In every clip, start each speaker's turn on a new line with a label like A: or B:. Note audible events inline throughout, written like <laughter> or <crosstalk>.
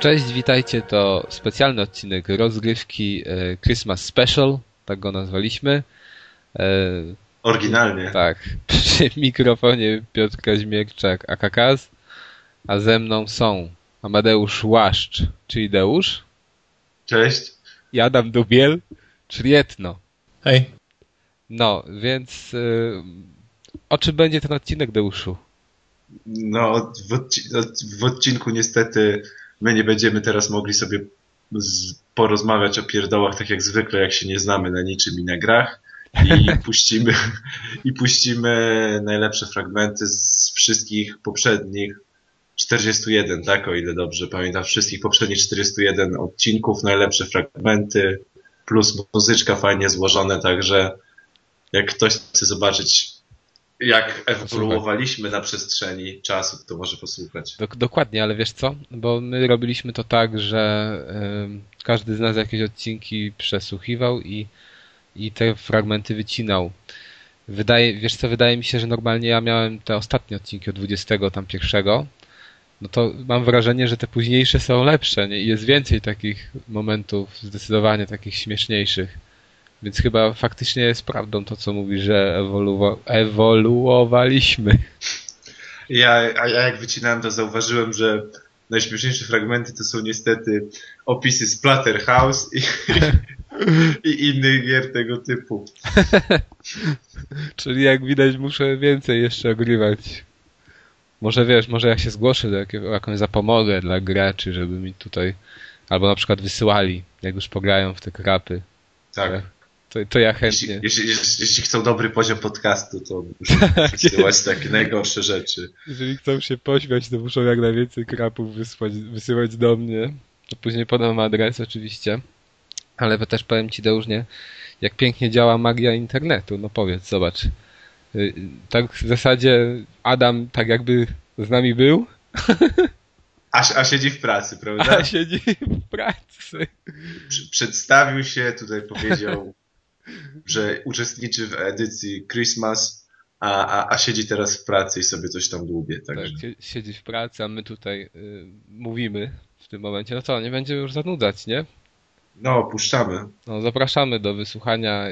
A: Cześć, witajcie. To specjalny odcinek rozgrywki e, Christmas Special, tak go nazwaliśmy. E,
B: Oryginalnie.
A: Tak, <laughs> przy mikrofonie Piotr Kaźmierczak, AKKS, a ze mną są Amadeusz Łaszcz, czyli Deusz,
B: Cześć.
A: i Adam Dubiel, czyli Etno.
C: Hej.
A: No, więc y, o czym będzie ten odcinek, Deuszu?
B: No, w, odci- od- w odcinku niestety my nie będziemy teraz mogli sobie z- porozmawiać o pierdołach tak jak zwykle, jak się nie znamy na niczym i na grach. I puścimy, i puścimy najlepsze fragmenty z wszystkich poprzednich 41, tak? O ile dobrze pamiętam, wszystkich poprzednich 41 odcinków, najlepsze fragmenty, plus muzyczka fajnie złożone, także jak ktoś chce zobaczyć, jak ewoluowaliśmy na przestrzeni czasu, to może posłuchać.
A: Dok- dokładnie, ale wiesz co? Bo my robiliśmy to tak, że y, każdy z nas jakieś odcinki przesłuchiwał i, i te fragmenty wycinał. Wydaje, wiesz co, wydaje mi się, że normalnie ja miałem te ostatnie odcinki od 20 tam pierwszego. No to mam wrażenie, że te późniejsze są lepsze, nie? I jest więcej takich momentów, zdecydowanie takich śmieszniejszych. Więc chyba faktycznie jest prawdą to, co mówi, że ewoluo- ewoluowaliśmy.
B: Ja, a ja jak wycinałem, to zauważyłem, że najśmieszniejsze fragmenty to są niestety opisy z Platterhouse
A: <laughs>
B: i, i innych gier tego typu.
A: Czyli jak widać muszę więcej jeszcze ogrywać. Może wiesz, może jak się zgłoszę do jakiego, jakąś zapomogę dla graczy, żeby mi tutaj albo na przykład wysyłali, jak już pograją w te krapy.
B: Tak.
A: To, to ja
B: Jeśli,
A: chętnie.
B: jeśli, jeśli chcą dobry poziom podcastu,
A: <laughs>
B: to muszą wysyłać takie najgorsze rzeczy.
A: Jeżeli chcą się pośmiać, to muszą jak najwięcej krapów wysłać, wysyłać do mnie. To później podam adres oczywiście. Ale też powiem ci Deużnie, jak pięknie działa magia internetu. No powiedz, zobacz. Y, Tak w zasadzie Adam tak jakby z nami był,
B: A, a siedzi w pracy,
A: <laughs>
B: prawda?
A: A siedzi w pracy.
B: Przy- przedstawił się, tutaj powiedział, że uczestniczy w edycji Christmas, a, a, a siedzi teraz w pracy i sobie coś tam dłubie.
A: Tak,
B: Także.
A: sie- siedzi w pracy, a my tutaj y, mówimy w tym momencie. No co, nie będziemy już zanudzać, nie?
B: No, opuszczamy.
A: No, zapraszamy do wysłuchania.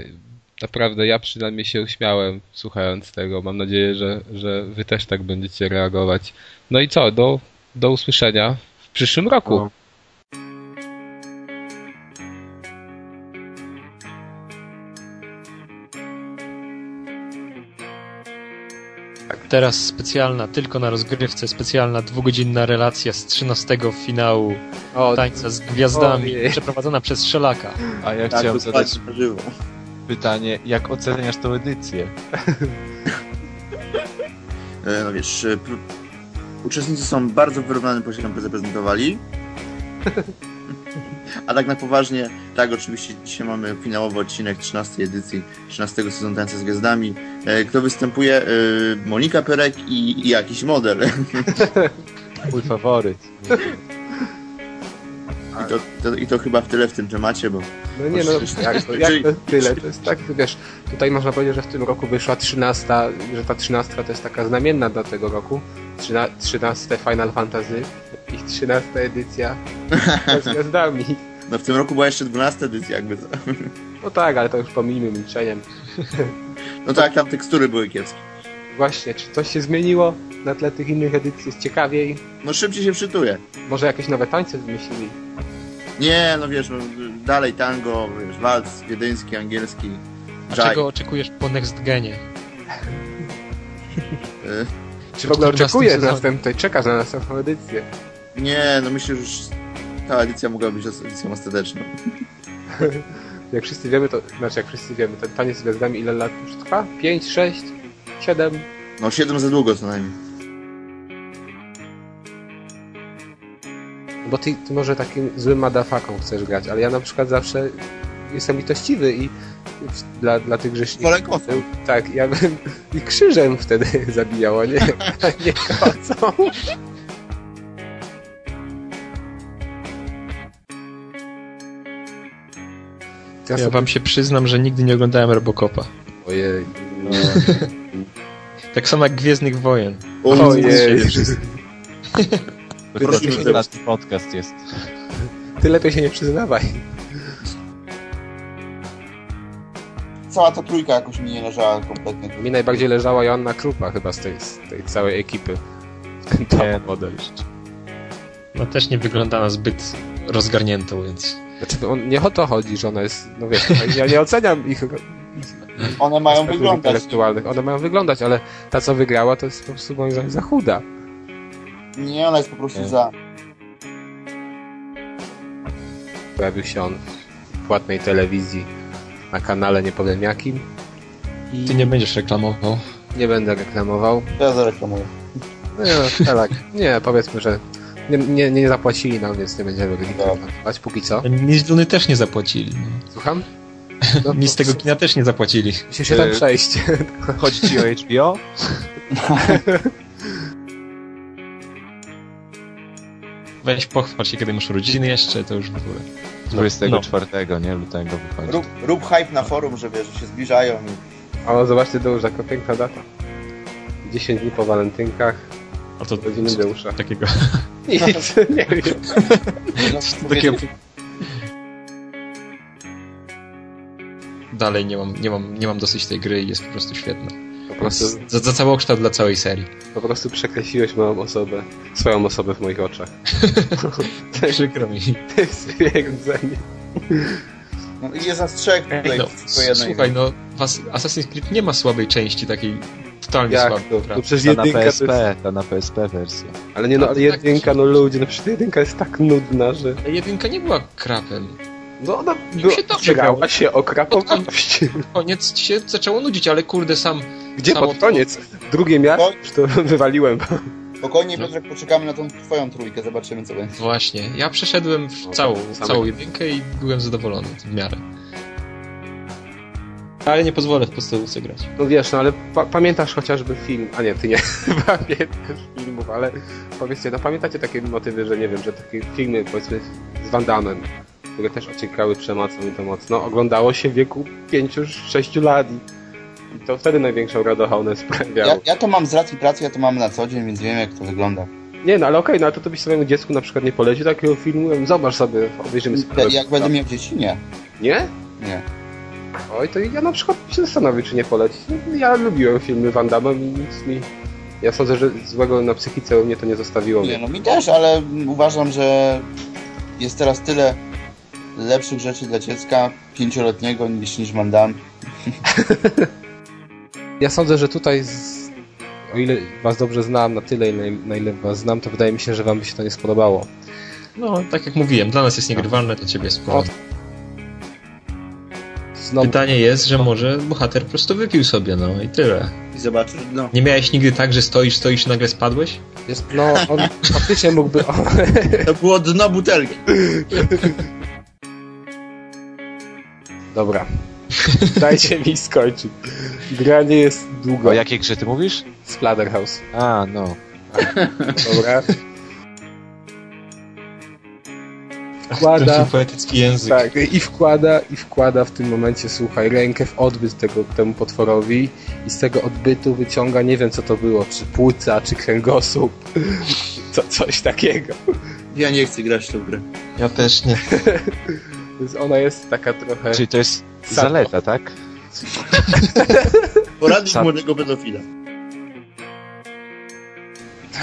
A: Naprawdę ja przynajmniej się uśmiałem słuchając tego. Mam nadzieję, że, że wy też tak będziecie reagować. No i co, do, do usłyszenia w przyszłym roku.
B: No.
C: Teraz specjalna, tylko na rozgrywce, specjalna dwugodzinna relacja z 13 finału
D: O,
C: Tańca z Gwiazdami,
D: Ojej.
C: przeprowadzona przez Szelaka.
D: a ja
E: Tak,
D: chciałem zadać
E: dokładnie, na żywo.
D: pytanie, jak oceniasz tą edycję?
E: E, No wiesz, e, pr- uczestnicy są bardzo wyrównanym poziomem
C: <laughs>
E: zaprezentowali. A tak na poważnie, tak oczywiście dzisiaj mamy finałowy odcinek 13 edycji 13 sezonu Tańca z Gwiazdami. E, Kto występuje? E, Monika Perek i, i jakiś model.
C: Tak.
D: Mój faworyt.
E: <laughs> I to, to, I to chyba w tyle w tym temacie, bo
F: No nie no,
E: Oczywiście,
F: jak,
E: czyli-
F: jak to tyle, to jest tak, wiesz, tutaj można powiedzieć, że w tym roku wyszła 13, że ta 13 to jest taka znamienna dla tego roku, Trzyna, 13 Final Fantasy i 13 edycja z gwiazdami.
E: no w tym roku była jeszcze 12 edycja jakby. To.
F: No tak, ale to już pomijmy milczeniem.
E: No tak, tam tekstury były kiepskie.
F: Właśnie, czy coś się zmieniło na tle tych innych edycji, jest ciekawiej,
E: No szybciej się przytuje.
F: może jakieś nowe tańce wymyślili.
E: Nie, no wiesz, no, dalej tango, wiesz, walc wiedeński, angielski,
C: A
E: jaj.
C: czego oczekujesz po Next Genie?
E: E,
F: Czy w ogóle
C: W 14
F: oczekuje
C: sezonie.
F: następnej, czeka na następną edycję.
E: Nie, no myślę, że już ta edycja mogła być edycją ostateczną.
F: Jak wszyscy wiemy, to znaczy jak wszyscy wiemy, ten taniec z gwiazdami ile lat już trwa? 5, 6, 7?
E: No 7 za długo co najmniej.
F: Bo ty, ty może takim złym madafaką chcesz grać, ale ja na przykład zawsze jestem litościwy i w- dla, dla tych grzeszników.
E: Wolę kosą.
F: Tak, ja bym i krzyżem wtedy zabijał, a nie, a nie kocą. Ja
C: Ja
F: sobie...
C: wam się przyznam, że nigdy nie oglądałem Robocopa.
F: Ojej.
C: <laughs> Tak samo jak Gwiezdnych Wojen.
E: O,
F: Ojej.
E: wszyscy.
B: Bo to
E: Prosimy,
B: 10
E: żeby-
B: lat podcast jest.
A: Ty lepiej się nie przyznawaj.
E: Cała ta trójka jakoś mi nie leżała kompletnie.
A: Mi najbardziej leżała Joanna Krupa chyba z tej, z tej całej ekipy. Ten top model.
C: No też nie wygląda na zbyt rozgarniętą, więc...
A: Znaczy, on, nie o to chodzi, że ona jest, no wiesz, ja nie oceniam ich
E: One mają
A: aspektów
E: wyglądać.
A: intelektualnych. One mają wyglądać, ale ta co wygrała to jest po prostu moim zdaniem za chuda.
E: Nie, ona jest po prostu
B: Nie.
E: za.
A: Pojawił się on w płatnej telewizji na kanale nie powiem jakim. I
C: Ty nie będziesz reklamował.
A: nie będę reklamował.
E: Ja zareklamuję.
A: Nie, no, tak. nie powiedzmy, że nie, nie, nie zapłacili nam, więc nie będziemy reklamować póki co.
C: Mi z Duny no, też nie zapłacili.
A: Słucham? No,
C: Mi z tego kina też nie zapłacili.
A: Musisz się tam
B: Yy,
A: przejść.
B: Chodzi ci o HBO?
C: Weź pochwal się, kiedy masz rodziny jeszcze, to już w ogóle.
A: No,
C: No,
B: 24, nie? Lutego wychodzi.
E: Rób, rób hype na forum, że wiesz, że się zbliżają i
A: O, zobaczcie Deusza, to piękna data. 10 dni po walentynkach,
C: A to, to,
A: rodziny
C: <laughs>
A: Deusza.
C: takiego.
A: Nic, nie wiem.
C: takiego... Dalej nie mam, nie, mam, nie mam dosyć tej gry i jest po prostu świetna.
A: Po prostu,
C: Za, za całokształt dla całej serii.
A: po prostu przekreśliłeś moją osobę, swoją osobę w moich oczach. <laughs> Tak.
C: Przykro mi.
A: To jest stwierdzenie.
E: No, i jest nas trzech
A: Tak,
E: tutaj.
C: No,
E: tylko jednej.
C: słuchaj, no w As- Assassin's Creed nie ma słabej części, takiej totalnie
A: Jak
C: słabej.
A: to? No
C: prawda?
A: przecież
B: Ta na
A: jedynka to jest,
B: PSP, ta na PSP wersja.
A: Ale nie no, ale
C: Tak, tak.
A: jedynka, no ludzie, no przecież ta jedynka jest tak nudna, że...
C: Ale jedynka nie była krapem.
A: No ona
C: Mi
A: była,
C: się dobrze
A: grała
C: grało.
A: się o krapowatość.
C: Koniec się zaczęło nudzić, ale kurde sam
A: Gdzie
C: Samo
A: pod
C: to.
A: koniec? Drugie miasto, już to <laughs> wywaliłem.
E: Spokojnie, Piotrek, poczekamy na tą twoją trójkę, zobaczymy co będzie.
C: Właśnie, ja przeszedłem w
A: No,
C: całą,
A: tak, same-
C: całą jedynkę i byłem zadowolony w miarę. Ale nie pozwolę w podstawówce grać.
A: No wiesz, no ale pa- pamiętasz chociażby film, a nie, <laughs> ty nie pamiętasz filmów, ale powiedzcie, no pamiętacie takie motywy, że nie wiem, że takie filmy powiedzmy z Van Damme, które też ociekały przemocą i to mocno, oglądało się w wieku 5-6 lat i, i to wtedy największą radość one sprawiało.
E: Ja, ja to mam z racji pracy, ja to mam na co dzień, więc wiem jak to wygląda.
A: Nie no, ale okej, no ale to, to byś swojemu dziecku na przykład nie polecił takiego filmu, zobacz sobie, obejrzymy
E: Ja,
A: sobie.
E: jak będę miał dzieci? Nie.
A: Nie?
E: Nie.
A: Oj, to ja na przykład się zastanowię, czy nie polecić. No, Ja lubiłem filmy Van Damme i nic mi... Ja sądzę, że złego na psychice u mnie to nie zostawiło.
E: Nie,
A: Mnie.
E: no mi też, ale mm, uważam, że jest teraz tyle lepszych rzeczy dla dziecka pięcioletniego niż, niż mandam.
A: Ja sądzę, że tutaj, z... o ile was dobrze znam, na tyle, ile, na ile was znam, to wydaje mi się, że wam by się to nie spodobało.
C: No, tak jak mówiłem, dla nas jest niegrywalne, dla ciebie jest
A: O,
C: porządku.
A: Znowu,
C: Pytanie jest, że może bohater po prostu wypił sobie, no i tyle.
E: I zobaczysz, no.
C: Nie miałeś nigdy tak, że stoisz, stoisz i nagle spadłeś?
A: jest, no, on faktycznie mógłby... O, <laughs>
E: To było dno butelki.
A: dobra. Dajcie mi skończyć. Gra nie jest długo.
B: O jakiej grze ty mówisz?
A: Splatterhouse.
B: A, no.
A: Dobra. Wkłada...
C: Taki poetycki język.
A: Tak, i wkłada, i wkłada w tym momencie, słuchaj, rękę w odbyt tego, temu potworowi i z tego odbytu wyciąga, nie wiem co to było, czy płuca, czy kręgosłup, <laughs> co, coś takiego.
E: Ja nie chcę grać w tę grę.
C: Ja też nie.
A: Więc ona jest taka trochę...
B: Czyli to jest
A: Sadko.
B: zaleta, tak?
E: Poradnik
B: Sam-
E: młodego pedofila.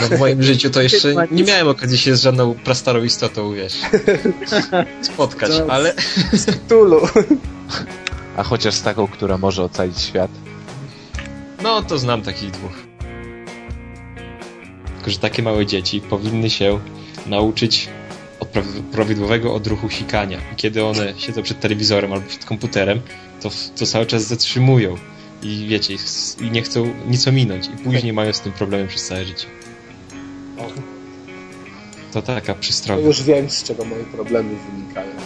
C: No, w moim życiu to
A: <laughs>
C: jeszcze nie miałem okazji się z żadną prastarą istotą, wiesz, spotkać,
A: To-
C: ale
A: Tulu!
B: A chociaż z taką, która może ocalić świat.
C: No, to znam takich dwóch. Tylko, że takie małe dzieci powinny się nauczyć od prawi- prawidłowego odruchu sikania. I kiedy one siedzą przed telewizorem albo przed komputerem, to, to cały czas zatrzymują. I wiecie, i s- i nie chcą nic ominąć. I później mają z tym problemy przez całe życie. To taka
A: No
C: przystroga.
A: już wiem, z czego moje problemy wynikają.
C: <laughs>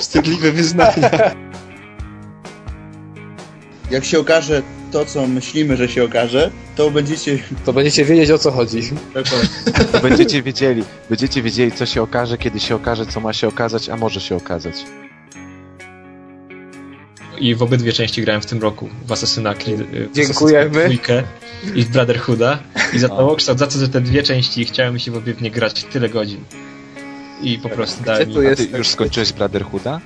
C: Wstydliwe wyznanie.
E: Jak się okaże to, co myślimy, że się okaże, to będziecie...
A: To będziecie wiedzieć, o co chodzi.
B: To będziecie wiedzieli, będziecie wiedzieli, co się okaże, kiedy się okaże, co ma się okazać, a może się okazać.
C: i w obydwie części grałem w tym roku. W Assassina Creed. y, w
F: Dziękujemy.
C: Assassin's Creed dwójkę I w Brotherhooda. I za to kształt, za to, że te dwie części chciałem mi się w obie w nie grać tyle godzin. I po prostu
F: Gdzie
C: dałem
F: tu
D: A
F: jest
D: ty już skończyłeś Brotherhooda?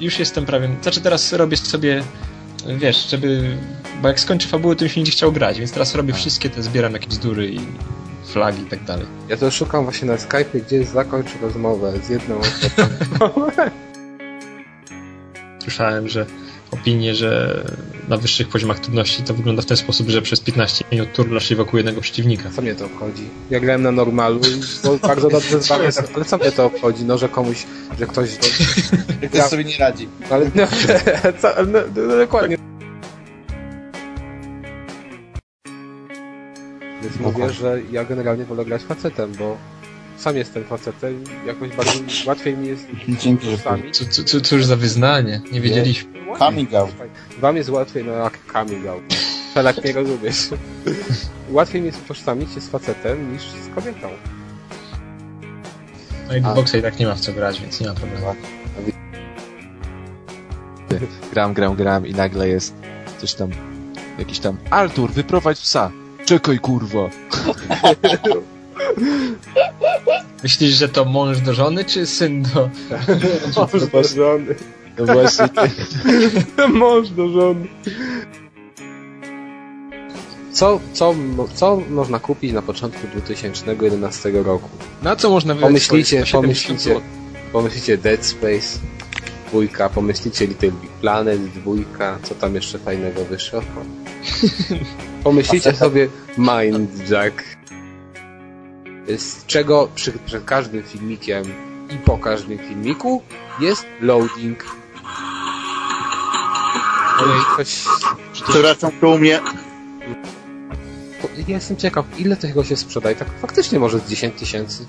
C: już jestem prawie. Znaczy teraz robię sobie. Wiesz, żeby. Bo jak skończę fabułę, to mi się nie chciał grać, więc teraz robię wszystkie te, zbieram jakieś dury i flagi i tak dalej.
F: Ja to szukam właśnie na Skype, gdzie zakończ rozmowę z jedną osobą.
C: Słyszałem, że opinie, że na wyższych poziomach trudności to wygląda w ten sposób, że przez 15 minut turlasz się wokół jednego przeciwnika.
F: Co mnie to obchodzi? Ja grałem na normalu i było bardzo
B: <laughs>
F: dobrze zbawię, ale co mnie to obchodzi? No, że komuś, że ktoś...
E: Ktoś sobie nie radzi.
F: Ale no, <laughs> co, no, no dokładnie. Więc mówię, że ja generalnie wolę grać facetem, bo sam jestem facetem i jakoś bardzo łatwiej mi jest
G: Dzięki, że
F: sami.
C: Co- co- co- Cóż za wyznanie, nie wiedzieliśmy.
G: Coming out.
F: Wam jest łatwiej, no jak coming out. Felak nie rozumiesz. Łatwiej mi jest utożsamić się z facetem niż z kobietą.
C: No i Xboxa i tak nie ma w co grać, więc nie ma problemu.
D: Gram, gram, gram i nagle jest coś tam, jakiś tam Artur, wyprowadź psa! Czekaj, kurwa!
C: Myślisz, że to mąż do żony, czy syn do...
F: Mąż do żony.
D: No właśnie,
F: Mąż do żony. Co, co, mo- co można kupić na początku 2011 roku?
C: Na co można wydać swoje
F: Pomyślicie,
C: 170
F: pomyślicie,
C: złotych?
F: pomyślicie Dead Space, dwójka, pomyślicie Little Big Planet, dwójka, co tam jeszcze fajnego wyszło. Pomyślicie sobie Mind Jack. Z czego przy, przed każdym filmikiem i po każdym filmiku jest loading. Ojej, Ktoś...
E: Przewracam koło mnie.
F: Ja jestem ciekaw, ile tego się sprzedaje. Tak faktycznie może z 10 tysięcy.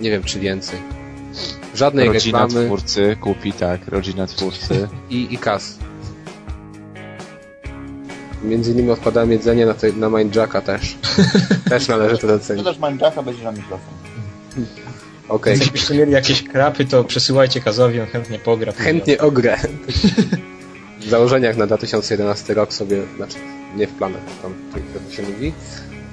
F: Nie wiem, czy więcej. Żadnej
D: rodzina
F: reklamy.
D: twórcy kupi, tak, rodzina twórcy.
F: i, i kas. Między innymi odpadałem jedzenie na, te, na Mindjacka
D: <laughs>
F: też. też należy to docenić.
G: Sprzedaż Minecrafta będzie na mikrofon.
F: Okej.
C: Więc jakbyście mieli jakieś krapy, to przesyłajcie Kazowi, on chętnie pogra.
F: Chętnie o grę. W założeniach na 2011 rok sobie, znaczy nie w planach, tam to się mówi.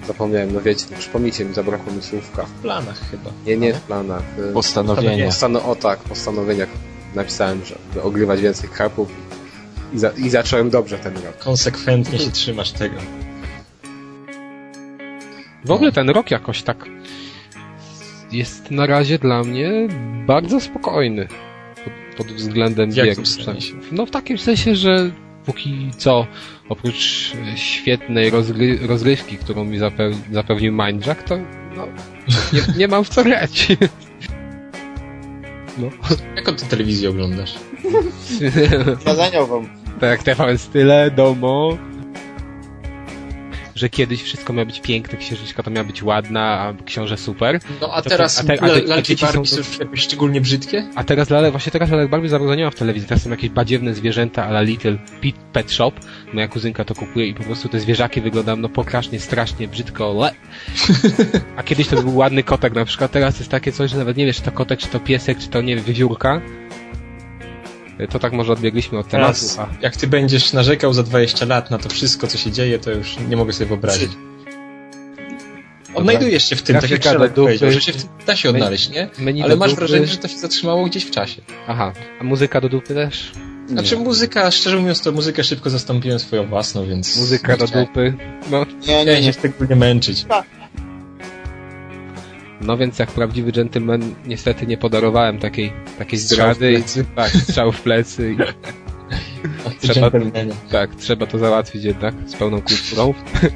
F: Zapomniałem, no wiecie, przypomnijcie mi, zabrakło mi słówka.
C: W planach chyba.
F: Nie, nie w planach. y,
D: Postanowienie.
F: Postano- o tak, w postanowieniach napisałem, żeby ogrywać więcej krapów i, za- i zacząłem dobrze ten rok.
C: Konsekwentnie się trzymasz tego.
A: W ogóle ten rok jakoś tak jest na razie dla mnie bardzo spokojny pod, pod względem
C: W jakim
A: wieku.
C: sensie?
A: No w takim sensie, że póki co, oprócz świetnej rozgry, rozgrywki, którą mi zape, zapewnił Mindjack, to no, nie, nie mam w co grać. <laughs> No,
C: Jaką ty telewizję oglądasz?
G: Zadaniał wam.
A: tak jak TVN Style, Domo. Że kiedyś wszystko miało być piękne, księżniczka to miała być ładna, a książę super.
C: No a
A: To-
C: teraz
A: a te- a te-
C: la-
A: a
C: lalki
A: dzieci są
C: Barbie
A: to-
C: są już jakieś szczególnie brzydkie?
A: A teraz Lale, właśnie teraz Lale Barbie zabroniła w telewizji. Teraz są jakieś badziewne zwierzęta a la Little Pit Pet Shop. Moja kuzynka to kupuje i po prostu te zwierzaki wyglądają no pokrasznie, strasznie, brzydko, le.
C: <laughs>
A: A kiedyś to był ładny kotek na przykład. Teraz jest takie coś, że nawet nie wiesz, czy to kotek, czy to piesek, czy to nie wiem, wywiórka. To tak może odbiegliśmy od tematu.
C: Teraz,
A: A
C: jak ty będziesz narzekał za 20 lat na to wszystko, co się dzieje, to już nie mogę sobie wyobrazić. Odnajdujesz się w tym, tak jak
A: Grafika do
C: Szelek
A: dupy.
C: powiedział, że się w tym da się odnaleźć, nie?
A: menu
C: Ale
A: do
C: masz
A: dupy.
C: wrażenie, że to się zatrzymało gdzieś w czasie.
A: Aha, a muzyka do dupy też?
C: Znaczy muzyka, szczerze mówiąc, to muzykę szybko zastąpiłem swoją własną, więc...
A: Muzyka do dupy. No,
G: Nie, nie,
C: Chciałem
G: nie.
C: się szczególnie męczyć.
A: no więc jak prawdziwy gentleman niestety nie podarowałem takiej, takiej zdrady. i- Tak, strzał w plecy i
C: Ach, ty
A: Trzeba-
C: dżentelmenie.
A: Tak, trzeba to załatwić jednak z pełną kulturą. <laughs>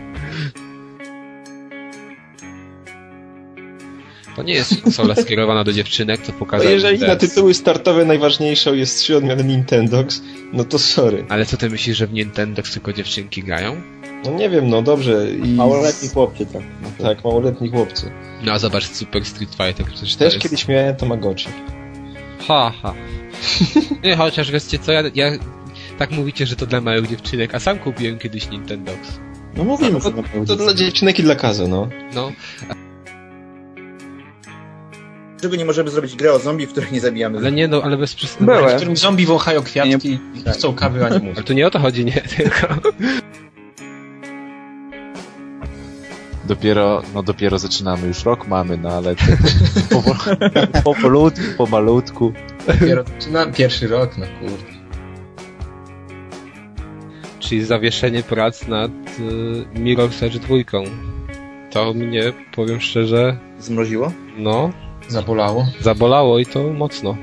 A: To nie jest konsola skierowana do dziewczynek, to
C: No
A: pokazać.
C: jeżeli na tytuły startowe najważniejszą jest trzy odmiany Nintendox, no to sorry.
A: Ale co ty myślisz, że w Nintendo tylko dziewczynki grają?
C: No nie wiem, no dobrze. I...
G: Małoletni chłopcy, tak.
C: Tak, małoletni chłopcy.
A: No a zobacz Super Street Fighter, przecież to
C: Też
A: jest...
C: kiedyś miałem Tamagotchi.
A: Ha, ha. Nie, chociaż wiecie co, ja, ja... Tak mówicie, że to dla małych dziewczynek, a sam kupiłem kiedyś Nintendo.
G: No mówimy,
C: To-
G: że na
C: To
G: pewno.
C: dla dziewczynek i dla kazy, no.
A: No.
E: Dlaczego nie możemy zrobić gry o zombie, w których nie zabijamy
A: Ale
E: zombie?
A: nie, no, ale bez
C: W
A: przystępności.
C: którym zombie wąchają kwiatki i chcą kawy, <laughs> a nie
A: Ale
C: mówią.
A: tu nie o to chodzi, nie, tylko...
D: Dopiero, no dopiero zaczynamy, już rok mamy, no ale to, <laughs> powol- powolutku, pomalutku.
C: Dopiero zaczyna pierwszy rok, no kurde.
A: Czyli zawieszenie prac nad y, Mirror's Edge 2. To mnie, powiem szczerze,
E: Zmroziło?
A: no,
C: Zabolało.
A: zabolało i to mocno.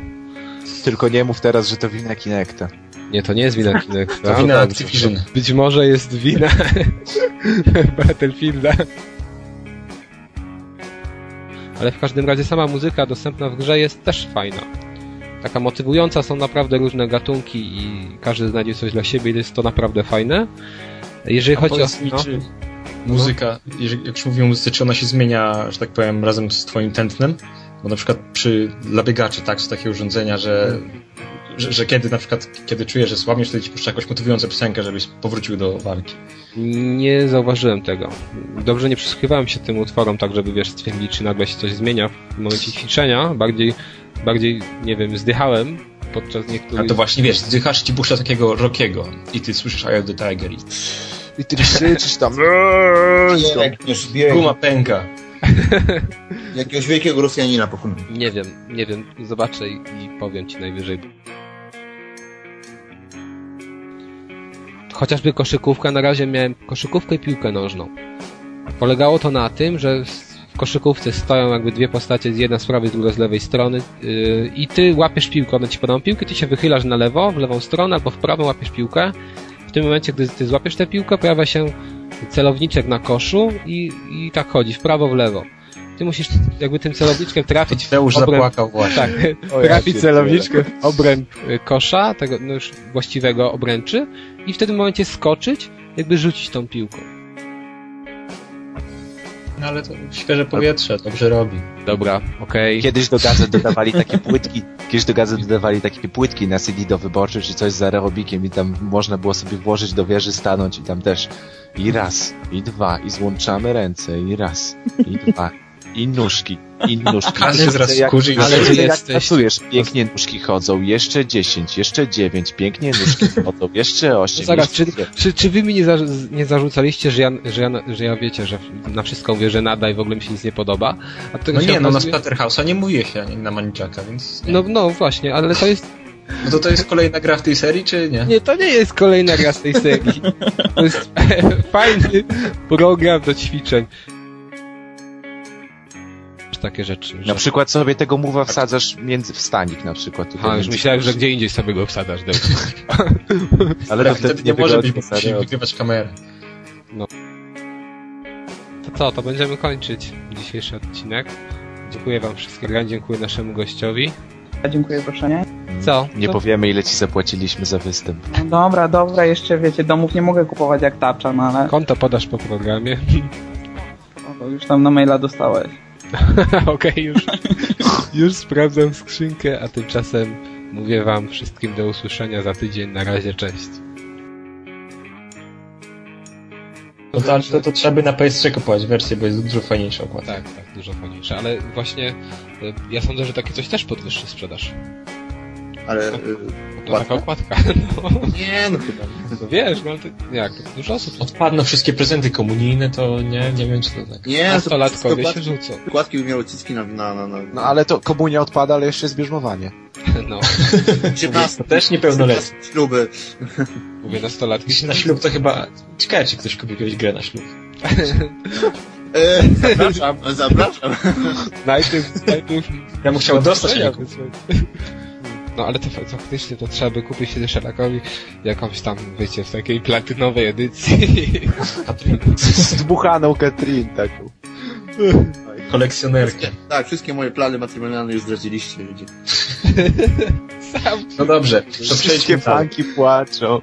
D: Tylko nie mów teraz, że to wina Kinecta.
A: Nie, to nie jest wina Kinect.
C: <laughs> To wina Activision.
A: Być może jest wina <laughs> Battlefielda. Ale w każdym razie sama muzyka dostępna w grze jest też fajna. Taka motywująca, są naprawdę różne gatunki i każdy znajdzie coś dla siebie i jest to naprawdę fajne. Jeżeli chodzi o... no,
C: Powiedz mi, czy muzyka, jeżeli- jak już mówimy o muzyce, czy ona się zmienia, że tak powiem, razem z twoim tętnem? Bo na przykład przy dla biegaczy, tak, są takie urządzenia, że, że, że kiedy na przykład, kiedy czujesz, że słabniesz, wtedy ci puszcza jakąś motywującą piosenkę, żebyś powrócił do walki.
A: Nie zauważyłem tego. Dobrze nie przysłuchiwałem się tym utworom, tak żeby wiesz, stwierdzić, czy nagle się coś zmienia w momencie ćwiczenia. Bardziej, bardziej nie wiem, zdychałem podczas
C: A
A: niektórych.
C: to właśnie, wiesz, zdychasz i ci puszcza takiego rockiego i ty słyszysz I am the Tiger i
D: I ty krzyczysz tam.
G: Biegniesz, biegniesz.
C: guma pęka.
E: Jakiegoś wielkiego Rosjanina pokonuje.
A: Nie wiem, nie wiem, zobaczę i i powiem ci najwyżej. Chociażby koszykówka, na razie miałem koszykówkę i piłkę nożną. Polegało to na tym, że s- w koszykówce stoją jakby dwie postacie, z jedna z prawej, druga z lewej strony yy, i ty łapiesz piłkę, one ci podają piłkę, ty się wychylasz na lewo, w lewą stronę albo w prawą łapiesz piłkę. W tym momencie, gdy ty złapiesz tę piłkę, pojawia się celowniczek na koszu i, i tak chodzi, w prawo, w lewo. Ty musisz jakby tym celowniczkiem trafić w
C: Tadeusz
A: obręb
C: zapłakał właśnie.
A: tak, trafi celowniczkę w obręb y, kosza, tego no już właściwego obręczy i w tym momencie skoczyć, jakby rzucić tą piłką.
C: No ale to świeże powietrze, dobrze robi.
A: Dobra, okej.
D: Kiedyś do gazet dodawali takie płytki, kiedyś do gazet dodawali takie płytki na CD do wyborczy czy coś z aerobikiem i tam można było sobie włożyć do wieży, stanąć i tam też i raz, i dwa, i złączamy ręce, i raz, i dwa, i nóżki, i nóżki.
C: Każdy
D: Ty
C: zaraz
D: widzę, jak-
C: skurzy i
D: ale
A: skurzy
D: widzę, jak
A: jesteś.
D: pracujesz, pięknie nóżki chodzą, jeszcze 10, jeszcze 9, pięknie <laughs> nóżki chodzą, jeszcze 8,
A: No zaraz,
D: jeszcze 9.
A: Czy, czy wy mi nie, za, nie zarzucaliście, że ja, że, ja, że ja wiecie, że na wszystko mówię, że nada i w ogóle mi się nic nie podoba? A to
C: No
A: się
C: nie, no na
A: okazuje-
C: Splatterhouse'a nie mówię się ani na Maniczaka, więc nie.
A: no, no właśnie, ale to jest.
C: No to to jest kolejna gra w tej serii, czy nie?
A: Nie, to nie jest kolejna gra z tej serii. To jest <laughs> fajny program do ćwiczeń. Takie rzeczy.
D: Na
A: Że...
D: przykład sobie tego muwa wsadzasz między, w stanik na przykład. Tutaj
A: Ha, już
D: między-
A: myślałem, że gdzie indziej sobie go wsadzasz. Dobra.
D: Ale to
C: tak, wtedy nie może być, bo musi wygrywać kamerę.
A: To co, to będziemy kończyć dzisiejszy odcinek. Dziękuję wam wszystkim, dziękuję naszemu gościowi.
H: A dziękuję, proszę, nie?
A: Co?
D: Nie
A: To-
D: powiemy, ile ci zapłaciliśmy za występ.
H: No dobra, dobra, jeszcze wiecie, domów nie mogę kupować jak tarcza, no ale
A: Konto podasz po programie. <laughs>
H: o, bo już tam na maila dostałeś.
A: Okej, już, już sprawdzam skrzynkę, a tymczasem mówię wam wszystkim do usłyszenia za tydzień. Na razie, cześć.
C: No to, ale to, to trzeba by na PS3 kupować wersję, bo jest dużo fajniejsza okładka.
A: Tak, tak, dużo fajniejsze, ale właśnie y, ja sądzę, że takie coś też podwyższy sprzedaż.
E: Ale... y,
A: To
E: Okładka?
A: taka okładka. <laughs>
E: Nie, no chyba.
A: No wiesz, no ale to, jak, to dużo osób
C: Odpadną wszystkie prezenty komunijne, to nie, nie wiem czy to tak.
E: Nie, to-
A: nastolatkowie
E: to-
A: się rzucą.
E: Kładki by miały cycki na... na, na, na.
D: No ale to komunia odpada, ale jeszcze jest bierzmowanie.
A: <laughs> No,
E: 17.
C: Też niepełnoletni.
E: 17 śluby.
A: mówię nastolatki.
C: Jeśli na ślub to chyba... Ciekawe czy ktoś kupi jakąś grę na ślub.
E: E, zapraszam, <laughs> zapraszam.
A: Najpierw, najpierw
C: Ja bym chciał dostać, a nie kupić.
A: No ale to fa- faktycznie to trzeba by kupić się Sherlockowi jakąś tam, wiecie, w takiej platynowej edycji.
D: Z dmuchaną Katrin taką.
C: kolekcjonerkę.
E: Tak, wszystkie moje plany matrymonialne już zdradziliście, ludzie.
A: Sam
C: No dobrze, to przejdźmy dalej.
D: płaczą.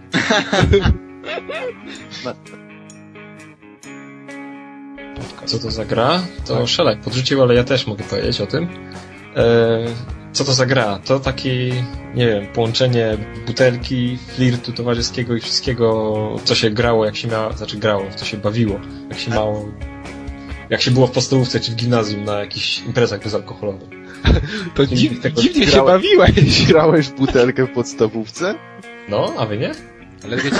C: Co to za gra? To Szelek podrzucił, ale ja też mogę powiedzieć o tym. E, co to za gra? To taki, nie wiem, połączenie butelki, flirtu towarzyskiego i wszystkiego, co się grało, jak się miało, znaczy grało, w co się bawiło, jak się mało... Jak się było w podstawówce czy w gimnazjum na jakichś imprezach bezalkoholowych.
A: To
C: Nie
A: dziw,
C: lubię tego
A: dziwnie się
D: grałem.
A: bawiłeś.
D: Grałeś w butelkę w podstawówce?
C: No, a wy nie?
A: Ale wiecie,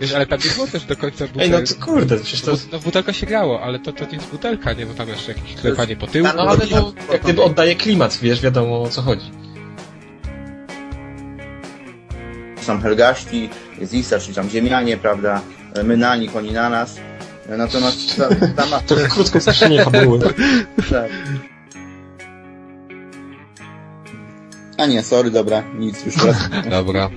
A: wiesz, ale tam nie było też do końca
C: Ej, no
A: butelka.
C: to kurde, przecież to...
A: No w butelkę się grało, ale to, to nie jest butelka, nie? Bo tam jeszcze jakieś klepanie po tyłku.
C: No ale to jak gdyby oddaje klimat, wiesz, wiadomo o co chodzi.
E: Są Helgaszki, Zisa, czyli tam Ziemianie, prawda? My na nich, oni na nas. Natomiast ta, sama...
C: To krótko strasznie <laughs> fabuły.
E: Tak. A nie, sorry, dobra, nic już raz.
A: Dobra.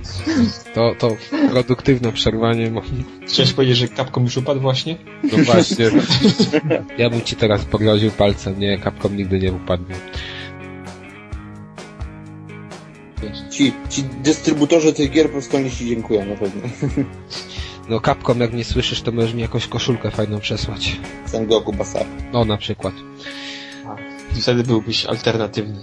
A: To, to produktywne przerwanie. bo-
C: Chciałeś powiedzieć, że kapką już upadł właśnie?
A: No właśnie. Ja bym ci teraz pogroził palcem. Nie, kapkom nigdy nie upadł.
E: Ci, ci dystrybutorzy tych gier po prostu nie ci dziękują na pewno.
A: No kapkom, jak nie słyszysz, to możesz mi jakąś koszulkę fajną przesłać.
E: Sengoku Basa.
A: No na przykład.
C: Wtedy byłbyś alternatywny.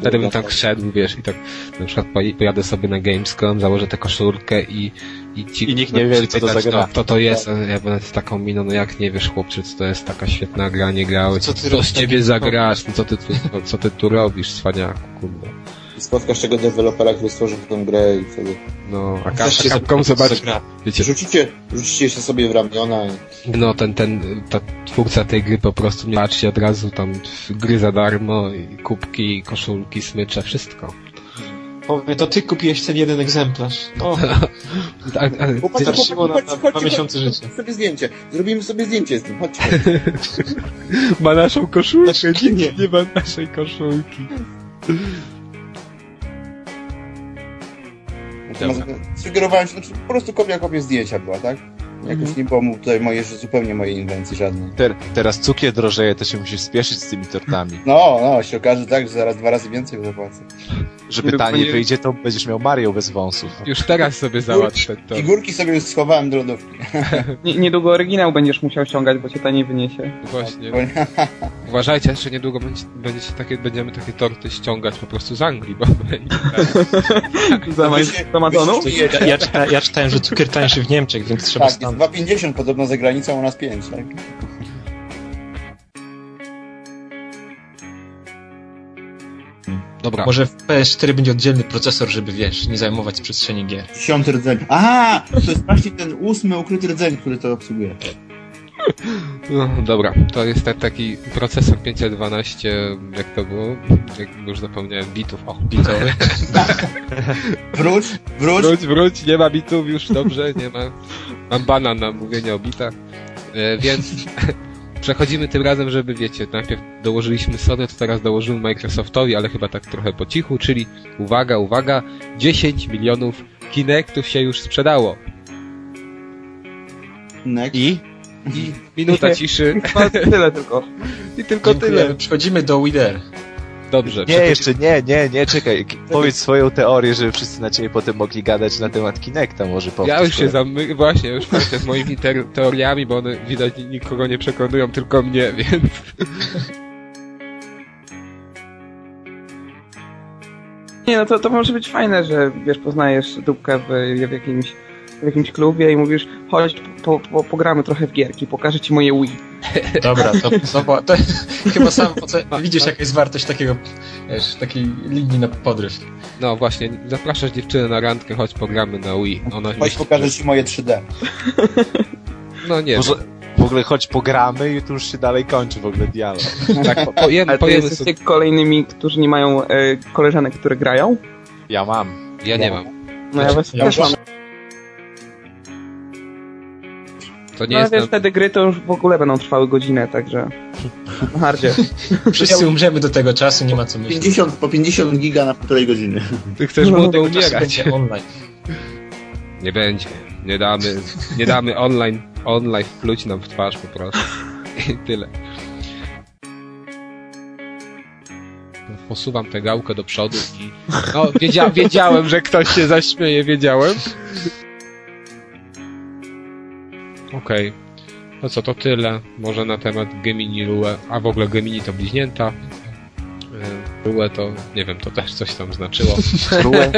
A: Wtedy bym tak szedł, wiesz, i tak na przykład poj- pojadę sobie na Gamescom, założę tę koszulkę i, i ci...
D: I nikt nie wie, co to za gra.
A: No, kto to jest, a ja będę z taką miną, no jak nie wiesz, chłopcze, co to jest taka świetna gra, nie grałeś.
C: Co ty
A: co
C: robisz
A: z ciebie
C: taki-
A: zagrasz? No, co, ty tu, co ty tu robisz, cwaniaku, kurde.
E: Spotkasz tego dewelopera, który stworzył tę grę i wtedy
A: No, a
C: Też się
A: Ka- Capcom
C: zapytam, co
A: zobacz,
C: gra.
A: wiecie,
E: rzucicie, rzucicie się sobie w ramiona i...
A: no ten, ten, ta twórca tej gry po prostu nie patrzy od razu tam w gry za darmo, i kubki, i koszulki, smycze, wszystko.
C: Powie, to ty kupiłeś ten jeden egzemplarz. <laughs> O,
A: A, a,
E: Chłopaki,
A: ty-
C: Szymon, na- na dwa miesiące
E: chodźcie,
C: życia.
E: sobie zdjęcie. Zrobimy sobie zdjęcie z tym, chodźcie. chodźcie.
A: ma naszą koszulkę,
C: Znaczy, nie.
A: nie ma naszej koszulki. Dobra.
E: Sugerowałem się, znaczy po prostu kopia kopia zdjęcia była, tak? Jakoś nie było mu tutaj moje, zupełnie mojej inwencji żadnej.
D: Ter, teraz cukier drożeje, to się musisz spieszyć z tymi tortami.
E: No, no, się okaże tak, że zaraz dwa razy więcej zapłacę.
D: Że
A: Żeby
D: pytanie
A: panie-
D: wyjdzie, to będziesz miał Mario bez wąsów.
A: Już teraz sobie załatw ten to.
E: I górki sobie już schowałem do lodówki.
H: Nie- Niedługo oryginał będziesz musiał ściągać, bo cię taniej wyniesie.
A: Właśnie.
E: Bo-
A: Uważajcie, że niedługo będzie, będziecie takie, będziemy takie torty ściągać po prostu z Anglii, bo
H: Z Ama- Z Amazonu?
C: To Ja, ja, czyta, ja czytałem, że cukier tańszy w Niemczech, więc trzeba
E: Tak, jest
C: stanąć.
E: 2,50 podobno za granicą, u nas 5, tak?
C: tak,
A: Dobra.
C: Może w PS4 będzie oddzielny procesor, żeby wiesz, nie zajmować przestrzeni gier.
E: Dziesiąty rdzeń. Aha! To jest właśnie ten ósmy ukryty rdzeń, który to obsługuje.
A: No, <laughs> dobra, to jest ten taki procesor 512, jak to było? Jak już zapomniałem, bitów. O,
C: Bito.
E: Wróć, wróć.
A: wróć, wróć, nie ma bitów już, dobrze, nie ma. Mam banan na mówienie o bitach. E, więc <laughs> przechodzimy tym razem, żeby wiecie, najpierw dołożyliśmy Sony, to teraz dołożymy Microsoftowi, ale chyba tak trochę po cichu, czyli uwaga, uwaga, 10 milionów Kinectów się już sprzedało.
E: Next.
D: I?
A: I
H: <laughs>
A: minuta ciszy
H: No, tyle tylko.
A: <laughs> i tylko tyle.
C: Przechodzimy do Wider.
A: Dobrze,
D: Nie, Tak, jeszcze nie, nie, nie, czekaj. K- Powiedz swoją teorię, żeby wszyscy na ciebie potem mogli gadać na temat Kinecta może powtórz.
A: Ja już się zamykam, właśnie, już <laughs> kończę z moimi ter- teoriami, bo one widać nikogo nie przekonują, tylko mnie, <laughs> więc
H: Nie, no to, to może być fajne, że wiesz, poznajesz dupkę w, w jakimś w jakimś klubie i mówisz, chodź, po, po, pogramy trochę w gierki, pokażę ci moje Wii.
C: Dobra, to, Tak, to, była- No <laughs> to chyba sam po co, widzisz jaka jest wartość takiego, wiesz, takiej linii na podryw.
A: no właśnie, zapraszasz dziewczynę na randkę, chodź pogramy na Wii. Ona
E: No, Chodź,
A: myśli,
E: pokażę ci moje 3D.
A: że- No nie,
D: Może w ogóle choć pogramy i tu już się dalej kończy w ogóle dialog.
A: tak, po- pojemy,
H: Ale to
A: pojemy
H: jesteście
A: sobie.
H: kolejnymi, którzy nie mają e, koleżanek, które grają?
D: Ja mam.
A: Ja nie mam.
H: No ja właśnie
C: Ja
H: też mam.
A: To nie
H: No
A: jest...
H: wiesz,
A: na-
H: wtedy gry to już w ogóle będą trwały godzinę, <laughs> także na hardzie.
C: Wszyscy umrzemy do tego czasu, nie ma co myśleć.
E: 50, po 50 giga na półtorej godziny.
A: Ty chcesz
H: No,
A: młodo
C: Czasu
A: umierać.
C: będzie online.
A: Nie będzie. Nie damy, nie damy online, online pluć nam w twarz po prostu. I tyle. Posuwam tę gałkę do przodu i... No, wiedzia, wiedziałem, że ktoś się zaśmieje, wiedziałem. Okej. No co, to tyle. Może na temat Gemini Rue, a w ogóle Gemini to bliźnięta. Y, Rue to, nie wiem, to też coś tam znaczyło.
D: Rułę,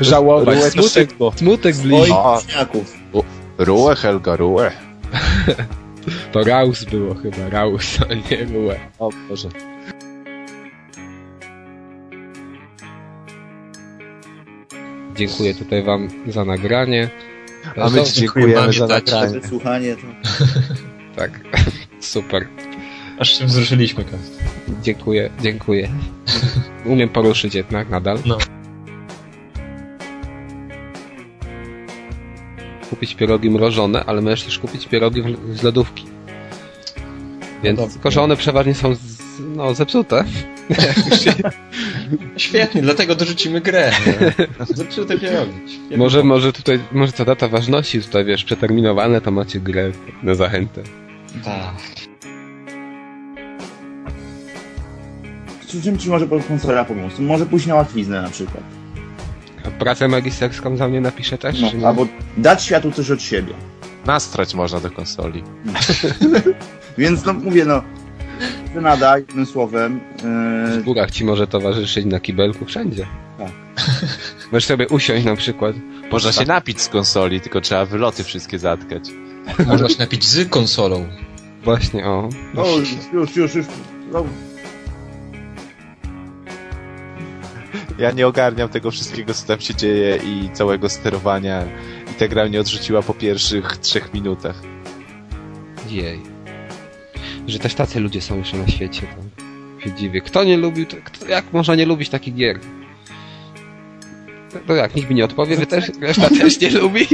A: Żałować,
D: rułę to
A: smutek,
D: szybko.
A: smutek bliźnięta.
E: Oj,
D: No.
E: śniaków.
D: Rułę, Helga, rułę.
A: To Raus było chyba, Raus, a nie Rue.
D: O Boże.
A: Dziękuję tutaj wam za nagranie.
D: A my ci
C: dziękujemy
D: dziękujemy za
C: pamiętacie.
D: nagranie.
E: Także słuchanie to...
A: Tak, <laughs> super.
C: Aż się wzruszyliśmy, Kas.
A: Dziękuję, dziękuję. Umiem poruszyć jednak nadal.
C: No.
A: Kupić pierogi mrożone, ale możesz też kupić pierogi w- z lodówki. Więc
C: No dobra.
A: tylko, że one przeważnie są z, no, zepsute.
C: Świetnie, dlatego dorzucimy <laughs> grę. Zepsute pierogi. Świetnie.
A: Może, może tutaj, może ta data ważności tutaj, wiesz, przeterminowane, to macie grę na zachętę.
C: Tak.
E: Czy, czym ci może sponsora pomóc? Może pójść na łatwiznę na przykład.
A: A pracę magisterską za mnie napiszę też? czy nie?
E: No, albo dać światu coś od siebie.
D: Nastrać można do konsoli.
E: Więc no mówię, no, ty nadaj, jednym słowem.
A: W
E: Yy,
A: górach ci może towarzyszyć na kibelku wszędzie.
E: Tak.
A: <laughs> Możesz sobie usiąść na przykład.
D: Można się napić z konsoli, tylko trzeba wyloty wszystkie zatkać.
C: Można się napić z konsolą.
A: Właśnie, o.
E: no, już, już, już. No,
D: Ja nie ogarniam tego wszystkiego, co tam się dzieje i całego sterowania. I ta gra mnie odrzuciła po pierwszych trzech minutach.
A: Jej. Że też tacy ludzie są jeszcze na świecie. To się dziwię. Kto nie lubił, to, kto, jak można nie lubić takich gier? To- To jak, nikt mi nie odpowie,
E: No
A: wy też,
E: tak.
A: reszta też nie lubi?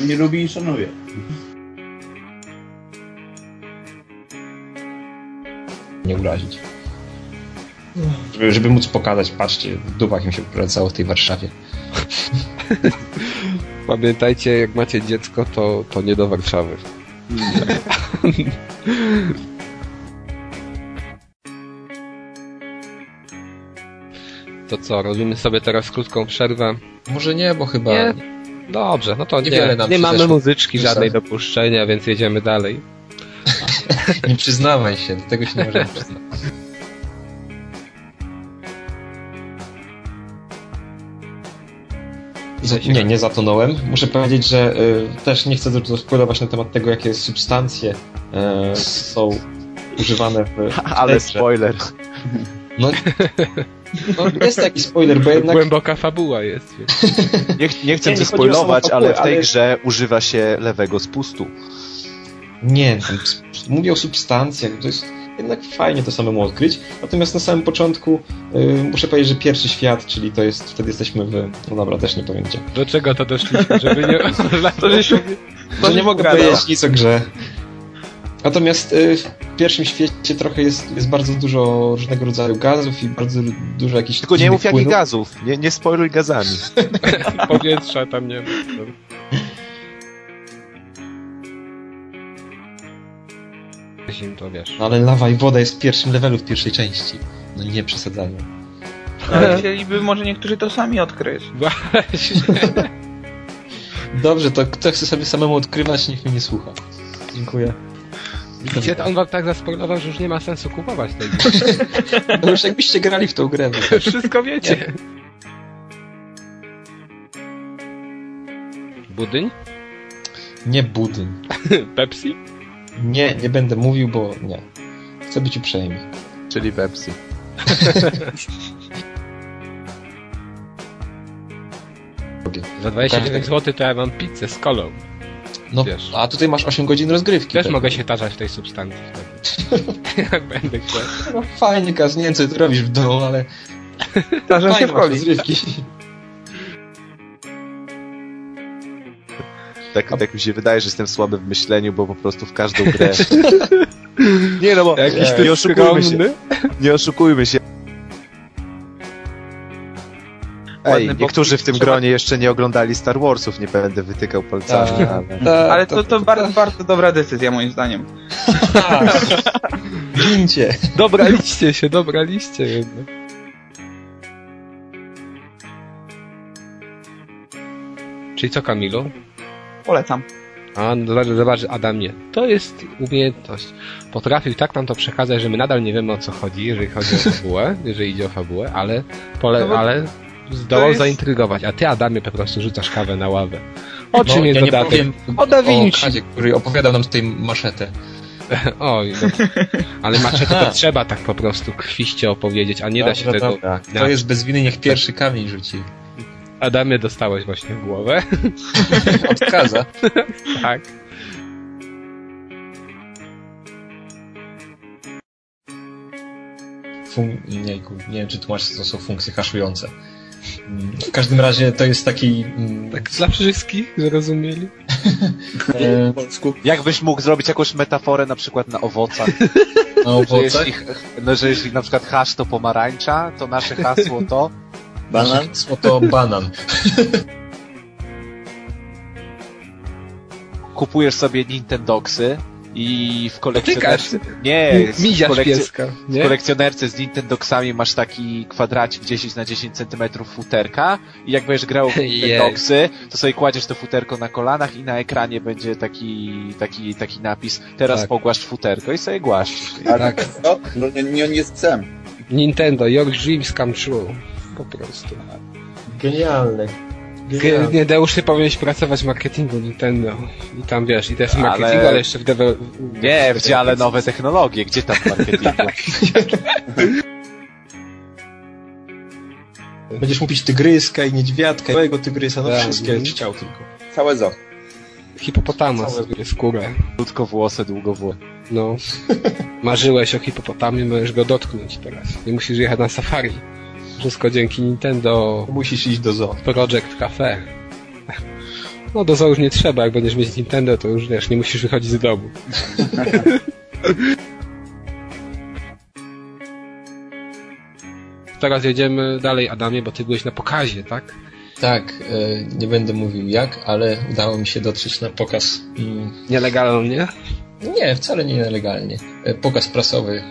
E: nie lubi i szanuje.
C: Nie urazić. Żeby, żeby móc pokazać, patrzcie, w dupach im się wracało w tej Warszawie.
A: Pamiętajcie, jak macie dziecko, to, to nie do Warszawy. <laughs> To co, robimy sobie teraz krótką przerwę.
C: Może nie, bo chyba...
A: Nie. Dobrze, no to nie,
C: Niewiele
A: nie,
C: nam się
A: mamy
C: zeszło.
A: muzyczki
C: Zeszło.
A: żadnej do puszczenia, więc jedziemy dalej.
C: Nie przyznawaj się, do tego się nie możemy przyznać. Że- Nie, nie zatonąłem. Muszę powiedzieć, że y, też nie chcę dużo spływać na temat tego, jakie substancje y, są używane w.
D: Ale
C: w grze.
D: spoiler.
C: no, no, jest taki spoiler, bo jednak.
A: Głęboka fabuła jest. więc-
D: Nie, ch- nie
C: Nie,
D: chcę
C: nie
D: spoilować,
C: chodzi o samą
D: ale w
C: fabułę,
D: tej
C: ale-
D: grze używa się lewego spustu.
C: Nie, tam s- mówię o substancjach, to jest jednak fajnie to samemu odkryć. Natomiast na samym początku y, muszę powiedzieć, że pierwszy świat, czyli to jest, wtedy jesteśmy w. No dobra, też nie powiem gdzie.
A: Do czego to doszliśmy, żeby nie... <laughs>
C: że nie mogę powiedzieć nic o grze. Natomiast y, w pierwszym świecie trochę jest, jest bardzo dużo różnego rodzaju gazów i bardzo dużo jakichś.
D: Tylko nie
C: dziwnych
D: mów jakich
C: płynów.
D: gazów. Nie, nie spoiluj gazami.
A: Powietrza tam nie ma. Zim to wiesz.
C: No ale lawa i woda jest w pierwszym levelu w pierwszej części. No nie przesadzajmy.
A: Ale-
H: Ale chcieliby może niektórzy to sami odkryć.
A: <laughs>
C: Dobrze, to kto chce sobie samemu odkrywać, niech mnie nie słucha. Dziękuję.
A: Widzicie, to on wam tak zaspoilował, że już nie ma sensu kupować tej <laughs> gry.
C: No już jakbyście grali w tą grę. No.
A: Wszystko wiecie. Budyń?
C: Nie budyń.
A: Pepsi?
C: Nie, nie będę mówił, bo nie. Chcę być uprzejmy.
D: Czyli Pepsi.
A: Za 29 zł to ja mam pizzę z kolą.
C: No,
A: Wiesz.
C: a tutaj masz 8 godzin rozgrywki.
A: Też
C: tak?
A: mogę się tarzać w tej substancji wtedy. <laughs> Jak będę chciał.
C: No, fajnie, Kaz, nie wiem co ty robisz w domu, ale
H: Zdarza
C: fajnie
H: się w
C: masz
A: <laughs>
H: koli.
C: rozgrywki.
D: Tak, tak mi się wydaje, że jestem słaby w myśleniu, bo po prostu w każdą
B: <laughs>
D: grę. Nie no bo
A: Jakiś
D: nie oszukujmy się. Nie oszukujmy się. Ej,
H: Ładny
D: niektórzy w tym
H: boknik.
D: gronie jeszcze nie oglądali Star Warsów, nie będę wytykał palcami,
C: Tak.
D: ale...
C: Tak,
H: Ale to, to bardzo, bardzo dobra decyzja moim zdaniem.
C: tak. Gincie.
A: Dobraliście się, dobraliście jednak. Czyli co, Kamilu?
H: Polecam.
A: A, no zobacz- zobacz, Adamie, to jest umiejętność. Potrafił tak nam to
C: <laughs>
A: przekazać, że my nadal nie wiemy o co chodzi, jeżeli chodzi o fabułę, jeżeli idzie o fabułę, ale, pole,
H: No bo-
A: ale zdołał
I: jest-
A: zaintrygować, a ty Adamie po prostu rzucasz kawę na ławę.
C: No,
A: O czym jest
C: ja nie
A: dodatek?
C: powiem
A: O Da Vinci.
C: O Kazie, który opowiadał nam tutaj maszetę.
A: <laughs> Oj, no. ale
C: <laughs>
A: maczetę to trzeba tak po prostu krwiście opowiedzieć, a nie da się
C: Dobra,
A: tego...
C: dobra. Kto
A: na-
C: jest bez winy, niech pierwszy kamień rzuci.
A: Adamie dostałeś właśnie w
C: <laughs>
A: głowę,
C: Od Kaza.
A: tak?
C: Fun... Nie, ku- nie wiem, czy tłumaczę, co są funkcje haszujące. Mm, W każdym razie to jest taki... mm,
A: Tak dla wszystkich zrozumieli?
C: e,
E: W polsku.
B: Tak. Jakbyś mógł zrobić jakąś metaforę na przykład na owocach?
C: na
B: Że
C: owocach.
B: jeśli, no, że jeśli na przykład hasz to pomarańcza, to nasze hasło to...
E: Banan?
C: Hasło to banan.
B: kupujesz sobie Nintendoxy i w
A: Tykasz.
B: kolekcjonerce... Nie, w,
A: Miziasz
B: kolekcjo-
A: pieska,
B: w
A: nie?
B: kolekcjonerce z Nintendoxami masz taki kwadracik 10 na 10 cm futerka i jak będziesz
A: <laughs>
B: grał w Nintendoxy, to sobie kładziesz to futerko na kolanach i na ekranie będzie taki, taki, taki napis teraz
A: Tak.
B: pogłasz futerko i sobie głaszcz.
E: A
A: Tak.
E: No, no nie, nie on jest psem.
A: Nintendo, your dreams come true. Po prostu.
C: Genialne. Genialne.
A: Nie, Deuszy powinieneś pracować w marketingu Nintendo. I tam wiesz, i też w
B: Ale-
A: marketingu, ale, jeszcze w dewe...
B: Nie, gdzie ale nowe technologie,
A: <laughs>
B: gdzie tam w marketingu?
A: Tak.
C: Będziesz mówić tygryska i niedźwiadka, i całego tygrysa, no
A: Tak.
C: wszystkie, jak chciał tylko.
E: Całe zo.
A: Hipopotamas
C: Całe-
A: Całe... skórę.
B: Krótko włosy, długo włosy.
A: No. Marzyłeś o hipopotamie, możesz go dotknąć teraz. Nie musisz jechać na safari. Wszystko dzięki Nintendo
C: Musisz iść do zoo.
A: Project Cafe. No do zoo już nie trzeba, jak będziesz mieć Nintendo, to już wiesz, nie musisz wychodzić z domu. Teraz jedziemy dalej, Adamie, bo ty byłeś na pokazie, tak?
C: Tak, e, nie będę mówił jak, ale udało mi się dotrzeć na pokaz. mm,
A: Nielegalnie.
C: Nie, wcale nie nielegalnie. E, Pokaz prasowy.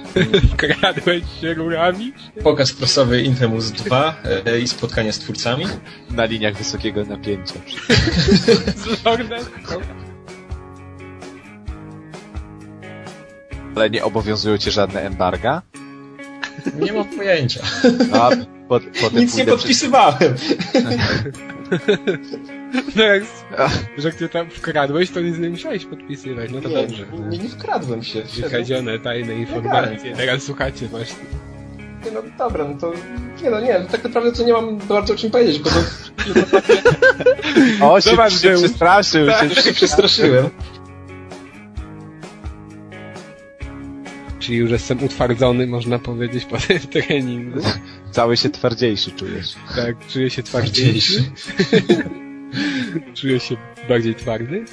A: Kradłeś się rurami.
C: Pokaz prasowy Infamous 2 e, i spotkania z twórcami.
B: Na liniach wysokiego napięcia. Ale nie obowiązują cię żadne embarga? No,
C: Nie mam pojęcia.
B: A, po, potem
C: Nic nie
B: pójdę przez-
C: podpisywałem.
A: No jak, że ty tam wkradłeś, to nic nie musiałeś podpisywać, no to dobrze.
C: Nie, nie, nie wkradłem się.
A: Wykradzione tajne informacje, teraz słuchacie właśnie.
C: Nie, No dobra, no to... Nie no nie, tak naprawdę to nie mam bardzo o czym powiedzieć,
F: <laughs>
C: bo to
B: O, się,
A: Zobacz,
B: się
A: był.
B: przestraszył. Się,
C: się przestraszyłem.
A: Czyli już jestem utwardzony, można powiedzieć, po tym treningu.
C: Tak.
B: cały się twardziejszy czujesz.
A: Tak, czuję się twardziejszy,
C: Bardziejszy.
A: czuję się bardziej twardy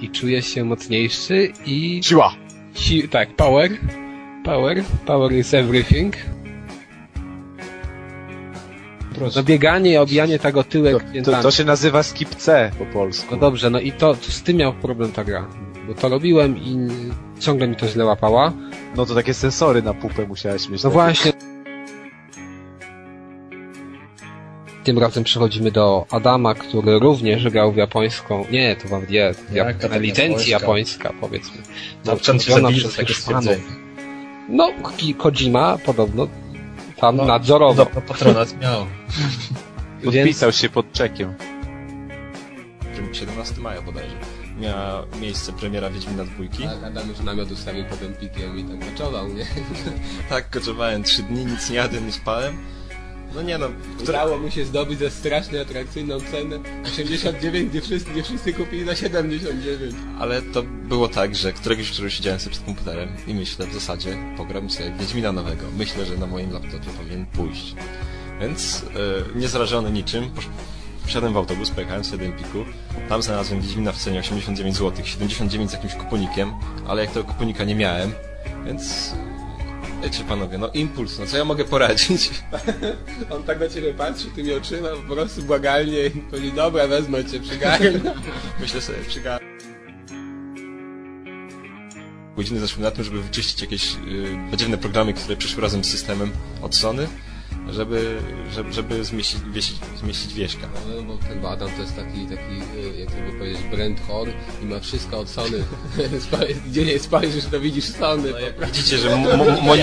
A: i czuję się mocniejszy i
B: Siła!
A: si- tak, power, power, power is everything. No bieganie i obijanie tego
B: To,
A: tyłek
B: to,
A: piętami.
B: to się nazywa skip C po polsku.
A: Tak. No dobrze, no i to z tym miał problem ta gra, bo to robiłem i ciągle mi to źle łapała.
B: No to takie sensory na pupę musiałeś mieć.
A: No
B: takie.
A: właśnie. Tym razem przechodzimy do Adama, który również grał w japońską. Nie, to wam nie.
C: Jaka
A: Jap-
C: taka
A: licencji
C: japońska?
A: japońska, powiedzmy.
J: No,
C: Na początku się
A: Zrobiona
C: zabili
A: przez
C: za takie
A: jakichś fanów.
C: stwierdzenie.
A: No, Ki- Kojima podobno tam
C: No,
A: nadzorował.
C: Podobno patronat miał.
A: więc
B: Podpisał się pod czekiem.
C: którym 17 maja bodajże miała miejsce premiera Wiedźmina dwójki.
F: Tak, Adam już namiot ustawił pod Empikiem i tam koczował, nie?
C: Tak, koczowałem 3 dni, nic nie jadłem, nie spałem. No nie no, która...
F: Udało mu się zdobyć za strasznie atrakcyjną cenę 89, gdzie wszyscy, gdzie wszyscy kupili za 79.
C: ale to było tak, że któregoś wieczoru siedziałem sobie przed komputerem i myślę w zasadzie, pogram sobie w Wiedźmina nowego. Myślę, że na moim laptopie powinien pójść. Więc e, niezrażony niczym, posz... wsiadłem w autobus, pojechałem sobie do Empiku, tam znalazłem Wiedźmina w cenie 89 zł, 79 z jakimś kuponikiem, ale jak tego kuponika nie miałem, więc... Wiecie panowie, no impuls, no co ja mogę poradzić? <laughs>
F: On tak na ciebie patrzy tymi oczyma, po prostu błagalnie i mówi, dobra, wezmę cię, przygarnę.
C: Myślę sobie, przyga... Godziny zeszły na tym, żeby wyczyścić jakieś y, badziewne programy, które przyszły razem z systemem od Sony, żeby, żeby, żeby zmieścić, wiesić, zmieścić wieśka.
F: No bo ten Adam to jest taki, taki, e, jak to by powiedzieć, brand horn i ma wszystko od Sony. <laughs> Spa- Gdzie nie spojrzysz, to widzisz Sony. po
C: Widzicie, że mo, mo, mo,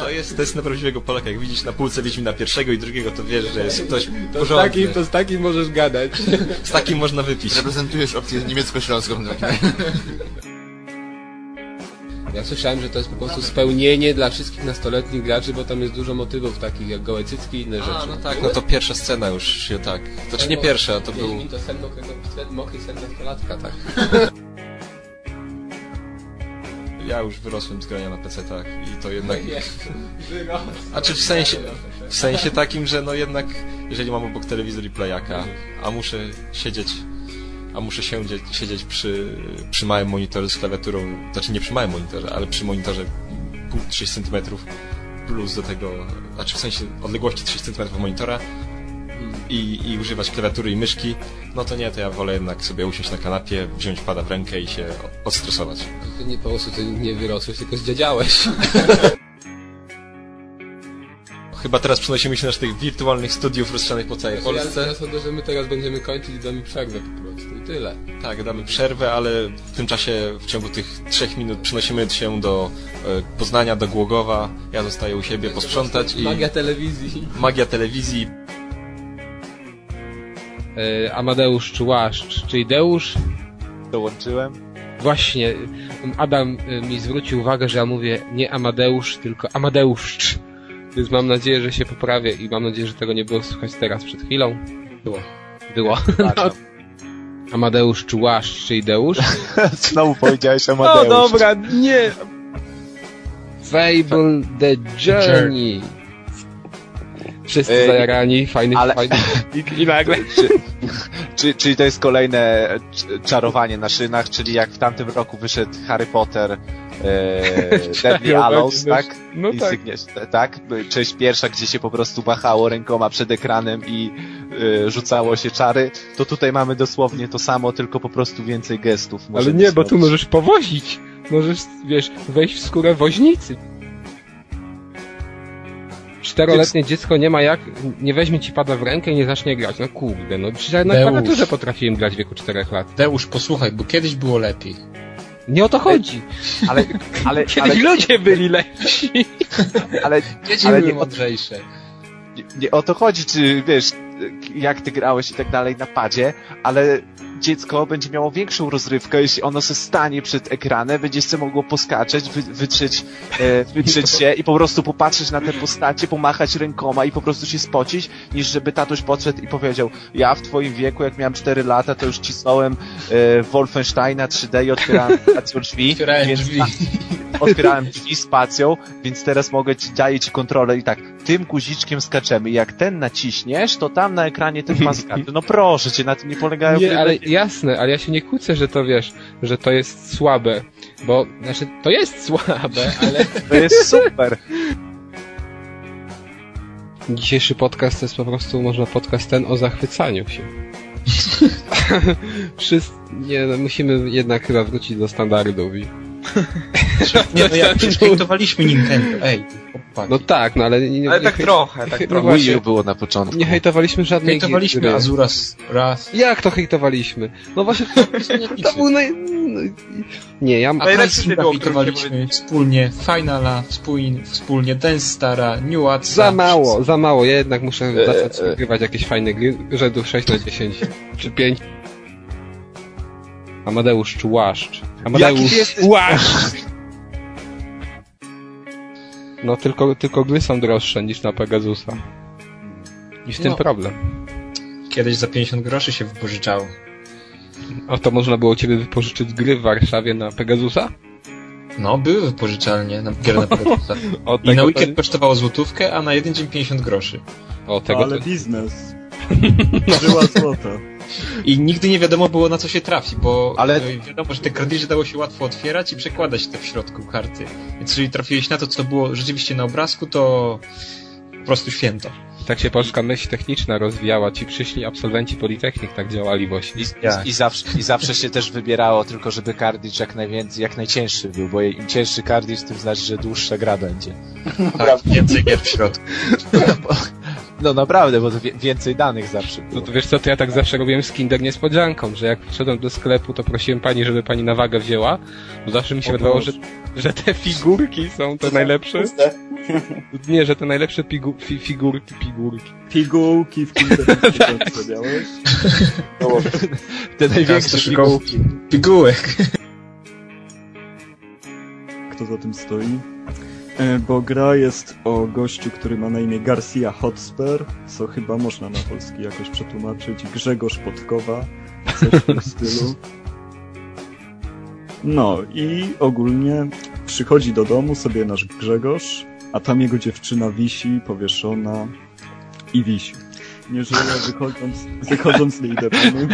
C: To jest test na prawdziwego Polaka. Jak widzisz na półce Wiedźmina pierwszego i drugiego, to wiesz, że jest ktoś
F: To z,
C: porządny.
F: takim, to z takim możesz gadać.
C: Z takim można wypić.
K: Reprezentujesz opcję niemiecko-śląską. tak?
F: Ja słyszałem, że to jest po prostu spełnienie dla wszystkich nastoletnich graczy, bo tam jest dużo motywów takich jak gołe cycki i inne rzeczy.
C: no tak, no to pierwsza scena już się tak. Znaczy nie pierwsza, to był...
F: Wiedźmin to sen mokrego, sen- mokry sen nastolatka, tak.
C: Ja już wyrosłem z grania na PC-tach i to jednak...
F: Wyrosłem.
C: A czy w sensie, w sensie takim, że no jednak, jeżeli mam obok telewizor i playaka, a muszę siedzieć, a muszę siedzieć, siedzieć przy, przy małym monitorze z klawiaturą, znaczy nie przy małym monitorze, ale przy monitorze pół- 6 cm plus do tego, znaczy w sensie odległości 3 cm monitora i, i używać klawiatury i myszki, no to nie, to ja wolę jednak sobie usiąść na kanapie, wziąć pada w rękę i się odstresować.
F: To nie po prostu ty nie wyrosłeś, tylko <laughs> zdziadziałeś.
C: Chyba teraz przenosimy się do naszych wirtualnych studiów rozsianych po całej
F: Ja,
C: Polsce.
F: ja sądzę, że my teraz będziemy kończyć i damy przerwę po prostu i tyle.
C: Tak, damy przerwę, ale w tym czasie, w ciągu tych trzech minut przenosimy się do e, Poznania, do Głogowa. Ja zostaję u siebie posprzątać i...
F: Magia telewizji.
C: Magia telewizji.
A: E, Amadeusz Czułaszcz, czyli Deusz.
B: Dołączyłem.
A: Właśnie, y, Adam y, mi zwrócił uwagę, że ja mówię nie Amadeusz, tylko Amadeuszcz. Więc mam nadzieję, że się poprawię i mam nadzieję, że tego nie było słychać teraz przed chwilą.
F: Było.
A: Było. No. <laughs> Amadeusz Czułaszcz, czyli Deusz.
B: Znowu powiedziałeś
L: No dobra, nie.
A: Fable The Journey. Wszyscy zajarani, fajny, ale... fajny.
B: I, nagle. Czy, czy, czyli to jest kolejne cz- czarowanie na szynach, czyli jak w tamtym roku wyszedł Harry
A: <laughs>
B: Potter e, Deadly
M: Czarowanie
B: Hallows,
M: na
B: tak?
M: szy- no
B: I
M: tak.
B: Sygniesz, t- tak? Część pierwsza, gdzie się po prostu wahało rękoma przed ekranem i e, rzucało się czary, to tutaj mamy dosłownie to samo, tylko po prostu więcej gestów.
A: <laughs> Ale
B: możemy
A: nie, bo tu
B: zrobić.
A: możesz powozić. Możesz, wiesz, wejść w skórę woźnicy. Czteroletnie dziecko nie ma jak, nie weźmie ci pada w rękę i nie zacznie grać. No kurde, no przecież ja na
J: Deusz.
A: klawiaturze potrafiłem grać w wieku czterech lat.
J: Deusz, posłuchaj, bo kiedyś było
F: <laughs>
J: lepiej.
A: Nie o to chodzi.
B: Ale,
A: <laughs>
B: ale,
A: Kiedyś ludzie byli lepsi.
B: <laughs> Ale,
J: Dzieci
B: ale
J: były
B: nie, o,
J: mądrzejsze.
B: nie, nie o to chodzi, czy wiesz, jak ty grałeś i tak dalej na padzie, ale dziecko będzie miało większą rozrywkę, jeśli ono se stanie przed ekranem, będzie se mogło poskaczeć, wy, wytrzeć, e, wytrzeć się i po prostu popatrzeć na te postacie, pomachać rękoma i po prostu się spocić, niż żeby tatuś podszedł i powiedział, ja w twoim wieku, jak miałem 4 lata, to już cisnąłem e, Wolfensteina 3D i otwierałem spacją drzwi,
J: Otwierałem
B: więc tak,
J: drzwi.
B: otwierałem drzwi spacją, więc teraz mogę ci, daję ci kontrolę i tak, tym guziczkiem skaczemy. Jak ten naciśniesz, to tam na ekranie ten ma skacz. No proszę cię, na tym nie polegają gry.
A: Nie, ale jasne, ale ja się nie kłócę, że to wiesz, że to jest słabe. Bo, znaczy, to jest słabe, ale...
B: To jest <laughs> super.
A: Dzisiejszy podcast to jest po prostu, można podcast ten o zachwycaniu się. <laughs> Wszyscy, nie, no, musimy jednak chyba wrócić do standardów i...
J: Nie, no jak przecież hejtowaliśmy Nintendo, ej.
A: No tak, no ale... Nie,
J: Ale
A: nie
J: tak
A: hej-
J: trochę,
A: <laughs>
J: tak
A: no
J: trochę.
A: właśnie,
J: Wii U
B: było na początku.
A: Nie hejtowaliśmy żadnej
J: Hejtowaliśmy
A: gry.
J: Azura s- raz.
A: Jak to hejtowaliśmy? No właśnie, <laughs> to, to był naj... no i- Nie, ja...
J: A hejtowaliśmy wspólnie Finala, wspólnie, wspólnie Dance Stara, New Ads.
A: Za mało, za mało. Ja jednak muszę
J: E,
A: zacząć wygrywać jakieś fajne gry rzędu 6 na 10 czy 5. Amadeusz Człaszcz. Amadeusz
B: Jaki jesteś-
A: Człaszcz!
J: <laughs>
A: No tylko, tylko gry są droższe niż na Pegasusa. I w tym
J: No.
A: problem.
J: Kiedyś za 50 groszy się wypożyczało.
A: A to można było ciebie wypożyczyć gry w Warszawie na Pegasusa?
J: No, były wypożyczalnie na gier na Pegasusa.
A: <laughs> O,
J: I na
A: tego
J: weekend
A: to-
J: kosztowało złotówkę, a na jeden dzień 50 groszy.
A: O, tego
J: Ale
A: to- <laughs>
J: biznes. Żyła złota. I nigdy nie wiadomo było na co się trafi, bo Ale... wiadomo, że te kartridże dało się łatwo otwierać i przekładać te w środku karty. Więc jeżeli trafiłeś na to, co było rzeczywiście na obrazku, to po prostu święto.
A: I tak się polska myśl techniczna rozwijała. Ci przyszli absolwenci Politechnik tak działali właśnie.
B: I, i, zawsze, I zawsze się też wybierało, tylko żeby kardisz jak najwięcej, jak najcięższy był, bo im cięższy kardisz, tym znaczy, że dłuższa gra będzie.
J: Tak, więcej gier w środku.
B: No naprawdę, bo to wie, więcej danych zawsze
A: No
B: było.
A: to wiesz co, to ja tak zawsze robiłem z Kinder niespodzianką, że jak wszedłem do sklepu, to prosiłem pani, żeby pani na wagę wzięła, bo zawsze mi się wydawało, że, że te figurki są te najlepsze. Nie, że te najlepsze pigu- fi- figurki, figurki.
J: Figułki w
A: <laughs> Tak.
J: kilku miałeś?
A: Te największe figułki. Pigułek.
J: Kto za tym stoi? E, Bo gra jest o gościu, który ma na imię Garcia Hotspur, co chyba można na polski jakoś przetłumaczyć. Grzegorz Podkowa, coś w
A: <laughs>
J: tym stylu. No i ogólnie przychodzi do domu sobie nasz Grzegorz, a tam jego dziewczyna wisi, powieszona i wisi. Nie żyje, wychodząc, wychodząc no nie idę po nim.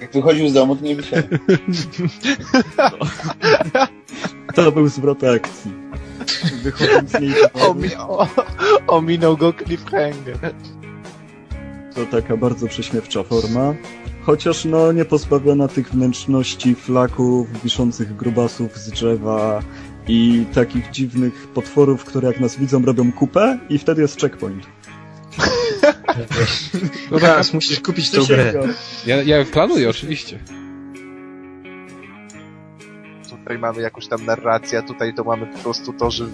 F: Jak wychodził z domu, to nie wyszedł.
J: To był zwrot akcji. Wychodząc z niej do domu,
D: Omi- o- Ominął go cliffhanger.
J: to taka bardzo prześmiewcza forma. Chociaż no nie pozbawiona tych wnętrzności flaków, wiszących grubasów z drzewa i takich dziwnych potworów, które jak nas widzą robią kupę i wtedy jest checkpoint.
C: No teraz musisz kupić
J: Ty
C: tą
J: się
C: grę.
J: zgadzasz.
A: Ja, ja planuję, oczywiście.
D: Tutaj mamy jakąś tam narrację, a tutaj to mamy po prostu to, że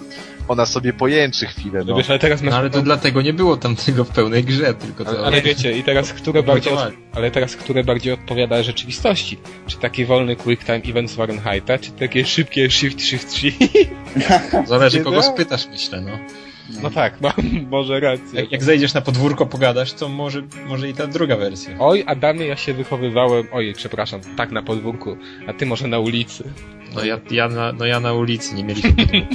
D: ona sobie pojęczy chwilę. No.
C: No, ale to dlatego nie było tam tego w pełnej grze, tylko to...
B: no.
A: Ale, ale wiecie, i teraz które bardziej, od, ale teraz które bardziej odpowiada rzeczywistości? Czy taki wolny quick time event z Fahrenheita, czy takie szybkie shift, shift, shift?
C: Zależy
A: Nie
C: kogo
A: da?
C: spytasz, myślę, no.
B: Mm.
A: <laughs> No tak, mam może rację.
C: Jak, jak zejdziesz na podwórko, pogadasz, to może, może i ta druga wersja.
A: Oj, Adamie, ja się wychowywałem, ojej, przepraszam, tak na podwórku, a ty może na ulicy.
C: No ja, ja, na, no ja na ulicy, nie <laughs> mieliśmy podwórka.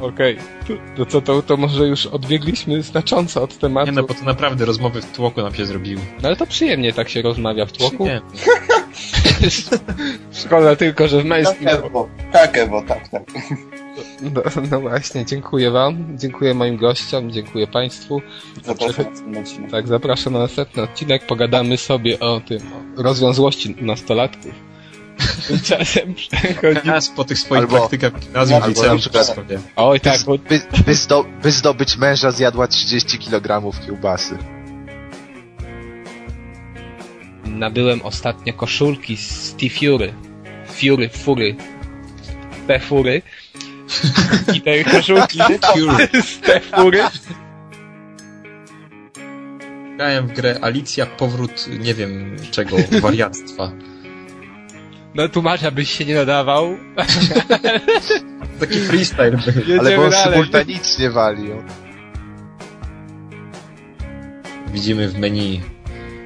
A: Okej, to, to co, to, to może już odbiegliśmy znacząco od tematu.
C: Nie no, bo to naprawdę rozmowy w tłoku nam się zrobiły.
A: No ale to przyjemnie tak się rozmawia w tłoku.
C: Przyjemnie.
A: Szkoda tylko, że w męskim...
F: Tak, Ewo, tak, Ewo, tak, tak.
A: No, no właśnie, dziękuję wam, dziękuję moim gościom, dziękuję państwu.
F: Zapraszam na następny odcinek.
A: Tak, zapraszam na następny odcinek, pogadamy sobie o tym, o rozwiązłości nastolatków. <laughs> Tymczasem przechodzi...
C: Raz po tych swoich
D: Albo-
C: praktykach w gimnazjum, w
D: albo na
C: liceum,
D: przykład-
C: wszystko wiem.
A: Oj, tak, bo...
D: by, by, zdo, by zdobyć męża zjadła 30 kg kiełbasy.
A: Nabyłem ostatnio koszulki z T Fury. Fury, fury. Te fury. I te koszulki <laughs> z te fury.
C: Grałem w grę Alicja Powrót, nie wiem
D: <laughs>
C: czego, wariactwa.
A: No tłumacza byś się nie nadawał.
C: <laughs> Taki freestyle był.
D: Ale bo on
A: dalej.
D: symultanicznie walił.
C: Widzimy w menu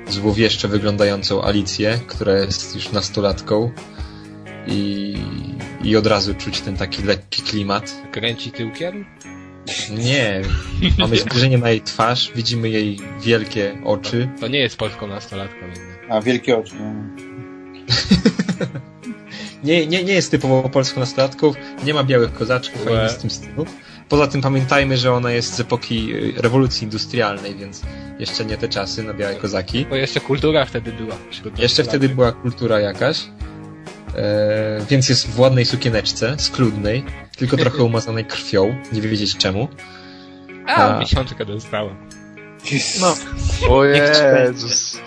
C: złowieszcze wyglądającą Alicję, która jest już nastolatką i, i od razu czuć ten taki lekki klimat.
A: Kręci tyłkiem?
C: Nie, mamy zbliżenie na jej twarz, widzimy jej wielkie oczy.
A: To nie jest polską nastolatką jednak.
F: A, wielkie oczy. no.
C: Nie, nie, nie jest typowo polską nastolatką, nie ma białych kozaczków ani
A: Łe.
C: nic w tym stylu. Poza tym pamiętajmy, że ona jest z epoki y, rewolucji industrialnej, więc jeszcze nie te czasy na białe kozaki.
A: Bo jeszcze kultura wtedy była. wśród
C: Jeszcze
A: nastolatek.
C: wtedy była kultura jakaś, e, więc jest w ładnej sukieneczce, skludnej, tylko trochę umazanej krwią, nie wiedzieć czemu.
A: A,
C: A.
A: miesiączkę dostałem.
C: No.
D: O
C: Jezus.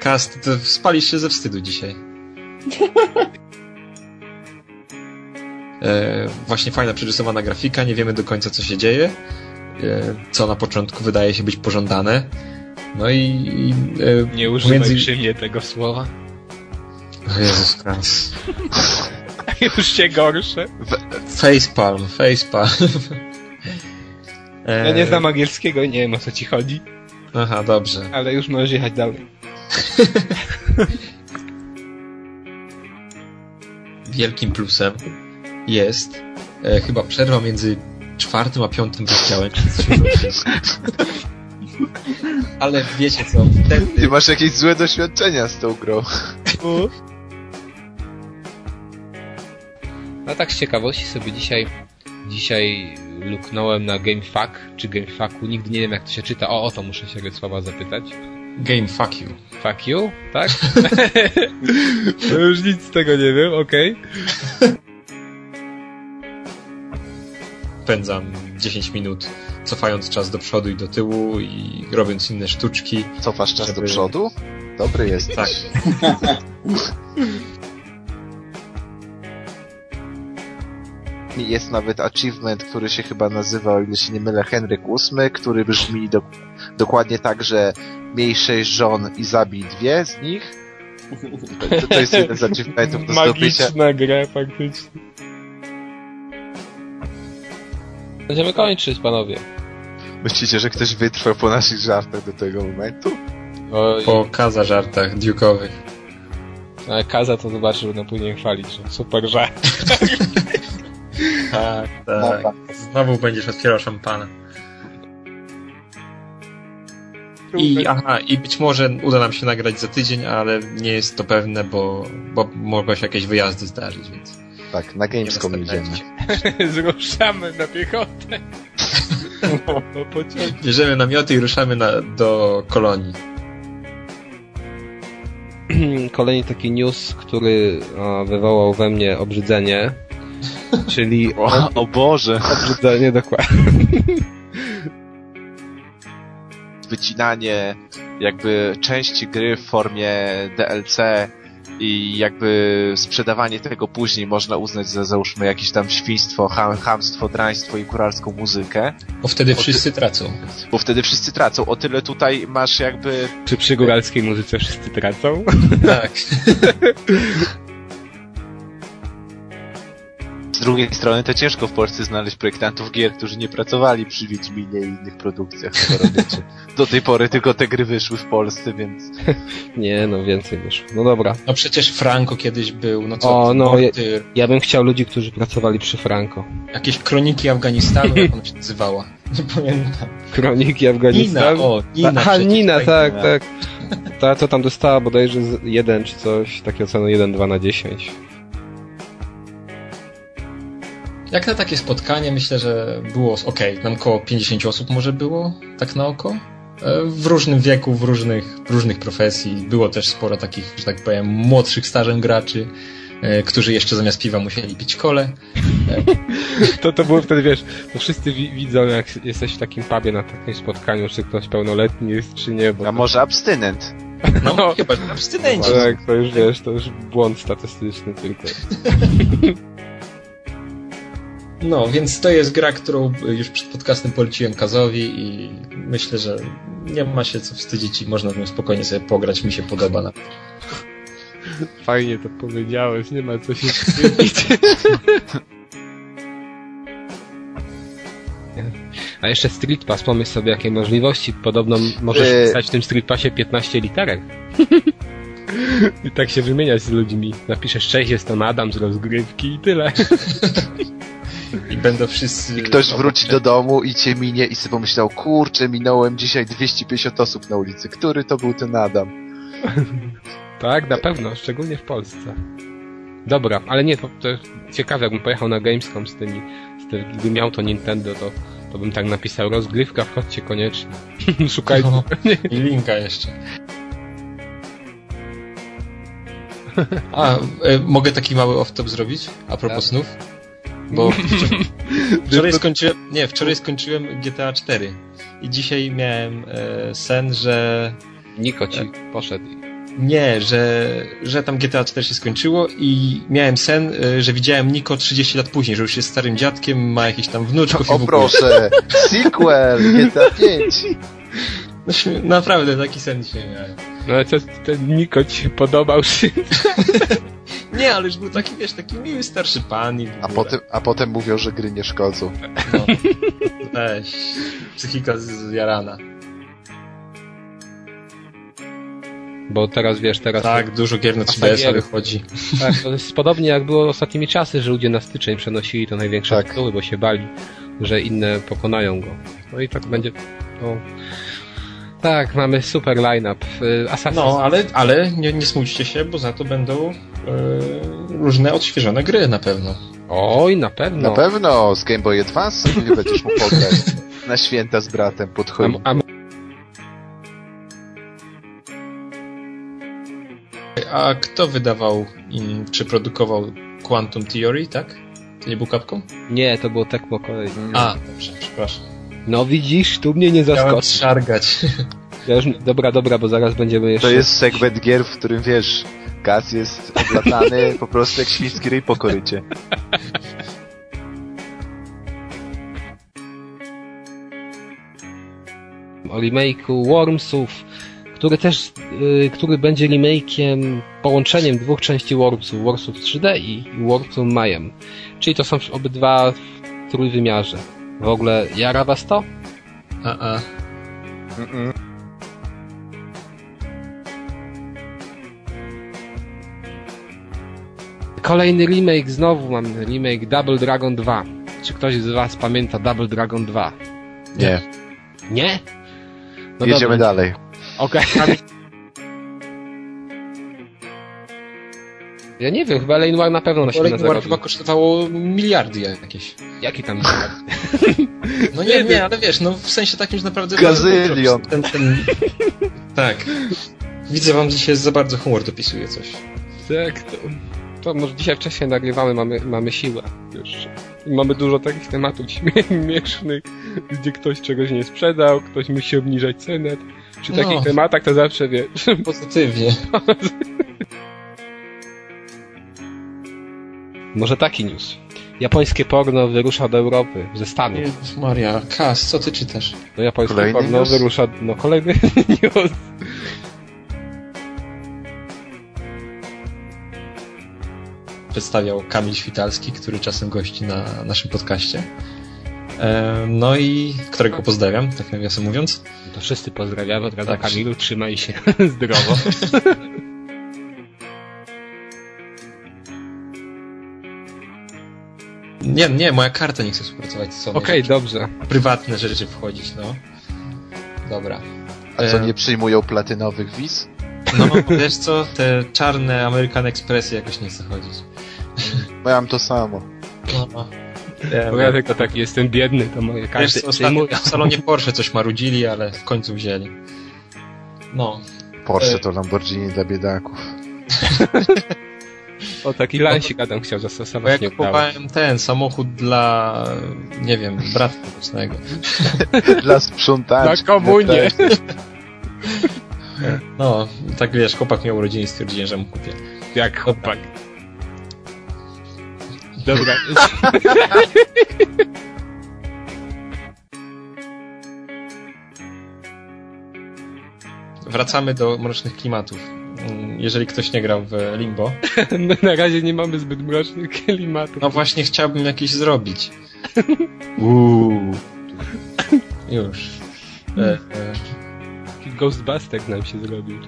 C: Kast, to spalisz się ze wstydu dzisiaj. E, właśnie fajna przerysowana grafika, nie wiemy do końca co się dzieje, e, co na początku wydaje się być pożądane. No i... i e,
A: Nie używaj
C: pomiędzy-
A: przy mnie tego słowa.
C: O Jezus Chrystus.
A: <laughs> Już się gorsze.
C: Facepalm, facepalm. E,
A: Ja nie znam angielskiego i nie wiem o co ci chodzi,
C: Aha, dobrze.
A: ale już możesz jechać dalej.
C: wielkim plusem jest e, chyba przerwa między czwartym a piątym rozdziałem. <laughs> Ale wiecie co, wtedy
D: Ty masz jakieś złe doświadczenia z tą grą.
A: No tak z ciekawości sobie dzisiaj dzisiaj luknąłem na GameFAQ, czy GameFAQ, nigdy nie wiem jak to się czyta. O, o to muszę się Sława zapytać.
C: game fuck you.
A: Fuck you,
B: <laughs>
A: tak? no już nic z tego nie wiem, okej.
C: Pędzam 10 minut cofając czas do przodu i do tyłu i robiąc inne sztuczki.
D: Cofasz czas do przodu? Dobry jesteś.
B: <laughs>
C: Tak.
B: świetny. Jest nawet achievement, który się chyba nazywa, o ile się nie mylę, Henryk VIII, który brzmi dok- dokładnie tak, że miej sześć żon i zabij dwie z nich. To, to jest jeden z achievementów do zdobycia.
C: Magiczna gra, faktycznie. Będziemy kończyć, panowie.
B: Myślicie, że ktoś wytrwał po naszych żartach do tego momentu?
C: Po kaza żartach duke'owych. No, Ale kaza to zobaczy, będą później chwalić, że super żart. <laughs> tak, tak. Znowu będziesz otwierał szampana. I aha, i być może uda nam się nagrać za tydzień, ale nie jest to pewne, bo, bo mogą się jakieś wyjazdy zdarzyć, więc.
B: Tak, na Gamescom idziemy.
F: <laughs> Zruszamy na
C: <laughs>
F: piechotę. No, pociąg.
C: Bierzemy namioty i ruszamy na, do kolonii.
A: Hmm, Kolejny taki news, który a, wywołał we mnie obrzydzenie, czyli...
B: O, o Boże!
A: Obrzydzenie, dokładnie.
B: Wycinanie jakby części gry w formie DLC i jakby sprzedawanie tego później można uznać za załóżmy jakieś tam świństwo, ham, hamstwo, draństwo i kuralską muzykę.
C: Bo wtedy
B: O ty-
C: wszyscy tracą.
B: Bo wtedy wszyscy tracą. O tyle tutaj masz jakby
A: Czy przy góralskiej muzyce wszyscy tracą?
C: <laughs> Tak.
B: Z drugiej strony to ciężko w Polsce znaleźć projektantów gier, którzy nie pracowali przy Wiedźminie i innych produkcjach. skoro <laughs> wiecie. Do tej pory tylko te gry wyszły w Polsce, więc...
A: Nie, no więcej wyszło. No dobra.
C: No przecież Franco kiedyś był, no co?
A: O, no, ja,
C: Morty,
A: ja bym chciał ludzi, którzy pracowali przy Franco.
C: Jakieś kroniki Afganistanu, jak ona się
B: <laughs>
C: nazywała. Nie pamiętam.
A: Kroniki Afganistanu.
C: Nina, o, Nina
A: Aha,
C: przecież,
A: Nina,
C: tak,
A: tak,
C: Nina.
A: tak. Ta, co tam dostała bodajże z 1 czy coś, takie oceny 1,2 na 10.
C: Jak na takie spotkanie, myślę, że było okej, tam koło 50 osób może było, tak na oko. E, W różnym wieku, w różnych, w różnych profesji. Było też sporo takich, że tak powiem, młodszych stażem graczy, e, którzy jeszcze zamiast piwa musieli pić kole.
A: To to było wtedy, wiesz, to wszyscy wi- widzą, jak jesteś w takim pubie na takim spotkaniu, czy ktoś pełnoletni jest, czy nie. Bo A
B: może abstynent?
C: No, chyba, że abstynenci.
A: Tak, to już wiesz, to już błąd statystyczny tylko.
C: No, więc to jest gra, którą już przed podcastem poleciłem Kazowi i myślę, że nie ma się co wstydzić i można w nią spokojnie sobie pograć, mi się podoba. Na...
A: Fajnie to powiedziałeś, nie ma <laughs> co się A jeszcze Street Pass, pomyśl sobie jakie możliwości. Podobno możesz
B: Yy.
A: pisać w tym Street Passie 15 literek. I tak się wymieniać z ludźmi. Napiszesz cześć, jestem Adam z rozgrywki i tyle.
C: I będą wszyscy...
B: I ktoś wróci do domu i cię minie i sobie pomyślał, kurczę, minąłem dzisiaj 250 osób na ulicy. Który to był ten Adam?
A: Tak, na pewno, szczególnie w Polsce. Dobra, ale nie, to, to ciekawe, jakbym pojechał na Gamescom z tymi, z tym, gdybym miał to Nintendo, to, to bym tak napisał, rozgrywka, wchodźcie koniecznie. <laughs> Szukajcie.
C: No, <laughs> I linka jeszcze. A, e, mogę taki mały off-top zrobić? A propos snów? <laughs> Bo wczor- Tak. wczoraj skończyłem, nie, wczoraj skończyłem GTA 4 i dzisiaj miałem e, sen, że...
A: Niko ci poszedł.
C: Nie, że, że tam GTA 4 się skończyło i miałem sen, e, że widziałem Niko 30 lat później, że już jest starym dziadkiem, ma jakieś tam wnuczków i
B: O
C: w ogóle.
B: proszę, sequel GTA 5.
C: No, śmie- Naprawdę, taki sen dzisiaj miałem.
A: No ale co, ten Niko ci się podobał? <laughs> Czy...
C: Nie, ale już był taki, wiesz, taki miły starszy pan i w No.
B: A potem, a potem mówią, że gry nie szkodzą.
C: Weź, psychika z- zjarana.
A: Znaczy- Bo teraz wiesz, teraz...
C: Tak, dużo gier na 3DS-a wychodzi.
A: Tak, to jest podobnie jak było ostatnimi czasy, że ludzie na styczeń przenosili to największe tak. tytuły, bo się bali, że inne pokonają go. No i tak będzie... No. Tak, mamy super line-up. Y, Assassin's
C: No, ale, ale nie, nie smućcie się, bo za to będą e, różne odświeżone gry na pewno.
A: Oj, na pewno.
B: Na pewno z Game Boy Advance nie będziesz mógł pograć. Na święta z bratem pod choinką.
A: A,
C: A kto wydawał im, czy produkował Quantum Theory, tak? To nie był kapką?
A: Nie, to było Tecmo kolejne.
C: A, dobrze, przepraszam.
A: No widzisz, tu mnie nie
C: Chciałem
A: zaskoczy.
C: szargać.
A: Ja już, dobra, dobra, bo zaraz będziemy jeszcze...
B: To jest segment gier, w którym wiesz, <laughs> gaz jest oblatany po prostu jak świński ryj po korycie.
A: o remake'u Wormsów, który też, y, który będzie remake'iem, połączeniem dwóch części Wormsów, Wormsów 3D i Wormsów Majem. Czyli to są obydwa w trójwymiarze. W ogóle jara was to?
C: <laughs> A, a.
A: Kolejny remake, znowu mam remake Double Dragon 2. Czy ktoś z was pamięta Double Dragon 2?
D: Nie.
A: Nie? No
D: Jedziemy dalej.
A: Okej. Ja nie wiem, chyba Lane War na pewno na siebie
C: Kolejny War
A: zarobił.
C: chyba kosztowało miliardy jakieś.
A: Jaki tam
C: No nie, nie, ale wiesz, no w sensie takim, że naprawdę...
D: Gazylion.
C: <laughs> Ten, ten... Tak. Widzę wam dzisiaj za bardzo humor dopisuje coś.
A: Tak, to, to może dzisiaj wcześniej nagrywamy, mamy, mamy siłę jeszcze. I mamy dużo takich tematów <laughs> śmiesznych, gdzie ktoś czegoś nie sprzedał, ktoś musi obniżać cenę. Przy
C: No.
A: takich tematach to zawsze wiesz.
C: <laughs> Pozytywnie.
A: Może taki news. Japońskie porno wyrusza do Europy, ze Stanów.
C: Jezus Maria, Kas, co ty czytasz?
A: No japońskie
C: Kolejny
A: porno
C: news?
A: wyrusza... No kolejny news.
C: Przedstawiał Kamil Świtalski, który czasem gości na naszym podcaście. E, No i którego pozdrawiam, tak nawiasem mówiąc.
A: To wszyscy pozdrawiamy, od razu
C: Tak.
A: Kamilu, trzymaj się <laughs> zdrowo.
C: Nie, nie, moja karta nie chce współpracować z sobą.
A: Okej, dobrze.
C: Prywatne rzeczy wchodzić, no. Dobra.
D: A co, nie przyjmują platynowych wiz?
C: No, <laughs> wiesz co, te czarne American Expressy jakoś nie chce chodzić.
D: Bo ja mam to samo.
C: No.
A: Bo ja tylko tak jestem biedny, to moje
C: Wiesz,
A: karty
C: co, ostatnio
A: przyjmują.
C: w salonie Porsche coś marudzili, ale w końcu wzięli. No.
D: Porsche
C: E,
D: to Lamborghini dla biedaków.
A: O taki lansik Adam chciał
C: Bo ja
A: zastosować, nie udało.
C: kupowałem ten samochód dla, nie wiem, brata mocnego.
D: <laughs> Dla sprzątaczy.
C: Dla komunie.
D: Tak.
C: <laughs> No, tak wiesz, chłopak miał urodziny i stwierdziłem, że mu kupię.
A: Jak
C: <laughs>
A: chłopak. Dobra.
C: Wracamy do mrocznych klimatów. Mm, Jeżeli ktoś nie grał w Limbo.
A: My <laughs> na razie nie mamy zbyt mrocznych klimatów.
C: No właśnie chciałbym jakiś zrobić. <laughs> Uuu. Już. E, e,
A: Taki Ghostbuster nam się zrobił.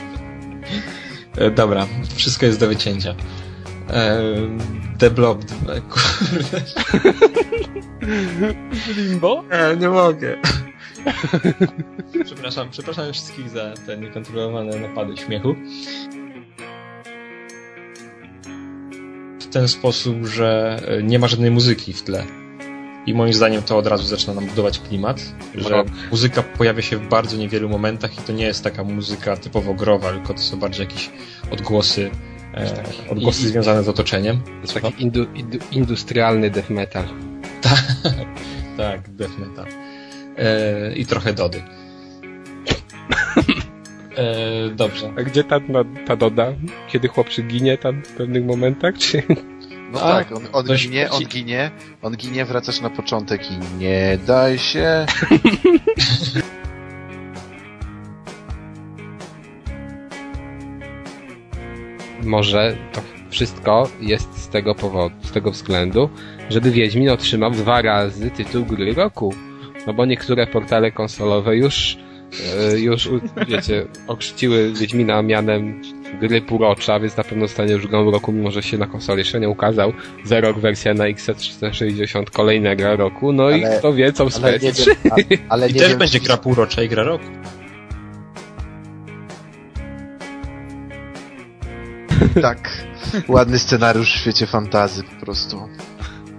C: <laughs> e, dobra, wszystko jest do wycięcia. E, The Blob, e, kurde.
A: <laughs> Limbo?
C: E, nie mogę. Przepraszam, przepraszam wszystkich za te niekontrolowane napady śmiechu. W ten sposób, że e, nie ma żadnej muzyki w tle. I moim zdaniem to od razu zaczyna nam budować klimat, że
A: Mrok.
C: muzyka pojawia się w bardzo niewielu momentach i to nie jest taka muzyka typowo growa, tylko to są bardziej jakieś odgłosy, e, odgłosy
A: i- i-
C: związane z otoczeniem.
A: To jest taki indu, indu, industrialny death metal.
C: Tak, death metal. E, I trochę Dody. E, dobrze.
A: A gdzie ta, no, ta- ta doda? Kiedy chłopczyk ginie tam w pewnych momentach? Czy...
D: No
A: A,
D: tak, on, on
A: ktoś
D: ginie, on
A: płaci-
D: ginie, on ginie, wracasz na początek i nie daj się.
A: Może to wszystko jest z tego powodu, z tego względu, żeby Wiedźmin otrzymał dwa razy tytuł gry roku. No bo niektóre portale konsolowe już, e, już u- wiecie, okrzciły Wiedźmina mianem gry półrocza, więc na pewno stanie już grą roku, mimo że się na konsoli jeszcze nie ukazał. Za rok wersja na X360 kolejnego roku, no i
D: Ale-
A: kto wie, co w
D: ale nie
A: PS3.
D: wiem, a- ale
C: I
D: nie
C: też
D: wiem,
C: będzie gra półrocza i gra roku.
D: Tak, ładny scenariusz w świecie fantazy po prostu.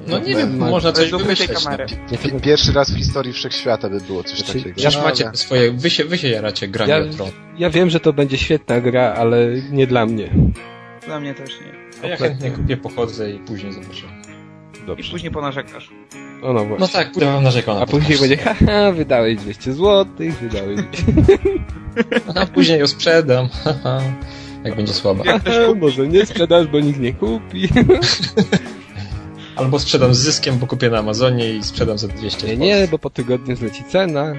C: No nie wiem,
D: Ma-
C: można coś
H: do
C: wymyśleć.
H: kamery.
C: no.
D: Pi- Pierwszy raz w historii wszechświata by było coś
C: Znaczy,
D: takiego.
C: Już
D: No,
C: macie
D: ale-
C: te swoje, wy się, wy się jaracie granią
A: Ja-
C: ja... tron.
A: Ja wiem, że to będzie świetna gra, ale nie dla mnie.
H: Dla mnie też nie.
C: A ja chętnie kupię, pochodzę i później zobaczę.
H: I później ponarzekasz.
A: O no właśnie.
C: No tak, później wam narzekał na
A: A później będzie, haha, No, wydałeś 200 zł, wydałeś...
C: A No, później ją sprzedam, haha. Jak będzie słaba.
A: Haha, może nie sprzedasz, bo nikt nie kupi.
C: Albo sprzedam z zyskiem, bo kupię na Amazonie i sprzedam za 200
A: Nie, nie, bo po tygodniu zleci cena.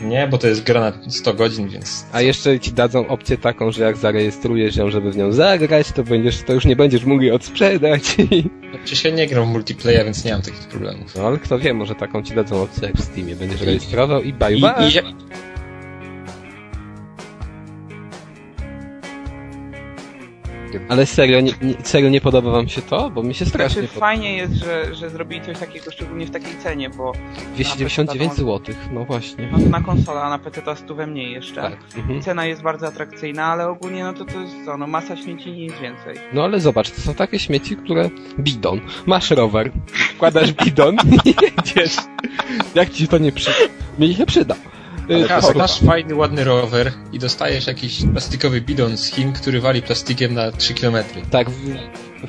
N: Nie, bo to jest gra na 100 godzin, więc
A: A jeszcze ci dadzą opcję taką, że jak zarejestrujesz ją, żeby w nią zagrać, to będziesz, to już nie będziesz mógł jej odsprzedać.
N: przecież
A: <laughs>
N: ja Znaczy nie gram w multiplayer, więc nie mam takich problemów.
A: No ale kto wie, może taką ci dadzą opcję jak w Steamie. Będziesz rejestrował i bye bye.
N: I, i,
A: Ale serio nie, nie, serio nie podoba wam się to? Bo mi się strasznie <laughs>
H: Znaczy,
A: podoba.
H: fajnie jest, że, że zrobili coś takiego, szczególnie w takiej cenie, bo... na
A: 299
H: PC to-
A: zł, no właśnie.
H: No to na konsolę, a na PC to 100 mniej jeszcze.
C: Tak,
A: mhm.
H: Cena jest bardzo atrakcyjna, ale ogólnie no to to jest co, no masa śmieci i nic więcej.
A: No ale zobacz, to są takie śmieci, które... Bidon. Masz rower, wkładasz bidon i <laughs> jedziesz. Jak ci to nie przyda? Mi się przyda. Y,
N: Ale
A: torba.
N: masz fajny, ładny rower i dostajesz jakiś plastikowy bidon z Chin, który wali plastikiem na 3 km.
A: Tak,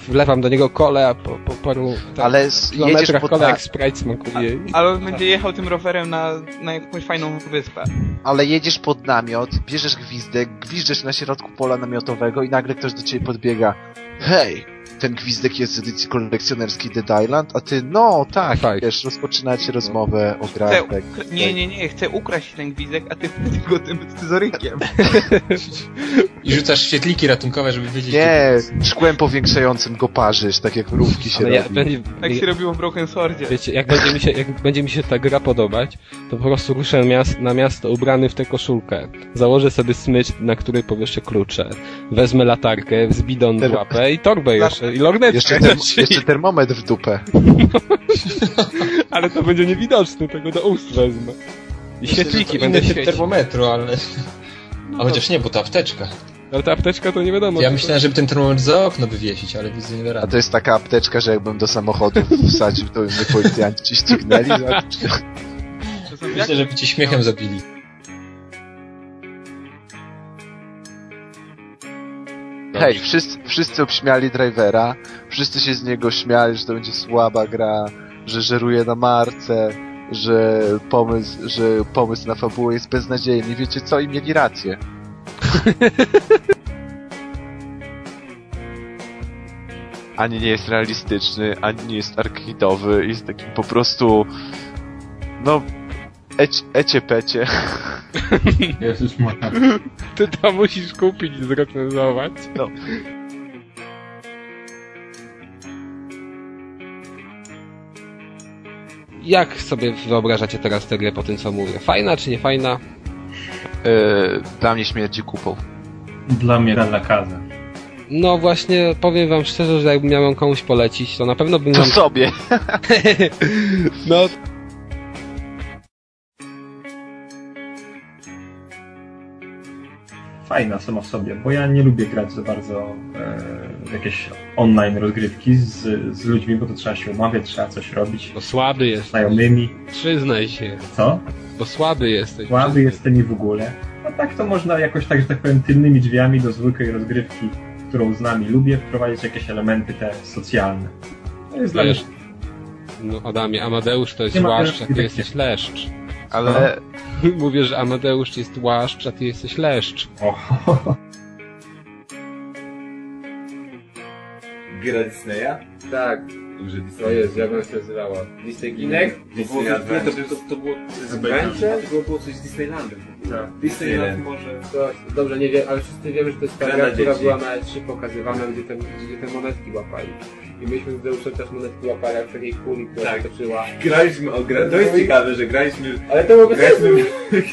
A: wlewam do niego kole, a po, po paru tak,
D: Ale tak-
A: kilometrach
D: pod-
A: kole jak Sprite smakuje.
H: Ale on będzie jechał tym rowerem na, na jakąś fajną wyspę.
D: Ale jedziesz pod namiot, bierzesz gwizdek, gwizdziesz na środku pola namiotowego i nagle ktoś do ciebie podbiega. Hej, ten gwizdek jest z edycji kolekcjonerskiej Dead Island, a ty no tak, wiesz, rozpoczynacie rozmowę o
H: Chcę,
D: grach. Tak,
H: ukra- nie, nie, nie, chcę ukraść ten gwizdek, a ty <laughs> go tym scyzorykiem.
N: I rzucasz świetliki ratunkowe, żeby wiedzieć...
D: Nie, szkłem powiększającym go parzysz, tak jak rówki się
A: Ale No ja-
D: robi.
A: będzie-
H: Jak Tak się robiło w Broken Swordzie.
A: Wiecie, jak będzie, mi się, jak będzie mi się ta gra podobać, to po prostu ruszę miast, na miasto ubrany w tę koszulkę. Założę sobie smycz, na której powieszę klucze. Wezmę latarkę, z bidon w łapę i torbę jeszcze, i lornetkę.
D: Jeszcze,
A: <laughs>
D: term- jeszcze termometr w dupę.
A: Ale to będzie niewidoczny, tego do ust wezmę. I świetliki będę
N: inny typ
A: świecił.
N: termometru, ale...
A: No
N: A chociaż nie, bo to apteczka.
A: Ale ta apteczka to nie wiadomo.
N: Ja
A: co to-
N: myślałem, żeby ten termometr za okno wywiesić, ale widzę nie da
D: A
N: rady.
D: to jest taka apteczka, że jakbym do samochodu wsadził, to by mnie policjanci ścignęli. za-
N: Myślę, żeby cię śmiechem zabili.
D: Hej, wszyscy, wszyscy obśmiali drivera, wszyscy się z niego śmiali, że to będzie słaba gra, że żeruje na marce, że pomysł, że pomysł na fabułę jest beznadziejny. Wiecie co? I mieli rację. <laughs> ani nie jest realistyczny, ani nie jest arcade'owy, jest takim po prostu no ec, ecie pecie.
C: Jezus Maria.
A: Ty to <laughs> musisz kupić i zrecenzować.
D: No.
A: Jak sobie wyobrażacie teraz tę grę po tym, co mówię? Fajna czy nie fajna?
D: e, dla mnie śmierdzi kupą.
C: Dla mnie Ranakaza.
A: No właśnie, powiem wam szczerze, że jakbym miał ją komuś polecić, to na pewno bym...
D: To
A: wam-
D: sobie.
A: no,
C: Fajna sama w sobie, bo ja nie lubię grać za bardzo e, w jakieś online rozgrywki z, z ludźmi, bo to trzeba się umawiać, trzeba coś robić.
A: Bo słaby jest.
C: Znajomymi.
A: Przyznaj się.
C: Co?
A: Bo słaby jesteś.
C: Słaby jestem i w ogóle. A tak to można jakoś tak, że tak powiem, tylnymi drzwiami do zwykłej rozgrywki, którą z nami lubię, wprowadzić jakieś elementy te socjalne. To jest dla mnie
A: Wiesz, No Adamie, Amadeusz to jest
C: Nie ma
A: łaszcz,
C: teraz
A: a ty jesteś leszcz. No.
C: Ale-
A: <laughs> Mówię, że Amadeusz jest łaszcz, a ty jesteś leszcz.
B: Gira Disneya?
F: Tak.
B: Duży Disney.
F: To jest, jak ona się nazywała? Disney Ginek? To
B: Disney
F: było coś- nie,
B: Adventure.
F: To, to, to było
B: Z
F: Adventure?
B: Bajkami.
F: To było coś z Disneylandem.
B: Tak.
F: Disneyland
B: Nie.
F: może... To, dobrze, nie wiem, ale wszyscy wiemy, że to jest ta
B: Gra
F: gra,
B: dla
F: która
B: dzieci.
F: była na E3 pokazywana, gdzie te, gdzie te monetki łapali. I myśmy z Deuszem też monetki łapali, jak w takiej kuli, która tak. się toczyła.
B: Graliśmy o grę, to jest ciekawe, że graliśmy,
F: Ale to mogę
B: graliśmy,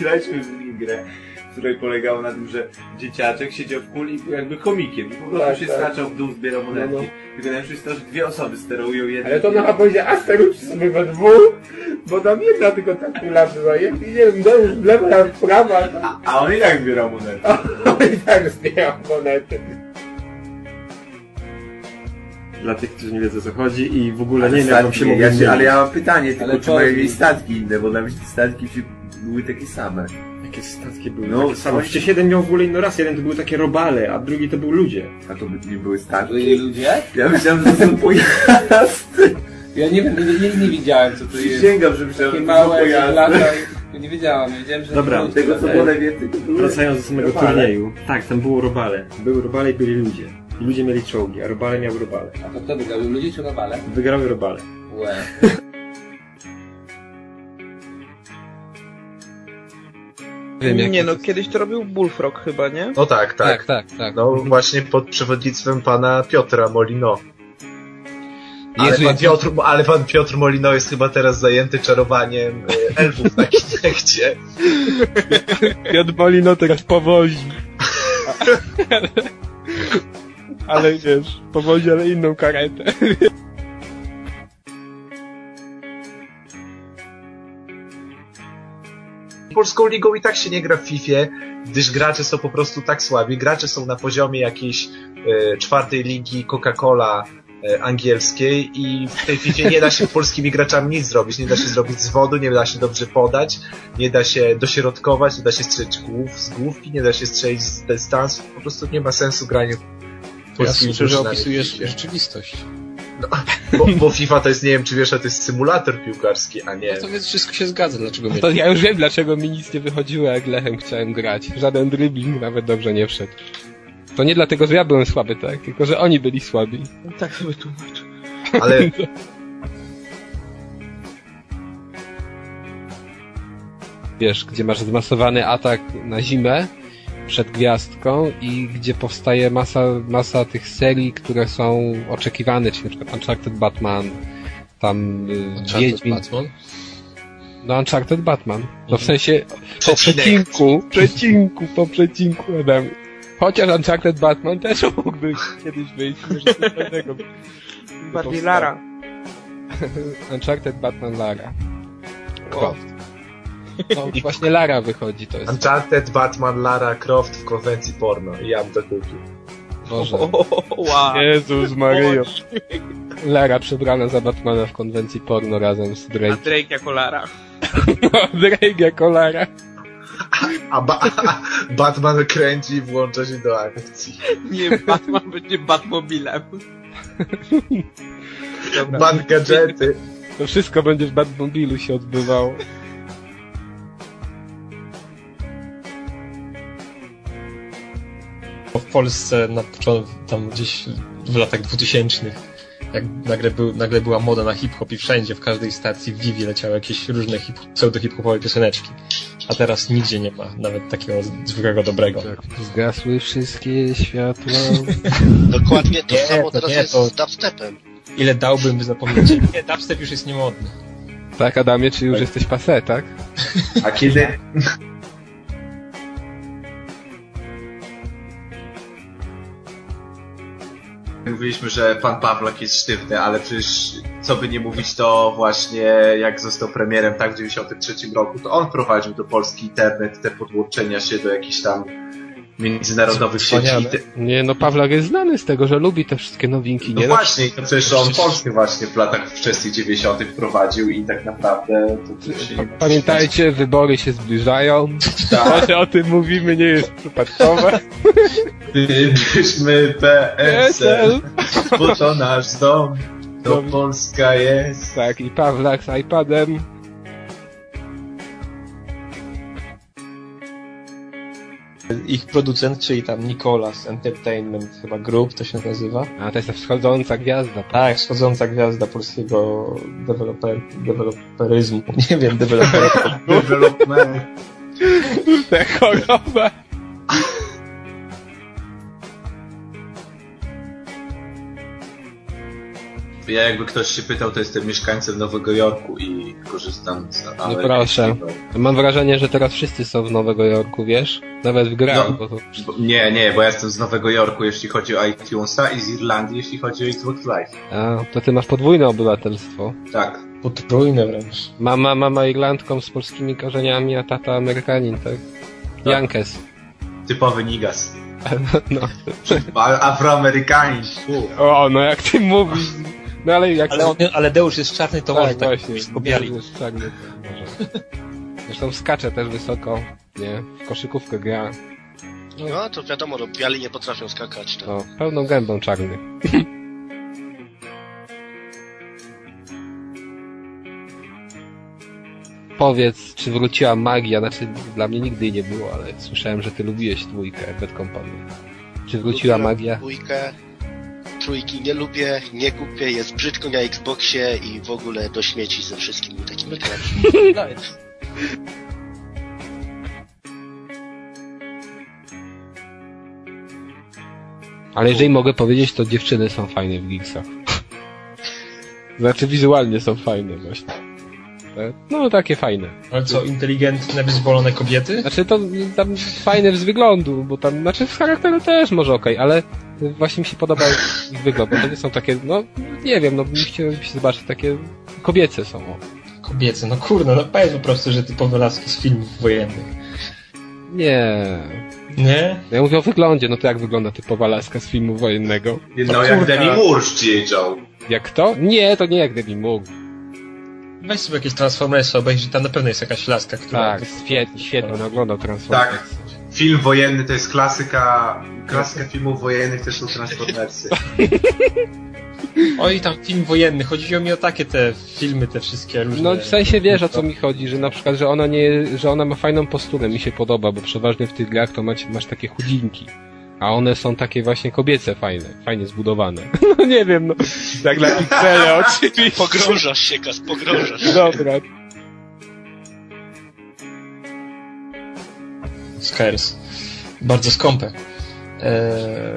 B: graliśmy w nim grę, w której polegało na tym, że dzieciaczek siedział w kuli i był jakby komikiem. I po prostu
F: Tak,
B: się
F: tak.
B: skaczał w dół, zbierał monetki.
F: No, no.
B: Tylko najlepsze jest to, że dwie osoby sterują jednym.
F: Ale to ona chyba powiedziała, a staruszcie sobie we dwóch, bo tam jedna tylko ta kula była. Ja nie wiem, Deusz w lewo, ja w prawo, a tam-
B: A on i tak zbierał monety.
F: I tak zbierał monety.
C: dla tych, którzy nie wiedzą o co chodzi i w ogóle
F: tak,
B: Ale
C: nie wiem, jak wam się
B: statki,
C: mogło
B: ja się,
C: zmienić.
B: Ale ja mam pytanie, tylko
C: Ale
B: czy
C: to-
B: mają jej statki inne, bo dla mnie statki się- były takie same.
C: Jakie statki były?
B: No,
C: No, takie same. Przecież jeden miał w ogóle inną rasę, jeden to były takie robale, a drugi to był ludzie.
B: A to by nie były statki? Ludzie? Ja myślałem, że to są pojazdy.
F: Ja nie, wiem, nie, nie, nie widziałem co to jest.
B: Przysięgam, że myślałem,
F: Takie
B: że
F: małe
B: pojazdy.
F: lata i nie wiedziałam, nie wiedziałem, że...
C: Dobra,
F: to
C: tego, co
F: było tak.
C: wolę
B: wie, tylko były
C: Wracając do samego
F: robale.
C: turnieju. Tak, tam było robale. Były robale i byli ludzie. I ludzie mieli czołgi, a robale miał robale.
F: A to kto wygrał? Ludzie czy robale?
C: Wygrały robale.
F: Łe.
A: wiem, jak
H: nie no, kiedyś to robił Bullfrog chyba, nie?
B: No tak, tak.
A: tak,
B: No właśnie pod przewodnictwem pana Piotra Molino. Ale
A: Jezu,
B: pan,
A: jak-
B: Piotr, ale pan Piotr Molino jest chyba teraz zajęty czarowaniem e, elfów na architekcie.
O: Piotr Molino teraz powozi.
F: <laughs>
O: Ale wiesz, powozi, ale inną karetę.
B: Polską ligą i tak się nie gra w FIFA, gdyż gracze są po prostu tak słabi. Gracze są na poziomie jakiejś e, czwartej ligi Coca-Cola e, angielskiej i w tej FIFA nie da się <laughs> polskimi graczami nic zrobić. Nie da się zrobić z wodu, nie da się dobrze podać, nie da się dośrodkować, nie da się strzelić głów, z główki, nie da się strzelić z dystansu. Po prostu nie ma sensu granie
C: Ja
B: polskimi
C: słyszę, że
B: drużynami.
C: opisujesz rzeczywistość.
B: bo, bo FIFA to jest, nie wiem czy wiesz, ale to jest symulator piłkarski, a nie...
C: To więc wszystko się zgadza, dlaczego mnie...
O: To ja już wiem, dlaczego mi nic nie wychodziło, jak Lechem chciałem grać. Żaden dribbling nawet dobrze nie wszedł. To nie dlatego, że ja byłem słaby, tak? Tylko, że oni byli słabi.
H: Tak sobie tłumaczę.
B: Ale-
A: Wiesz, gdzie masz zmasowany atak na zimę przed gwiazdką i gdzie powstaje masa, masa tych serii, które są oczekiwane, czyli na przykład Uncharted Batman, tam y, Wiedźmin.
P: Batman?
A: No Uncharted Batman. No w sensie po
O: Przecinek.
A: przecinku, przecinku, po przecinku Adam. Chociaż Uncharted Batman też mógłby kiedyś wyjść, może coś innego. by- by
H: Bardziej
A: powstało.
H: Lara.
A: Uncharted Batman Lara. Croft. No właśnie Lara wychodzi, to jest...
B: Uncharted, Batman, Lara Croft w konwencji porno. I ja bym to kupił.
A: Boże.
H: Wow.
O: Jezus Mario.
A: Lara przebrana za Batmana w konwencji porno razem z
H: A
A: Drake. <laughs>
H: Drake jako Lara.
A: Drake jako Lara.
B: A, ba- <laughs> a Batman kręci i włącza się do akcji.
H: Nie, <laughs> Batman będzie Batmobilem.
A: Dobra.
B: Bat gadżety.
A: To wszystko będzie w Batmobilu się odbywało.
C: w Polsce na początku, tam gdzieś w latach 2000 jak nagle, był, nagle była moda na hip-hop i wszędzie, w każdej stacji w Vivi leciały jakieś różne hip, pseudo-hip-hopowe pioseneczki. A teraz nigdzie nie ma nawet takiego zwykłego dobrego.
A: Zgasły wszystkie światła.
Q: Dokładnie to
C: Nie,
Q: samo
C: to
Q: teraz
C: nie,
Q: jest
C: to-
Q: z dubstepem.
C: Ile dałbym, by zapomnieć? Nie, dubstep już jest niemodny.
A: Tak, Adamie, czy już jesteś pase, tak?
B: A kiedy... Mówiliśmy, że pan Pawlak jest sztywny, ale przecież co by nie mówić, to właśnie jak został premierem tak w 93 roku, to on prowadził do Polski internet, te podłączenia się do jakichś tam międzynarodowych sieci. i te-
A: Nie, no Pawlak jest znany z tego, że lubi te wszystkie nowinki,
B: No
A: nie?
B: właśnie, i to przecież on Polskę właśnie w latach wczesnych 90. prowadził i tak naprawdę to, to się...
A: Pamiętajcie, wybory się zbliżają.
B: Tak.
A: To, że o tym mówimy, nie jest przypadkowe.
B: Gdybyśmy PSL, bo to nasz dom, to Polska jest.
A: Tak, i Pawlak z iPadem.
C: Ich producent, czyli tam Nicolas Entertainment chyba Group to się nazywa.
A: A to jest ta wschodząca gwiazda.
C: Tak, wschodząca gwiazda polskiego deweloper, deweloperyzmu. <laughs> Nie wiem, deweloperyzmu.
B: Development.
A: Tak. Kurde, choroba.
B: Ja jakby ktoś się pytał, to jestem mieszkańcem Nowego Jorku i korzystam z...
A: No proszę. Mam wrażenie, że teraz wszyscy są w Nowego Jorku, wiesz? Nawet w grach,
B: No.
A: bo to
B: Bo- Nie, nie, bo ja jestem z Nowego Jorku, jeśli chodzi o iTunesa i z Irlandii, jeśli chodzi o Xbox Live.
A: A, to ty masz podwójne obywatelstwo.
B: Tak.
C: <laughs> Potrójne wręcz.
A: Mama, mama Irlandką z polskimi korzeniami, a tata Amerykanin, tak? Jankes.
B: Typowy nigas.
A: No.
B: A- Afroamerykanin. fu.
A: O, no jak ty mówisz. No ale jak...
C: Ale, on, ale Deusz jest czarny, to
A: Tak,
C: może tak
A: właśnie,
C: właśnie, pobiali.
A: Jest czarny, to może. Zresztą skacze też wysoko, nie? W koszykówkę gra.
Q: No to wiadomo, no biali nie potrafią skakać. Tak.
A: No, pełną gębą czarny. <laughs> Powiedz, czy wróciła magia? Znaczy, dla mnie nigdy jej nie było, ale słyszałem, że ty lubiłeś dwójkę Bad Company. Czy wróciła
Q: Lubię
A: magia?
Q: Dwójkę, trójki nie lubię, nie kupię, jest brzydko na Xboxie i w ogóle do śmieci ze wszystkimi takimi grami.
A: Ale jeżeli mogę powiedzieć, to dziewczyny są fajne w Geeksach. <laughs> znaczy wizualnie są fajne właśnie. E, No takie fajne.
C: Ale co, inteligentne, wyzwolone kobiety?
A: Znaczy to tam fajne z wyglądu, bo tam, znaczy z charakteru też może okej, ale właśnie mi się podoba ich wygląd, bo to nie są takie, no nie wiem, no chciałem się zobaczyć, takie kobiece są. O.
C: Kobiece, no kurde, no powiedz po prostu, że typowe laski z filmów wojennych.
A: Nie.
C: Nie?
A: Ja mówię o wyglądzie, no to jak wygląda typowa laska z filmu wojennego?
B: No jak Demi Moore przyjeżdżał.
A: Jak to? Nie, to nie jak Demi Moore.
C: Weź sobie jakieś Transformersy obejrzyj, tam na pewno jest jakaś laska, która...
A: Tak, świetnie, świetnie, on oglądał Transformers.
B: Tak. Film wojenny to jest klasyka, klasyka filmów wojennych, też są Transformersy.
C: Oj, tam film wojenny, chodziło mi o takie te filmy, te wszystkie różne...
A: No w sensie wiesz o co mi chodzi, że na przykład, że ona nie, że ona ma fajną posturę, mi się podoba, bo przeważnie w tych grach to masz, masz takie chudinki. A one są takie właśnie kobiece fajne, fajnie zbudowane. No nie wiem, no. Tak na ich cele, oczywiście.
R: Pogrążasz się, Kas, pogrążasz.
A: Dobra.
C: Skers. Bardzo skąpe. Eee,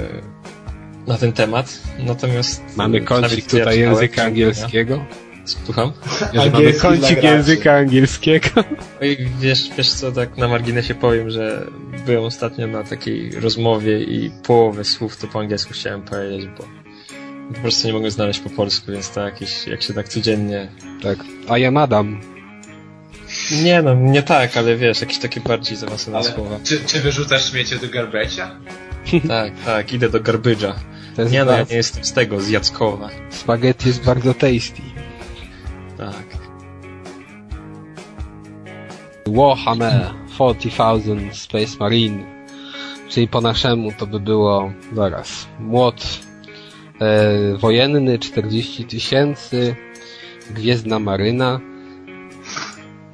C: na ten temat. Natomiast... e,
A: Mamy konflikt tutaj języka angielskiego.
C: no, Słucham?
A: Angiel, kącik języka angielskiego.
C: Oj, No wiesz, wiesz co, tak na marginesie powiem, że byłem ostatnio na takiej rozmowie i połowę słów to po angielsku chciałem powiedzieć, bo po prostu nie mogę znaleźć po polsku, więc tak, jakieś- jak się tak codziennie...
A: Tak, a ja madam.
C: Nie no, nie tak, ale wiesz, jakieś takie bardziej zaawansowane słowa.
S: Czy, czy wyrzucasz śmiecie do garbecia?
C: Tak, tak, idę do garbydża.
A: To jest
C: Nie no, ja
A: bardzo-
C: nie jestem z tego, z Jackowa.
A: Spaghetti jest bardzo tasty.
C: Tak.
A: Warhammer 40,000 Space Marine. Czyli po naszemu to by było, zaraz, młot e, wojenny 40 tysięcy, gwiezdna maryna,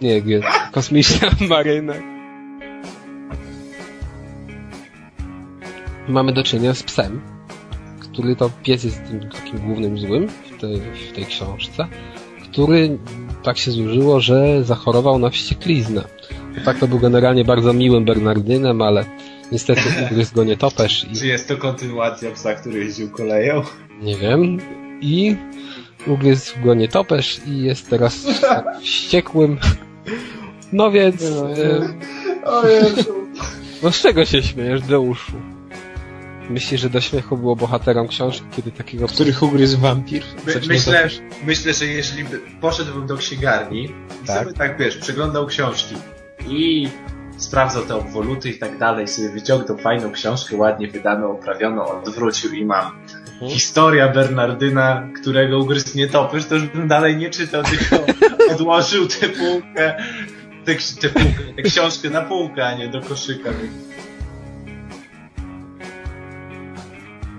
A: nie, gwie, kosmiczna <laughs> maryna. Mamy do czynienia z psem, który to pies jest tym takim głównym złym w tej, w tej książce, który tak się złożyło, że zachorował na wściekliznę. Bo tak to był generalnie bardzo miłym Bernardynem, ale niestety ugryzł go nietoperz i
B: Czy jest to kontynuacja psa, który jeździł koleją?
A: nie wiem. I ugryzł go nietoperz i jest teraz wściekłym. No więc. e,
F: O Jezu.
A: No z czego się śmiejesz, Deuszu? Myślisz, że do śmiechu było bohaterom książki, kiedy takiego...
C: Których ugryzł wampir?
B: My, myślę, myślę, że jeżeli by, poszedłbym do księgarni i
A: Tak.
B: sobie tak, wiesz, przeglądał książki i sprawdzał te obwoluty i tak dalej, sobie wyciągnął fajną książkę, ładnie wydaną, oprawioną, odwrócił i mam historia Bernardyna, którego ugryzł nietoperz, to już bym dalej nie czytał, tylko odłożył tę półkę, tę, ks- tę, półkę, tę książkę na półkę, a nie do koszyka.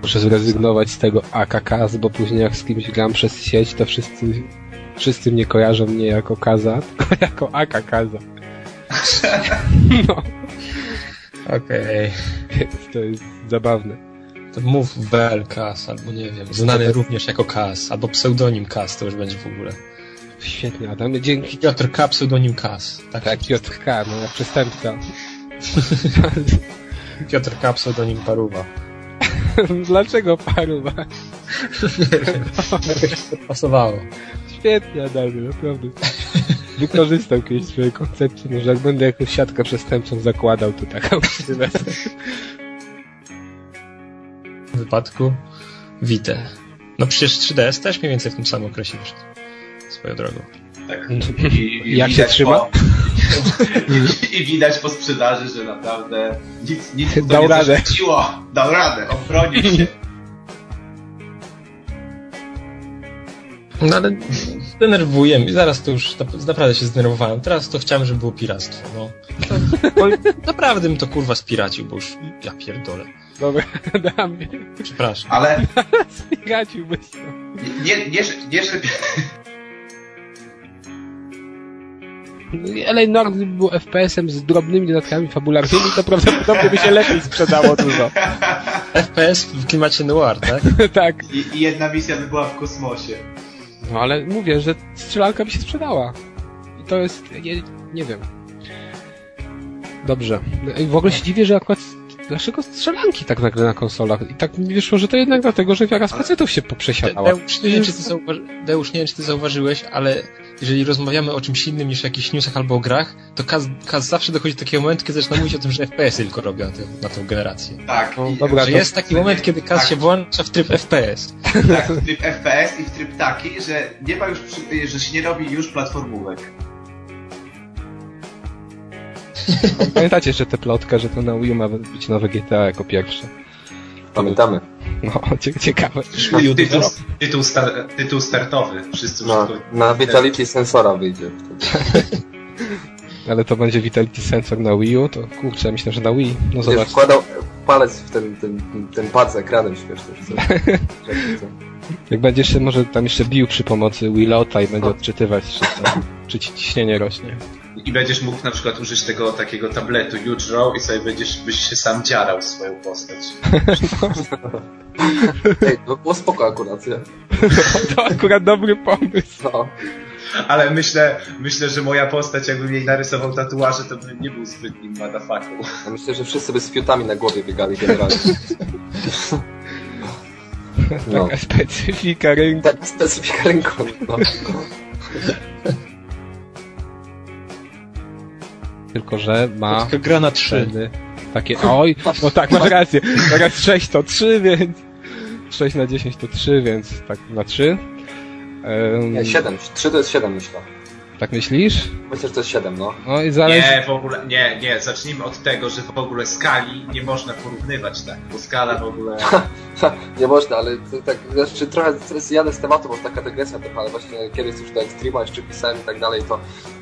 A: Muszę zrezygnować z tego AKKAS, bo później jak z kimś gram przez sieć, to wszyscy, wszyscy mnie kojarzą nie jako Kaza, <laughs> tylko jako AKKAZA. No.
C: Okej.
A: To jest zabawne.
C: To mów Vel Kas, albo nie wiem, znany również jako Kas, albo pseudonim Kas, to już będzie w ogóle.
A: Świetnie, Adam, dzięki.
C: Piotr K, pseudonim Kas. Tak,
A: tak Piotr K, no jak przestępca. <laughs>
C: Piotr K, pseudonim Paruwa.
A: Dlaczego paruwa?
C: Pasowało.
A: Świetnie, Adamie, naprawdę. Wykorzystał kiedyś swoje koncepcje, może jak będę jakąś siatkę przestępczą zakładał, to tak. taką ksywę.
C: W wypadku Wite. No przecież 3DS też mniej więcej w tym samym okresie wyszedł. Swoją drogą.
B: Tak.
C: I jak się
B: widać
C: trzyma?
B: Po, <laughs> i, I widać po sprzedaży, że naprawdę nic, nic mu to
A: Dał
B: nie
A: radę.
B: zaszkodziło. Dał radę, obronił się.
C: No ale denerwuję i zaraz to już nap- naprawdę się zdenerwowałem. Teraz to chciałem, żeby było piractwo, no. To, bo naprawdę bym to kurwa spiracił, bo już ja pierdolę.
A: Dobra, Adamie.
C: Przepraszam.
B: Ale
A: Zgadziłbyś to.
B: nie, nie, że- nie, że
A: LA Nord gdyby był FPS-em <laughs> z drobnymi dodatkami fabularnymi, to prawdopodobnie by się lepiej sprzedało dużo.
C: FPS w klimacie noir, tak?
A: tak.
B: i, i jedna misja by była w kosmosie.
A: No ale mówię, że strzelanka by się sprzedała. I to jest... Nie, nie wiem. Dobrze. No i W ogóle się dziwię, że akurat
T: dlaczego strzelanki tak nagle na konsolach? I tak mi wyszło, że to jednak dlatego, że wiara z facetów się poprzesiadała.
C: Deusz, nie, wiem, czy ty zauwa- Deusz, nie wiem, czy ty zauważyłeś, ale jeżeli rozmawiamy o czymś innym niż o jakichś newsach albo o grach, to Kaz, Kaz zawsze dochodzi do takiego momentu, kiedy zaczyna mówić o tym, że FPS tylko robią na, tę- na tą generację.
D: Tak.
C: No,
D: i-
C: dobra, że
D: to-
C: jest taki moment, kiedy Kaz
B: Tak,
C: się włącza w tryb FPS.
D: Tak, w tryb FPS i w tryb taki, że nie ma już, przy- że się nie robi już platformówek.
A: Pamiętacie jeszcze tę plotkę, że to na Wii U ma być nowe GTA jako pierwsze?
F: Pamiętamy.
A: No, <laughs> cie- ciekawe.
B: Tytuł, tytuł, star, tytuł startowy. Wszyscy
F: No, na Vitality Sensora wyjdzie.
T: No
A: Ale to będzie Vitality Sensor na Wii U, to kurczę, ja myślę, że na Wii. No
F: Będziesz
A: zobacz.
F: wkładał palec w ten, ten, ten pad z ekranem świeżo. że co?
T: <laughs>
F: Czekaj, co?
A: Jak będziesz się może tam jeszcze bił przy pomocy Willota i będzie odczytywać, czy, to, czy ci ciśnienie rośnie.
B: I będziesz mógł na przykład użyć tego takiego tabletu you draw i sobie będziesz byś się sam dziarał swoją postać.
F: Ej, to było spoko akurat, nie? No.
A: To akurat dobry pomysł.
B: Ale myślę, myślę, że moja postać, jakbym jej narysował tatuaże, to bym nie był zbytnim madafaką.
F: Ja myślę, że wszyscy by z fiutami na głowie biegali
T: <laughs>
F: generalnie. No.
A: Taka specyfika rynku.
F: Taka No. Tak, specyfika rynku. No.
A: Tylko, że ma...
C: Tylko gra na trzy.
A: wtedy Takie, oj, no tak, masz rację. Teraz 6 to 3, więc... 6 na 10 to 3, więc tak na 3.
F: Nie, 7. 3 to jest 7 myślę.
A: Tak myślisz?
F: Myślę, że to jest 7, no.
A: No i zależy...
B: Nie, w ogóle, nie, nie, zacznijmy od tego, że w ogóle skali nie można porównywać tak, bo skala w ogóle...
F: Nie można, ale to tak, znaczy trochę teraz jadę z tematu, bo taka dygresja trochę, ale właśnie kiedyś już do Extrema jeszcze pisałem i tak dalej, to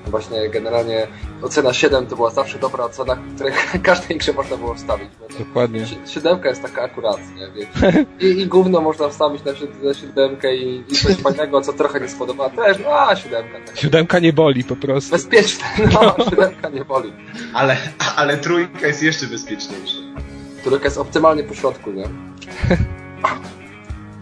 F: właśnie generalnie ocena 7 to była zawsze dobra ocena, której <laughs> każdej grze można było wstawić.
A: Dokładnie.
F: Si- Siódemka jest taka akurat, nie wiem. I, I gówno można wstawić na przykład za siódemkę i, i coś fajnego, co trochę nie spodoba też, no a siódemka, tak.
A: Siódemka nie boli po prostu.
F: Bezpieczne, <laughs> no, siódemka nie boli.
B: Ale, ale trójka jest jeszcze bezpieczniejsza.
F: Trójka jest optymalnie po środku, nie?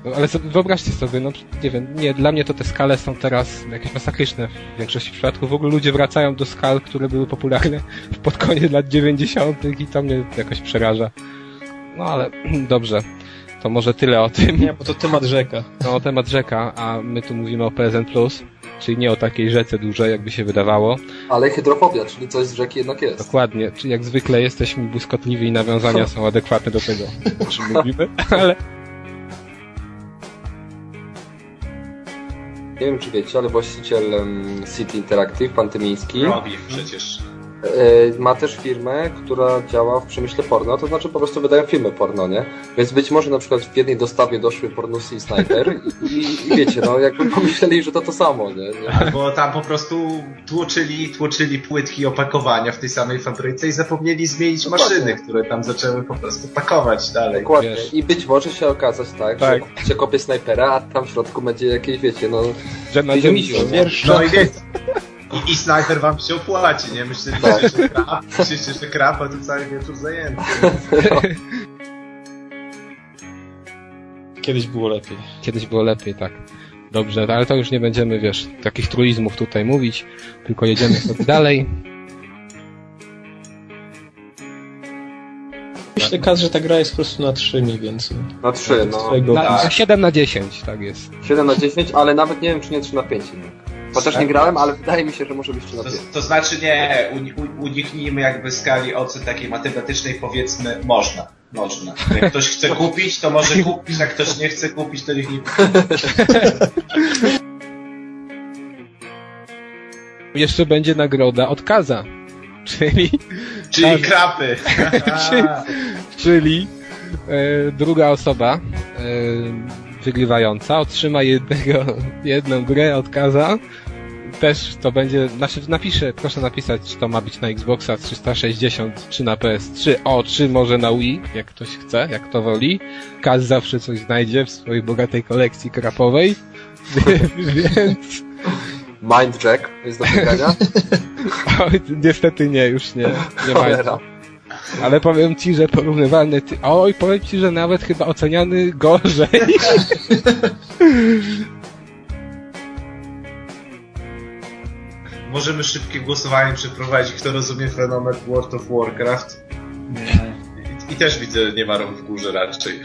A: No, ale sobie- wyobraźcie sobie, no nie wiem, nie, dla mnie to te skale są teraz jakieś masakryczne w większości przypadków. W ogóle ludzie wracają do skal, które były popularne pod koniec lat 90. i to mnie jakoś przeraża. No ale <clears throat> dobrze, to może tyle o tym.
C: Nie, bo to temat rzeka.
A: No, temat rzeka, a my tu mówimy o PSN+, czyli nie o takiej rzece dużej, jakby się wydawało.
F: Ale hydrofobia, czyli coś z rzeki jednak jest.
A: Dokładnie, czyli jak zwykle jesteśmy błyskotliwi i
C: <laughs>
A: nawiązania są adekwatne do tego, o czym mówimy, ale
F: Nie wiem, czy wiecie, ale właściciel em, City Interactive, pan Tymiński,
B: Robi przecież.
F: e, ma też firmę, która działa w przemyśle porno, to znaczy po prostu wydają filmy porno, nie? Więc być może na przykład w jednej dostawie doszły pornusy i snajper i, i, i wiecie, no jakby pomyśleli, że to to samo, nie? nie?
B: Albo tam po prostu tłoczyli, tłoczyli płytki opakowania w tej samej fabryce i zapomnieli zmienić maszyny, które tam zaczęły po prostu pakować dalej.
F: Dokładnie. I być może się okazać tak,
B: Tak.
F: że się kopie snajpera, a tam w środku będzie jakieś, wiecie, no...
A: Że
B: na
F: ziemi
B: No i wiecie. I, I snajper wam się opłaci, nie? Myślicie, że się krapa, myślicie, że krapa tu cały wieczór zajęty.
C: Kiedyś było lepiej.
A: Kiedyś było lepiej, tak. Dobrze, ale to już nie będziemy, wiesz, takich truizmów tutaj mówić, tylko jedziemy sobie dalej.
C: Myślę, Kaz, że ta gra jest po prostu na trzy mniej więcej.
F: Na trzy, no.
B: Tak.
A: Na, na 7 na 10, tak jest.
F: 7 na 10, ale nawet nie wiem, czy nie 3 na 5. nie? Chociaż nie grałem, ale wydaje mi się, że może być 3 na 5.
B: Tak. To znaczy nie, uni- u- uniknijmy jakby skali ocen takiej matematycznej, powiedzmy, można. Można. Jak ktoś chce kupić, to może kupić, jak ktoś nie chce kupić, to niech nie
A: Jeszcze będzie nagroda od Kaza, <laughs> czyli...
B: Czyli krapy.
A: czyli czyli e, druga osoba e, wygrywająca otrzyma jednego, <laughs> jedną grę od Kaza. Też to będzie, znaczy napiszę, proszę napisać, czy to ma być na Xboxa 360, czy na PS3, o, czy może na Wii, jak ktoś chce, jak to woli. Kaz zawsze coś znajdzie w swojej bogatej kolekcji krapowej, <laughs> więc...
F: Mindjack jest
B: <laughs>
F: do wygrania.
A: Oj, Niestety nie, już nie, nie
F: Cholera.
A: ma. Ale powiem ci, że porównywalny. Ty... Oj, powiem ci, że nawet chyba oceniany gorzej.
B: Możemy szybkie głosowanie przeprowadzić, kto rozumie fenomen World of Warcraft. I, I też widzę, nie ma rąk w górze raczej.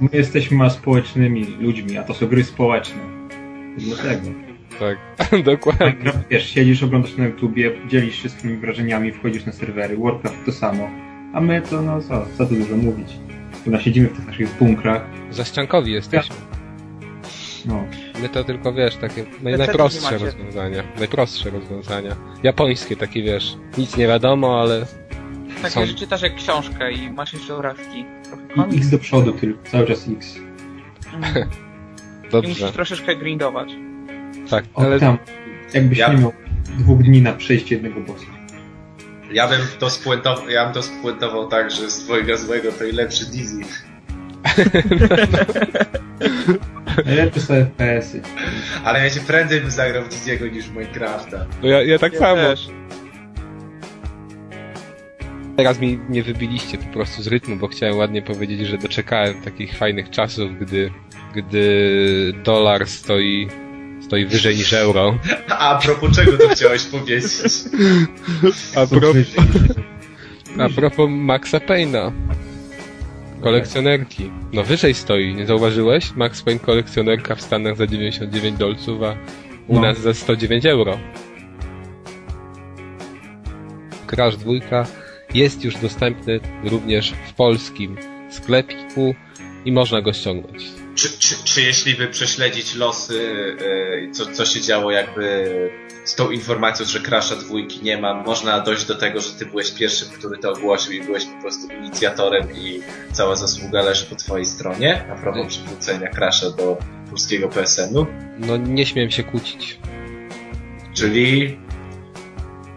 U: My jesteśmy aspołecznymi ludźmi, a to są gry społeczne. No Dlatego.
A: Tak, dokładnie.
U: Minecraft, no wiesz, siedzisz, oglądasz na YouTubie, dzielisz się swoimi wrażeniami, wchodzisz na serwery, Warcraft to samo. A my to, no co, co tu dużo mówić. Chyba siedzimy w tych naszych bunkrach.
A: Za ściankowi jesteśmy.
U: No.
A: My to tylko, wiesz, takie naj,
U: nie
A: najprostsze
U: macie.
A: rozwiązania. Najprostsze rozwiązania. Japońskie takie, wiesz, nic nie wiadomo, ale
H: Tak,
A: są
H: że czytasz jak książkę i masz jeszcze obrazki. Trochę
U: I
H: komiks.
U: X do przodu tylko, cały czas X.
H: Mm. I
A: dobrze.
H: musisz troszeczkę grindować.
A: Tak,
U: ale... Tam, jakbyś nie miał dwóch dni na przejście jednego bossa.
B: Ja bym to spuentował, ja bym to spuentował tak, że z twojego złego to i lepszy
U: <laughs>
B: Disney.
U: Najlepsze są FPS-y.
B: Ale ja się prędzej bym zagrał w Disney'ego niż w Minecrafta.
A: No ja, ja tak
B: Ja
A: samo.
B: też.
A: Teraz mi nie wybiliście po prostu z rytmu, bo chciałem ładnie powiedzieć, że doczekałem takich fajnych czasów, gdy, gdy dolar stoi, stoi wyżej niż euro.
B: A propos czego to chciałeś powiedzieć?
A: A propos, a propos Maxa Payna. Kolekcjonerki. No wyżej stoi, nie zauważyłeś? Max Payne kolekcjonerka w Stanach za 99 dolców, a u
U: No.
A: nas za 109 euro. Crash 2 jest już dostępny również w polskim sklepiku i można go ściągnąć.
B: Czy, czy, czy jeśli by prześledzić losy, e, co, co się działo jakby z tą informacją, że Crasha dwójki nie ma, można dojść do tego, że ty byłeś pierwszym, który to ogłosił i byłeś po prostu inicjatorem i cała zasługa leży po twojej stronie na propos przywrócenia Crasha do polskiego PSN-u?
A: No nie śmiem się kłócić.
B: Czyli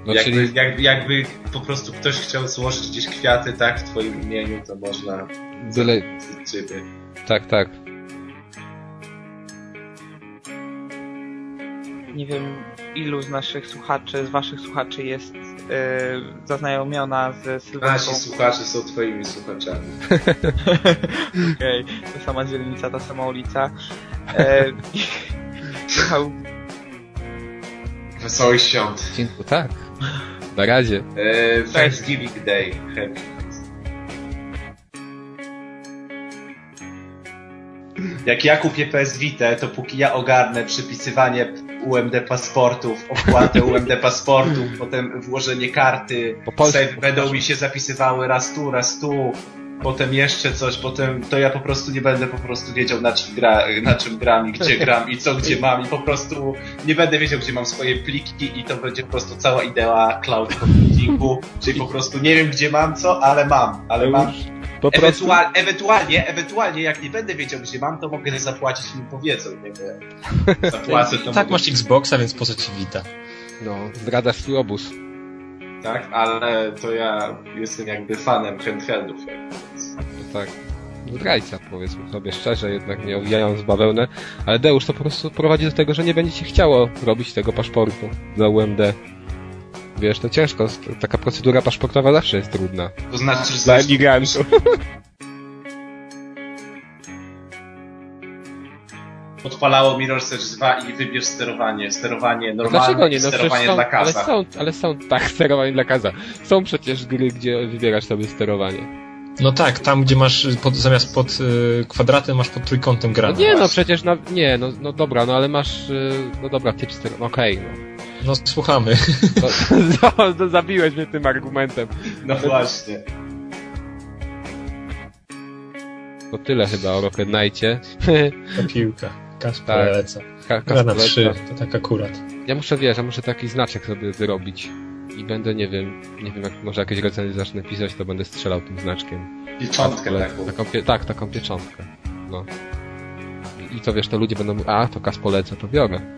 A: No,
B: jakby,
A: czyli
B: jakby, jakby po prostu ktoś chciał złożyć gdzieś kwiaty tak w twoim imieniu, to można
A: byle,
B: z ciebie.
A: Tak, tak.
H: Nie wiem, ilu z naszych słuchaczy, z waszych słuchaczy jest e, zaznajomiona z Sylwetką.
B: Nasi słuchacze są twoimi słuchaczami.
H: <laughs> Okej, ta sama dzielnica, ta sama ulica. E, <laughs> Michał,
B: Wesołych świąt.
A: Dziękuję, tak. Na razie.
B: E, Thanksgiving Day. Happy. Jak ja kupię PS Vita, to póki ja ogarnę przypisywanie UMD paszportów, opłatę UMD paszportów, potem włożenie karty, save będą mi się zapisywały raz tu, raz tu, potem jeszcze coś, potem to ja po prostu nie będę po prostu wiedział na czym, gra, na czym gram i
A: <laughs>
B: gdzie gram i co gdzie mam i po prostu nie będę wiedział gdzie mam swoje pliki i to będzie po prostu cała idea cloud
A: <laughs>
B: computingu, czyli po prostu nie wiem gdzie mam co, ale mam, ale mam.
A: Po prostu-
B: Ewentual, ewentualnie, ewentualnie jak nie będę wiedział gdzie mam, to mogę zapłacić i mi powiedzą, nie
A: <laughs>
B: wiem. Zapłacę to
C: tak
B: mogę.
C: masz Xboxa, więc po co ci wita?
A: No, zdradasz swój obóz.
B: Tak, ale to ja jestem jakby fanem handheldów.
A: No tak. Zdrajca, powiedzmy sobie szczerze, jednak nie owijając w bawełnę. Ale Deusz to po prostu prowadzi do tego, że nie będzie ci chciało robić tego paszportu dla UMD. Wiesz, to ciężko. st- Taka procedura paszportowa zawsze jest trudna.
B: To znaczy,
A: Dla emigrantów.
B: Odpalało Mirror's Edge 2 i wybierz sterowanie. Sterowanie
A: No
B: normalne,
A: Dlaczego nie? No przecież
B: sterowanie
A: są,
B: dla
A: ale
B: kasa.
A: są, ale są, tak, <laughs> sterowanie dla kaza. Są przecież gry, gdzie wybierasz sobie sterowanie.
C: No tak, tam gdzie masz y, pod, zamiast pod y, kwadratem, masz pod trójkątem
A: No
C: grany.
A: nie, no przecież, na, nie, no, no dobra, no ale masz, y, no dobra, typ sterowania, okej, no.
C: No słuchamy.
A: No, <laughs> no, no, zabiłeś mnie tym argumentem.
B: No właśnie.
A: To tyle chyba o Rocket Knightie.
C: Ta piłka.
A: Tak.
C: Kasper Leca.
A: <laughs> Ka-
C: Gra na
A: Kasper
C: trzy,
A: Leca.
C: to tak akurat.
A: Ja muszę, wiesz, ja muszę taki znaczek sobie wyrobić. I będę, nie wiem, nie wiem, jak może jakieś recenzje zacznę pisać, to będę strzelał tym znaczkiem.
B: Pieczątkę
A: Kasper-
B: taką.
A: taką pie- tak, taką pieczątkę. No. I- I to wiesz, to ludzie będą mówić, a to kas poleca, to biorę. <laughs>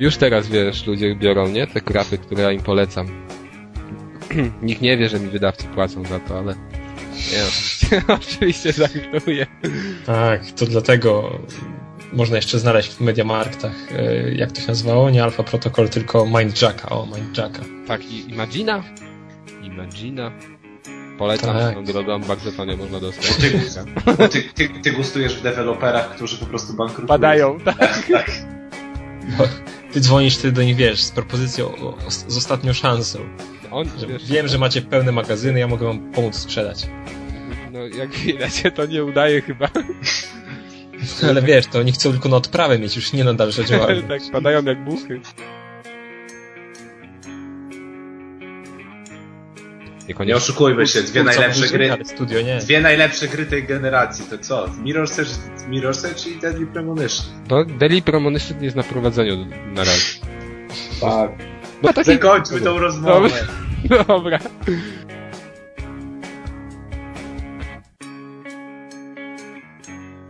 A: Już teraz wiesz, ludzie biorą, nie? Te krapy, które ja im polecam. <clears throat> Nikt nie wie, że mi wydawcy płacą za to, ale. Nie, oczywiście- <laughs> oczywiście żartuję.
C: Tak, to dlatego można jeszcze znaleźć w Mediamarktach, y, jak to się nazywało, nie Alpha Protocol, tylko Mindjacka. O, Mindjacka.
A: Tak, i Imagina. Imagina. Polecam
C: Tak.
A: swoją drogą, bardzo tanio można dostać.
B: Ty, bo ty, ty, ty gustujesz w deweloperach, którzy po prostu bankrutują.
A: Padają,
B: tak.
C: Ty dzwonisz ty do nich, wiesz, z propozycją o, o, z ostatnią szansą.
A: On,
C: Że
A: wiesz-
C: Wiem, że macie pełne magazyny, ja mogę wam pomóc sprzedać.
A: No jak widać się to nie udaje chyba.
C: Ale wiesz, to oni chcą tylko na odprawę mieć, już nie na
A: <laughs>
C: dalsze działanie.
A: tak padają jak buchy.
B: No Nie oszukujmy się, dwie najlepsze gry.
C: Studio, nie.
B: Dwie najlepsze gry tej generacji, to co? Mirror Edge, Mirror Edge i Deadly Premonition.
A: Bo Deli Premonition jest na prowadzeniu na razie.
B: Tak.
A: Bo taki-
B: Zakończmy
A: No.
B: tą rozmowę.
A: Dobra. Dobra.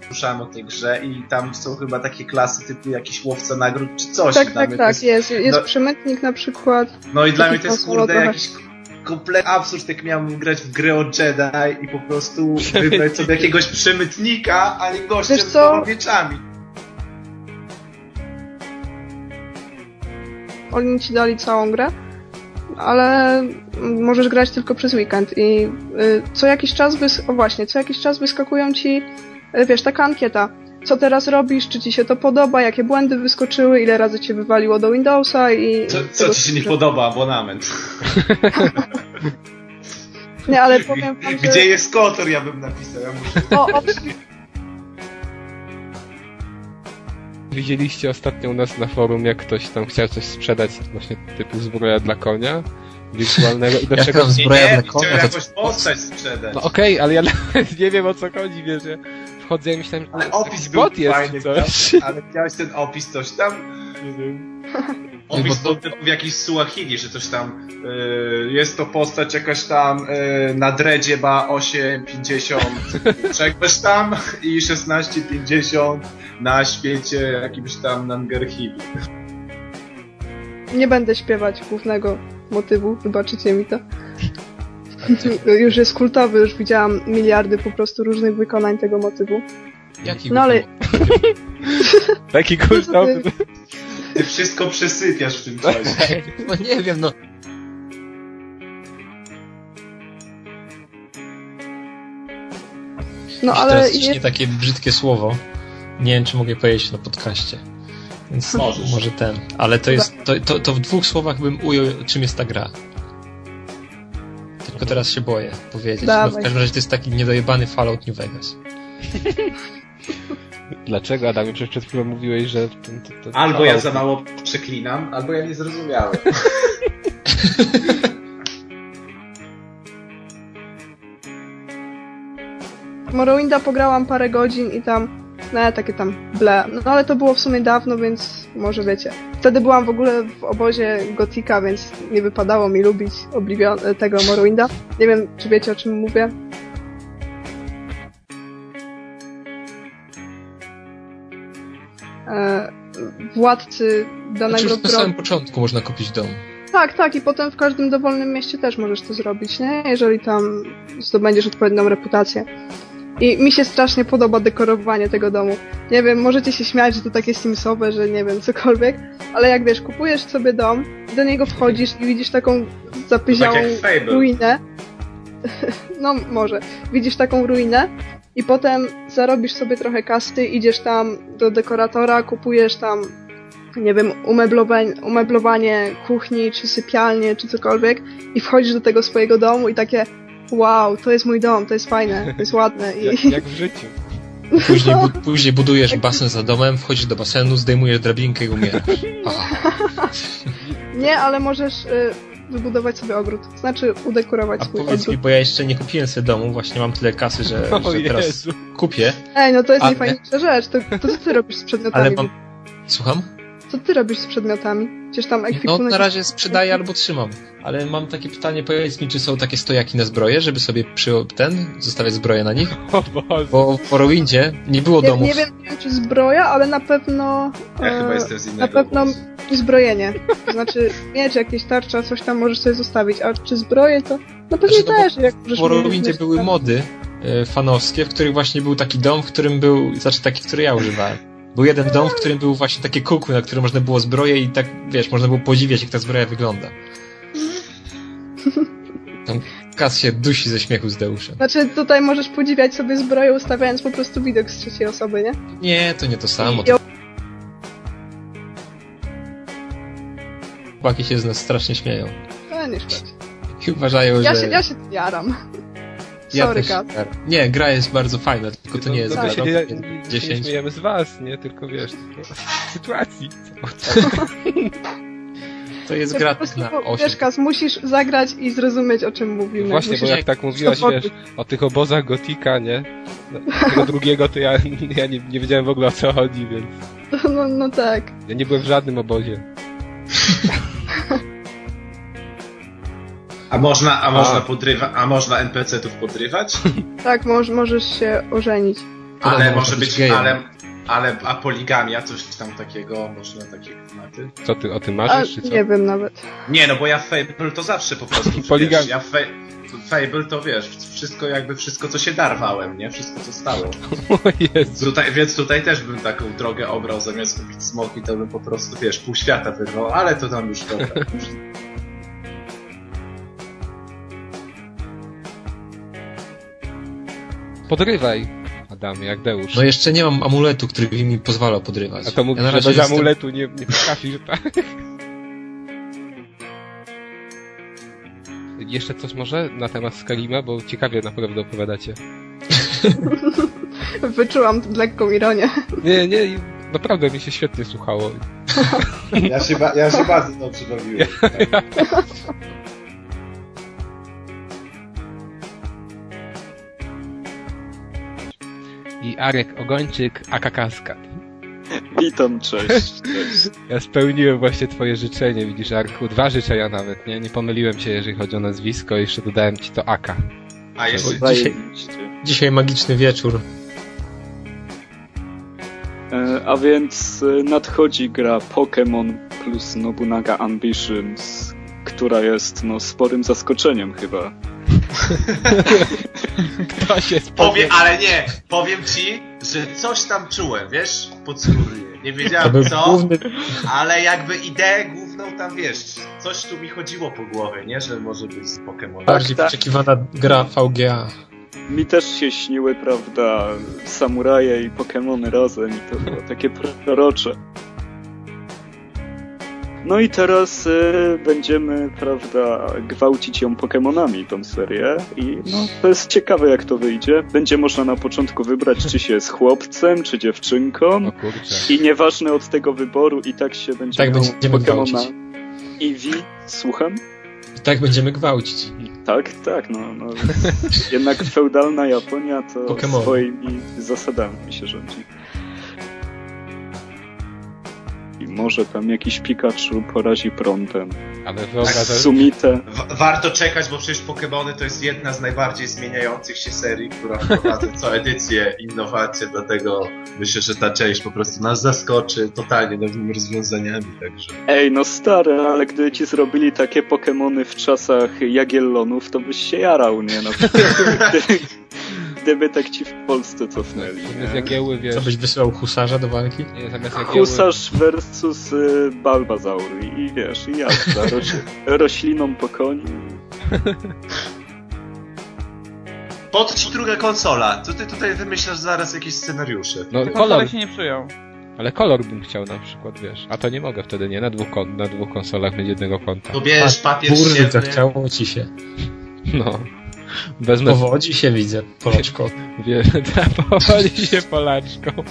B: Słyszałem o tej grze i tam są chyba takie klasy typu jakiś łowca nagród czy coś.
V: tak,
B: Dla
V: tak,
B: mnie to
V: tak, jest. Jest
B: no-
V: przemytnik na przykład.
B: No i dla
V: Taki
B: mnie to jest
V: konsolo
B: kurde
V: trochę-
B: jakiś kompletny absurd, jak miałem grać w grę o Jedi i po <laughs> prostu wybrać sobie jakiegoś przemytnika, a nie gościa
V: Wiesz
B: z
V: co?
B: połowieczami.
V: Oni ci dali całą grę, ale mm, możesz grać tylko przez weekend i y, co jakiś czas wys- o właśnie, co jakiś czas wyskakują ci y, wiesz, taka ankieta. Co teraz robisz? Czy ci się to podoba? Jakie błędy wyskoczyły? Ile razy cię wywaliło do Windowsa i
B: Co, co ci się nie podoba, abonament?
V: Nie, ale powiem wam, że...
B: Gdzie jest Kotor, ja bym napisał. Ja muszę...
V: O, o tym
A: Widzieliście ostatnio u nas na forum, jak ktoś tam chciał coś sprzedać, właśnie typu zbroja dla konia wirtualnego i do
C: Jaka
A: czego...
C: zbroja dla
B: Nie, chciałem
C: konia, to
B: jakąś postać sprzedać.
A: No okej, ale ja nawet nie wiem o co chodzi, wiesz, ja wchodzę i myślałem, że
B: Ale opis był
A: bot jest
B: fajny,
A: czy coś.
B: prawda? ale chciałeś ten opis coś tam? Nie wiem. Opis był w jakiejś Suahili, że coś tam y, jest to postać jakaś tam y, na dredzie ba 850 <laughs> czegoś tam i 1650 na świecie jakimś tam Nangerhibu.
V: nie będę śpiewać głównego motywu, wybaczycie mi to. <laughs> już jest kultowy, już widziałam miliardy po prostu różnych wykonań tego motywu.
C: Jaki
V: No ale
A: <laughs>
V: No
A: Taki
V: kultowy.
B: Ty wszystko przesypiasz w tym <laughs> czasie.
C: No nie wiem, no.
V: No
C: ale
V: ale
C: teraz ciśnie
V: jest,
C: takie brzydkie słowo. Nie wiem, czy mogę powiedzieć na podcaście. Więc
V: Możesz.
C: może ten. Ale to jest. To, to, to w dwóch słowach bym ujął, czym jest ta gra. Tylko teraz się boję powiedzieć. No, w
V: Dawaj.
C: każdym razie to jest taki niedojebany Fallout New Vegas.
A: Dlaczego, Adamie? Przecież przed chwilą mówiłeś, że... To, to, to...
B: Albo ja za mało przeklinam, albo ja nie zrozumiałem.
V: Morrowinda pograłam parę godzin i tam, no takie tam ble. No ale to było w sumie dawno, więc może wiecie. Wtedy byłam w ogóle w obozie Gotika, więc nie wypadało mi lubić Oblivion- tego Morrowinda. Nie wiem, czy wiecie o czym mówię. E, Władcy
C: Znaczy
V: danego
C: już na
V: pro-
C: samym początku można kupić dom.
V: tak, tak, i potem w każdym dowolnym mieście też możesz to zrobić, nie? Jeżeli tam zdobędziesz odpowiednią reputację. I mi się strasznie podoba dekorowanie tego domu. Nie wiem, możecie się śmiać, że to takie simsowe, że nie wiem, cokolwiek, ale jak wiesz, kupujesz sobie dom, do niego wchodzisz i widzisz taką zapyziałą
B: Tak jak Fable.
V: ruinę. <laughs> no może. Widzisz taką ruinę i potem zarobisz sobie trochę kasty, idziesz tam do dekoratora, kupujesz tam nie wiem, umeblowań, umeblowanie kuchni, czy sypialnie, czy cokolwiek i wchodzisz do tego swojego domu i takie wow, to jest mój dom, to jest fajne, to jest ładne i
A: Jak, jak w życiu.
C: Później, bu- później budujesz basen za domem, wchodzisz do basenu, zdejmujesz drabinkę i umierasz. Aha.
V: nie, ale możesz y, wybudować sobie ogród, znaczy udekorować swój
C: Powiedz mi,
V: ogród.
C: bo ja jeszcze nie kupiłem sobie domu, właśnie mam tyle kasy, że,
A: O
C: że teraz
A: Jezu.
C: kupię,
V: Ej, no to jest
C: Ale-
V: najfajniejsza rzecz, to, to co ty robisz z
C: ale
V: przedmiotami?
C: mam... Słucham?
V: Co ty robisz z przedmiotami? Przecież tam
C: No
V: ekwipunek...
C: na razie sprzedaję albo trzymam, ale mam takie pytanie, powiedz mi, czy są takie stojaki na zbroje, żeby sobie przy... ten, zostawiać zbroję na nich? Bo w Morrowindzie nie było
V: nie,
C: domów.
V: nie wiem, nie wiem, czy zbroja, ale na pewno
C: Ja
V: e,
C: chyba jestem z
V: na
C: innego
V: pewno uzbrojenie. To znaczy miecz, jakieś tarcza, coś tam możesz sobie zostawić, a czy zbroję to no pewnie też, jak
C: Znaczy, W
V: możesz
C: Morrowindzie
V: mieć- tak.
C: były mody e, fanowskie, w których właśnie był taki dom, w którym był, znaczy taki, który ja używałem. Był jeden dom, w którym były właśnie takie kukły, na które można było zbroje i tak, wiesz, można było podziwiać, jak ta zbroja wygląda.
V: Mhm.
C: Tam Kas się dusi ze śmiechu z Deuszem.
V: Znaczy tutaj możesz podziwiać sobie zbroję, ustawiając po prostu widok z trzeciej osoby, nie?
C: Nie, to nie to samo.
V: I
C: To chłopaki się z nas strasznie śmieją.
V: A, nie szkodzi.
W: I uważają,
V: Ja
W: że...
V: się, ja się jaram.
W: Ja
V: Sorry,
W: też-
V: Kat.
W: Nie, gra jest bardzo fajna, tylko to nie jest
A: Dlatego
W: gra.
A: się
W: no,
A: nie, nie, nie
W: 10.
A: śmiejemy z was, nie? Tylko wiesz, tylko <laughs> sytuacji.
W: To jest
V: Ja
W: gra
V: po prostu,
W: na
V: bo,
W: 8.
V: Wiesz, Kas, musisz zagrać i zrozumieć, o czym mówimy.
A: Właśnie, bo
V: musisz
A: jak tak mówiłaś,
V: Swobodnie.
A: wiesz, o tych obozach gotika, nie? No, Tego drugiego to ja, <laughs> ja nie, nie wiedziałem w ogóle o co chodzi, więc
V: <laughs> No, no tak.
A: ja nie byłem w żadnym obozie.
B: A można, a
A: A.
B: można podrywa, a można NPC-tów podrywać?
V: Tak, moż, możesz się ożenić. <laughs>
A: <laughs>
B: Ale
A: Podobno
B: może
A: może być
B: być,
A: gejem.
B: ale, ale, a poligamia, coś tam takiego, można takie tematy?
A: Co ty o tym
V: A,
A: marzysz, czy co? <laughs>
V: nie wiem nawet.
B: Nie, no bo ja w Fable to zawsze po prostu, wiesz,
A: Poligam-
B: ja w Fa- w Fable to wiesz, wszystko jakby, wszystko co się darwałem, nie? Wszystko co stało. Tutaj, więc tutaj też bym taką drogę obrał, zamiast kupić smoki, to bym po prostu, wiesz, pół świata wyrwał, ale to tam już
A: <laughs>
B: dobra.
A: Podrywaj, Adamie, jak Deusz.
W: No jeszcze nie mam amuletu, który by mi pozwalał podrywać.
A: A to mówisz,
W: na
A: że
W: razie
A: bez
W: jestem-
A: amuletu nie, nie potrafisz, tak? <laughs> Jeszcze coś może na temat Skalima, bo ciekawie naprawdę opowiadacie.
V: Wyczułam lekką ironię.
A: Nie, nie, i naprawdę mi się świetnie słuchało.
B: Ja się, ba- ja się bardzo dobrze bawiłem.
A: I Arek Ogończyk, aka Kaskad.
J: Witam, cześć.
A: Ja spełniłem właśnie twoje życzenie, widzisz Arku. Dwa życzenia nawet, nie? Nie pomyliłem się, jeżeli chodzi o nazwisko. Jeszcze dodałem ci to aka.
B: A jeszcze
W: Bo dzisiaj, dzisiaj magiczny wieczór.
J: E, A więc e, nadchodzi gra Pokémon plus Nobunaga Ambitions, która jest no sporym zaskoczeniem chyba.
A: Kto się
B: Powiem, ale nie, powiem ci, że coś tam czułem, wiesz, podskórnie. Nie
W: To
B: wiedziałem
W: był
B: co,
W: główny-
B: ale jakby ideę główną tam, wiesz, coś tu mi chodziło po głowie, nie, że może być z Pokemonem.
W: Bardziej
A: Tak.
W: wyczekiwana gra VGA.
J: Mi też się śniły, prawda, samuraje i Pokémony razem i to było takie prorocze. No i teraz e, będziemy, prawda, gwałcić ją Pokemonami, tą serię i no, to jest ciekawe jak to wyjdzie. Będzie można na początku wybrać, czy się jest chłopcem, czy dziewczynką i nieważne od tego wyboru i tak się będzie
W: Tak
J: miało
W: będziemy gwałcić.
J: Eevee, słucham?
W: I tak będziemy gwałcić.
J: Tak, tak, no, no <laughs> jednak feudalna Japonia to
W: Pokemony.
J: swoimi zasadami się rządzi. I może tam jakiś Pikachu porazi prądem.
A: Ale
J: Sumite.
B: W- warto czekać, bo przecież Pokemony to jest jedna z najbardziej zmieniających się serii, która wprowadza co edycję innowacje, dlatego myślę, że ta część po prostu nas zaskoczy totalnie nowymi rozwiązaniami, także...
J: Ej, no stary, ale gdy ci zrobili takie Pokemony w czasach Jagiellonów, to byś się jarał, nie? No,
B: Tak,
J: gdy, gdyby tak ci w Polsce cofnęli.
A: Zamiast
J: nie?
A: Jagieły, wiesz...
W: Co byś wysłał husarza do walki?
A: Nie, zamiast Jagieły...
J: Husarz versus y, Balbazaur i, i wiesz, i
W: <laughs>
J: jazda, roś, rośliną po koniu.
B: Po co ci
W: Tak.
B: druga konsola? Co ty tutaj wymyślasz zaraz jakieś scenariusze?
A: No, kolor,
H: się nie przyjął.
A: ale kolor bym chciał na przykład, wiesz. A to nie mogę wtedy, nie? Na dwóch, kon- na dwóch konsolach będzie jednego konta.
B: No wiesz, papier
W: Burdy,
B: ścierny.
W: tak, zachciało ci się.
A: No. Wezmę...
W: Powodzi się widzę, Polaczko.
A: No. Wiesz, <laughs> ta powoli się Polaczką. <laughs>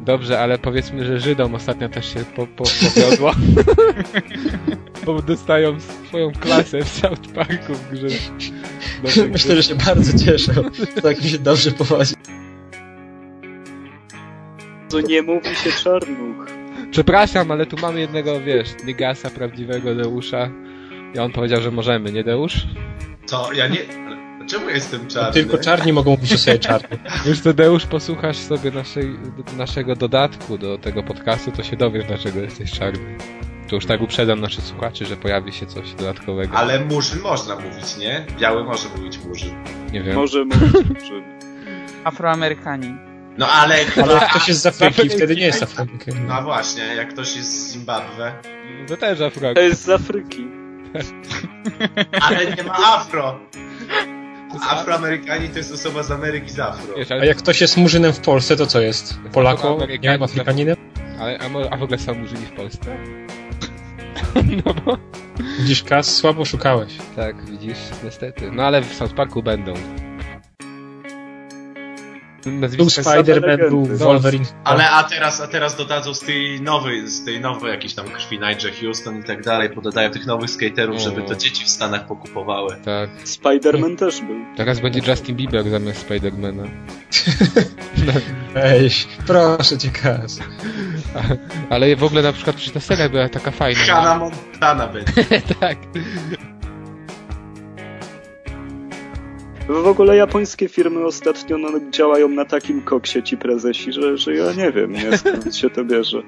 A: Dobrze, ale powiedzmy, że Żydom ostatnio też się po, po, powiodło. <laughs> Bo dostają swoją klasę w South Parku w grze. Dobrze,
W: <laughs> Myślę, że się bardzo cieszę. Tak mi się dobrze powodzi.
J: To nie mówi się czarnuch.
A: Przepraszam, ale tu mamy jednego, wiesz, Nigasa, prawdziwego Deusza. I on powiedział, że możemy, nie Deusz?
B: Co? Ja nie... ale Czemu jestem czarny?
W: Tylko czarni mogą mówić o sobie czarni.
A: Wiesz co, Deusz, posłuchasz sobie naszej, naszego dodatku do tego podcastu, to się dowiesz, dlaczego jesteś czarny. To już tak uprzedzam naszych słuchaczy, że pojawi się coś dodatkowego.
B: Ale murzyn można mówić, nie? Biały może mówić murzyn.
A: Nie wiem.
J: Może mówić że...
H: Afroamerykanin.
B: No ale...
W: Ale jak ktoś jest z Afryki,
B: Afryki.
W: wtedy nie jest Afrykiem.
B: No właśnie, jak ktoś jest z Zimbabwe.
A: To też Afro.
J: To jest z Afryki.
B: Ale nie ma afro! Afroamerykanin to jest osoba z Ameryki z afro.
W: A jak ktoś jest murzynem w Polsce, to co jest? Polaką? Nie wiem, Afrykaninem?
A: Ale, a, mo- a w ogóle są murzyni w Polsce?
C: Widzisz, Kas, słabo szukałeś.
A: Tak, widzisz, niestety. No ale w South Parku będą.
C: Był Spider-Man, był Wolverine.
B: Ale a teraz, a teraz dodadzą z tej nowej, z tej nowej jakiejś tam krwi Nigel Houston i tak dalej, pododają tych nowych skaterów, żeby to dzieci w Stanach pokupowały.
A: Tak.
J: Spider-Man też był.
A: Teraz będzie Justin Bieber zamiast Spidermana.
C: Ej, proszę cię, Kas.
A: Ale w ogóle na przykład przy ta seria była taka fajna.
B: Hannah Montana będzie.
A: tak.
J: W ogóle japońskie firmy ostatnio no, działają na takim koksie ci prezesi, że, że ja nie wiem, nie, skąd się to bierze.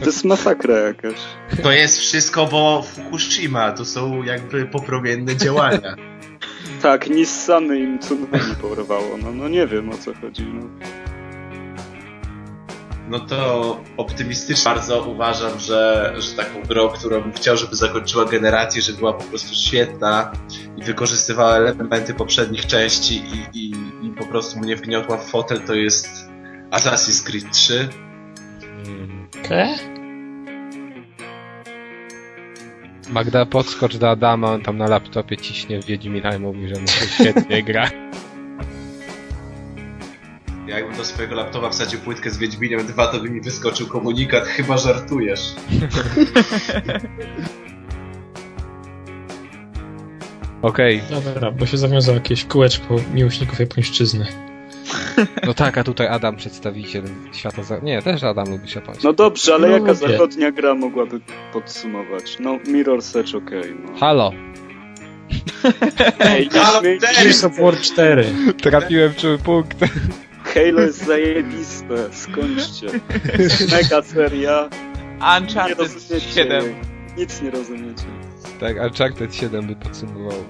J: To jest masakra jakaś.
B: To jest wszystko, bo Fukushima to są jakby popromienne działania.
J: Tak, Nissany im tsunami porwało, no, no nie wiem o co chodzi. No.
B: No to optymistycznie bardzo uważam, że, że taką grą, którą bym chciał, żeby zakończyła generację, żeby była po prostu świetna i wykorzystywała elementy poprzednich części i, i, i po prostu mnie wgniotła w fotel, to jest Assassin's Creed 3.
C: Okay.
A: Magda, podskocz do Adama, on tam na laptopie ciśnie w Wiedźmina i mówi, że mu się świetnie gra.
B: Ja jakbym do swojego laptopa wsadził płytkę z Wiedźminem 2, to by mi wyskoczył komunikat, chyba żartujesz.
A: Okej.
C: Dobra, bo się zawiązał jakieś kółeczko miłośników japońszczyzny.
A: No tak, a tutaj Adam, przedstawiciel świata. Za... Nie, też Adam lubi się paść.
J: No dobrze, ale
A: No
J: jaka
A: lubię.
J: zachodnia gra mogłaby podsumować? No Mirror's Edge okej, no.
A: Halo.
J: Ej, nie śmiej-
C: Gears of War 4.
A: Trafiłem czuły punkt.
J: Halo jest zajebiste,
A: <laughs>
J: skończcie. Mega seria.
H: Uncharted
J: Nie rozumiecie
H: 7.
J: jej. Nic nie rozumiecie.
A: Tak, Uncharted 7 by podsumowało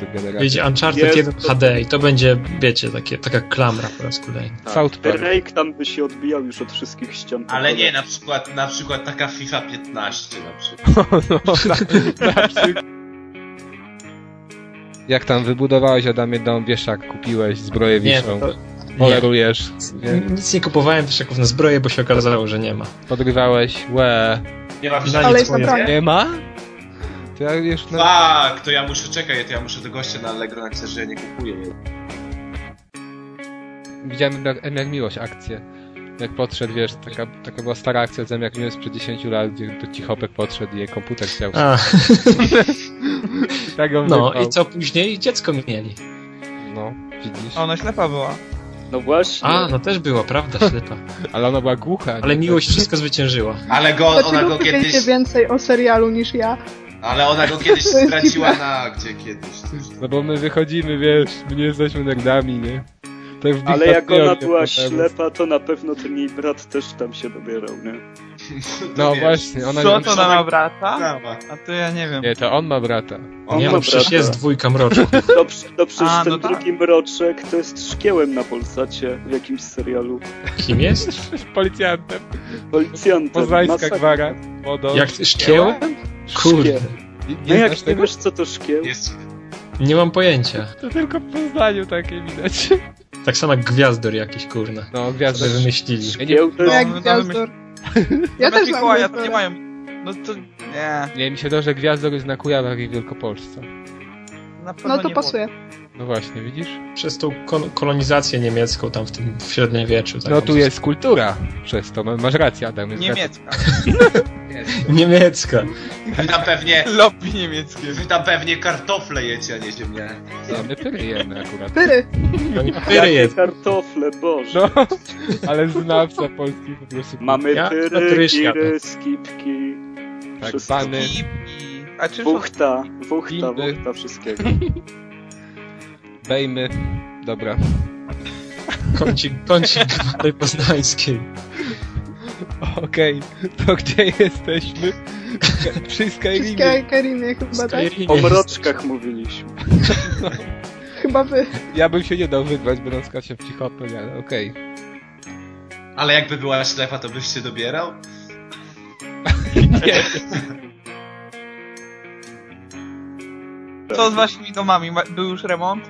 A: tę generację.
C: Wiecie, Uncharted 1 HD i to będzie, wiecie, takie, taka klamra po raz kolejny.
J: Tak. Drake tam by się odbijał już od wszystkich ścian.
B: Ale nie, no. na przykład, na przykład taka FIFA 15 na przykład.
A: Jak tam wybudowałeś, Adamie, dom, wieszak kupiłeś, zbroję
C: Nie, no
A: wiszą,
C: to-
A: polerujesz,
C: N- Nic nie kupowałem też jaków na zbroję, bo się okazało, że nie ma.
A: podgrywałeś, łe.
B: Nie ma
C: Za nic
B: Ale jest
C: moje.
B: naprawdę.
A: Nie ma? To ja już na...
B: Tak, to ja muszę, czekaj, to ja muszę do gościa na Allegro napisać, że ja nie kupuję jej.
A: Widziałem jak, jak miłość akcję. Jak podszedł, wiesz, taka, taka była stara akcja z jak miłość sprzed 10 lat, gdzie to cichopek podszedł i jej komputer chciał.
C: A.
A: tak on
C: No
A: wypał.
C: i co później? Dziecko mieli.
A: No, widzisz.
H: A Ona ślepa była.
J: No właśnie.
C: A, no też była, prawda, ślepa.
A: Ale ona była głucha.
C: Ale miłość wszystko zwyciężyła.
B: Ale go, ona
V: Dlaczego
B: go
V: wy
B: kiedyś,
V: wiecie więcej o serialu niż ja?
B: ale ona go kiedyś
V: <laughs> To jest
B: straciła
V: dziwne.
B: na, gdzie kiedyś.
A: No bo my wychodzimy, wiesz, my nie jesteśmy nerdami, nie? To jak w Big
J: Ale
A: Bang
J: jak ona
A: Theory
J: była
A: potem.
J: ślepa, to na pewno ten jej brat też tam się dobierał, nie?
A: No właśnie, ona
H: Co
A: nie-
H: to ona ma brata? A to ja nie wiem.
A: Nie, to on ma brata.
J: On Nie, ma no przecież brata. jest
C: dwójka mroczków.
J: Dobrze, dobrze
H: A,
J: że ten
H: no tak.
J: drugi mroczek to jest szkiełem na Polsacie w jakimś serialu.
C: Kim jest?
A: Policjantem.
J: Policjantem.
A: Poznańska
J: masakra.
A: gwara. Wodą.
C: Jak szkieł? Kurde,
J: No
A: Nie
J: jak
A: znasz
J: nie
A: tego?
J: wiesz co to szkieł?
C: nie mam pojęcia.
A: To tylko w Poznaniu takie widać.
C: Tak samo jak gwiazdor jakiś, kurna.
A: No, gwiazdor.
C: Sobie wymyślili.
J: Szkieł to jest...
H: Jak gwiazdor. Ja też Mikołaja to nie mają. No to nie.
A: Nie, mi się to, że gwiazdor jest na Kujawach i w Wielkopolsce.
H: Na pewno
V: No to
H: nie
V: pasuje.
A: No właśnie, widzisz?
C: Przez tą kon- kolonizację niemiecką tam w tym w średniowieczu. Tak
A: No tu jest kultura przez to, no, masz rację Adam. Jest
H: Niemiecka.
C: Niemiecka.
B: Wy tam pewnie,
H: Lobby niemieckie.
B: wy tam pewnie kartofle jecie, a nie ziemniaki.
A: Racja. My pyry jemy akurat.
V: Pyry.
C: No Pyry
J: Jakie
C: jest.
J: kartofle, boże.
A: No, ale znawca polski po prostu.
J: Mamy
A: Ja?
C: to
J: pyry,
C: Kryśka.
J: giry, skipki,
A: Tak,
J: wszystko.
A: bany.
H: A czy
J: Wuchta, wuchta,
A: Bimby.
J: wuchta wszystkiego.
A: <laughs> Bejmy. Dobra. <laughs>
C: Kącik, kącik tej poznańskiej.
A: Okej, to gdzie jesteśmy? Przy Skyrimie.
V: Wszystkie Karimie chyba, tak?
J: O mroczkach mówiliśmy.
V: Chyba wy.
A: Ja bym się nie dał wygrać, będąc Kasią w cichopę, ale okej.
B: Ale jakby była ślepa, to byś się dobierał?
A: Nie.
H: Co z waszymi domami? Ma- Był już remont?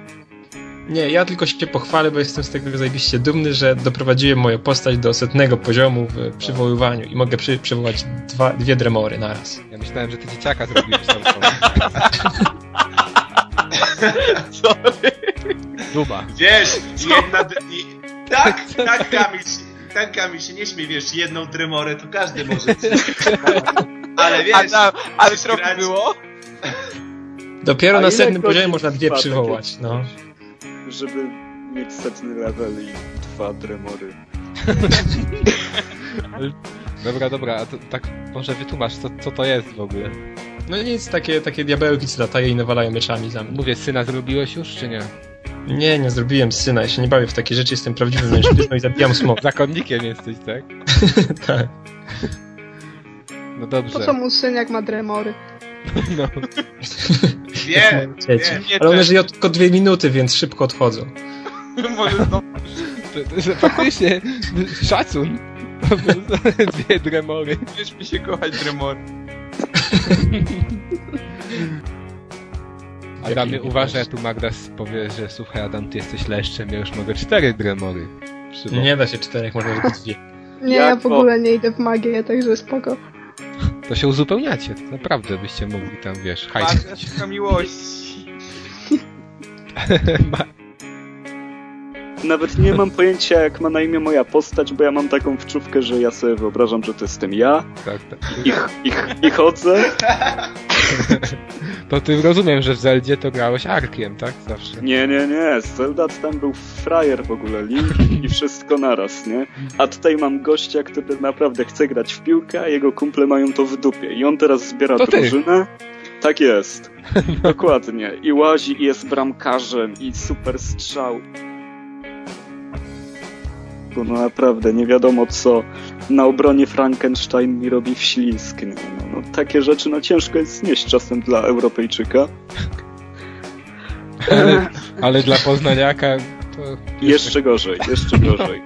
W: Nie, ja tylko się pochwalę, bo jestem z tego zajebiście dumny, że doprowadziłem moją postać do setnego poziomu w przywoływaniu i mogę przy, przywołać dwa, dwie dremory naraz.
A: Ja myślałem, że ty dzieciaka zrobiłeś tam.
B: Sorry.
A: Duba.
B: Wiesz, jedna... d- I... Tak, tak Kamil, się- tak Kamil się nie śmie, wiesz, jedną tremorę to każdy może. Ale wiesz... ale trochę było?
W: Dopiero
J: A
W: na
J: ile
W: setnym
J: godzin
W: poziomie można dwie
J: trwa takie-
W: przywołać, no.
J: Żeby mieć setny level i dwa dremory.
A: Dobra, dobra, a to, tak może wytłumacz, co, co to jest w ogóle.
W: No nic, takie, takie diabełki, co latają i nawalają mieczami za mnie.
A: Mówię, syna zrobiłeś już, czy nie?
W: Nie, nie zrobiłem syna, ja się nie bawię w takie rzeczy, jestem prawdziwym mężczyzną i zabijam
C: <laughs>
W: smok.
A: Zakonnikiem jesteś, tak?
W: tak.
A: No dobrze.
V: Po co mu syn, jak ma dremory?
A: No.
B: Wiem,
W: Dzieci. Ale one żyją tylko dwie minuty, więc szybko odchodzą.
A: Może Faktycznie, szacun. <laughs> Dwie dremory.
X: Wiesz mi się kochać dremory.
A: Adamie, uważaj, tu Magda powie, że słuchaj Adam, ty jesteś leszczem, ja już mogę cztery dremory.
C: No.
A: przywołać.
W: Nie da się czterech, może tylko dwie.
V: Nie, ja w ogóle nie idę w magię, także spoko.
A: To się uzupełniacie, to naprawdę byście mogli tam, wiesz, hajs.
X: Magda szuka miłości.
J: Nawet nie mam pojęcia, jak ma na imię moja postać, bo ja mam taką wczówkę, że ja sobie wyobrażam, że to jestem ja
A: Tak, tak.
J: i, i, i chodzę.
A: To ty rozumiem, że w Zeldzie to grałeś arkiem, tak?
F: <laughs>
A: Zawsze.
J: Nie, nie, nie, Zeldat tam był frajer w ogóle, Link i wszystko naraz, nie? A tutaj mam gościa, który naprawdę chce grać w piłkę, a jego kumple mają to w dupie. I on teraz zbiera
A: To ty.
J: drużynę. Tak
A: <laughs>
J: jest. Dokładnie. I łazi, i jest bramkarzem, i super strzał. Bo no naprawdę, nie wiadomo co na obronie Frankenstein mi robi w ślizg. nie? No, no, takie rzeczy no ciężko jest znieść czasem dla Europejczyka.
A: Ale, ale dla poznaniaka to...
J: Jeszcze gorzej, jeszcze gorzej.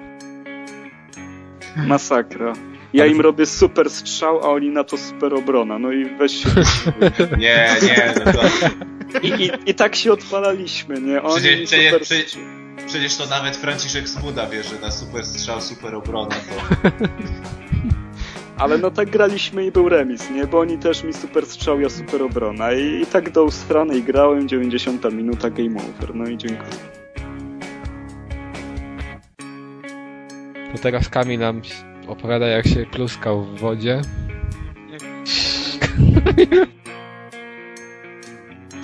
J: Masakra. Ja im robię super strzał, a oni na to super obrona. No i weź się.
B: Nie, nie, no to...
J: I, i, i tak się odpalaliśmy, nie? Oni
B: Przecież, przecież,
J: super...
B: przecież, przecież to nawet Franciszek Smuda wie, że na super strzał, super obrona to...
J: Ale no tak graliśmy i był remis, nie? Bo oni też mi super strzał, ja super obrona. I, i tak do usranej grałem, 90 minuta game over. No i dziękuję.
A: To teraz Kamil nam opowiada, jak się pluskał w wodzie.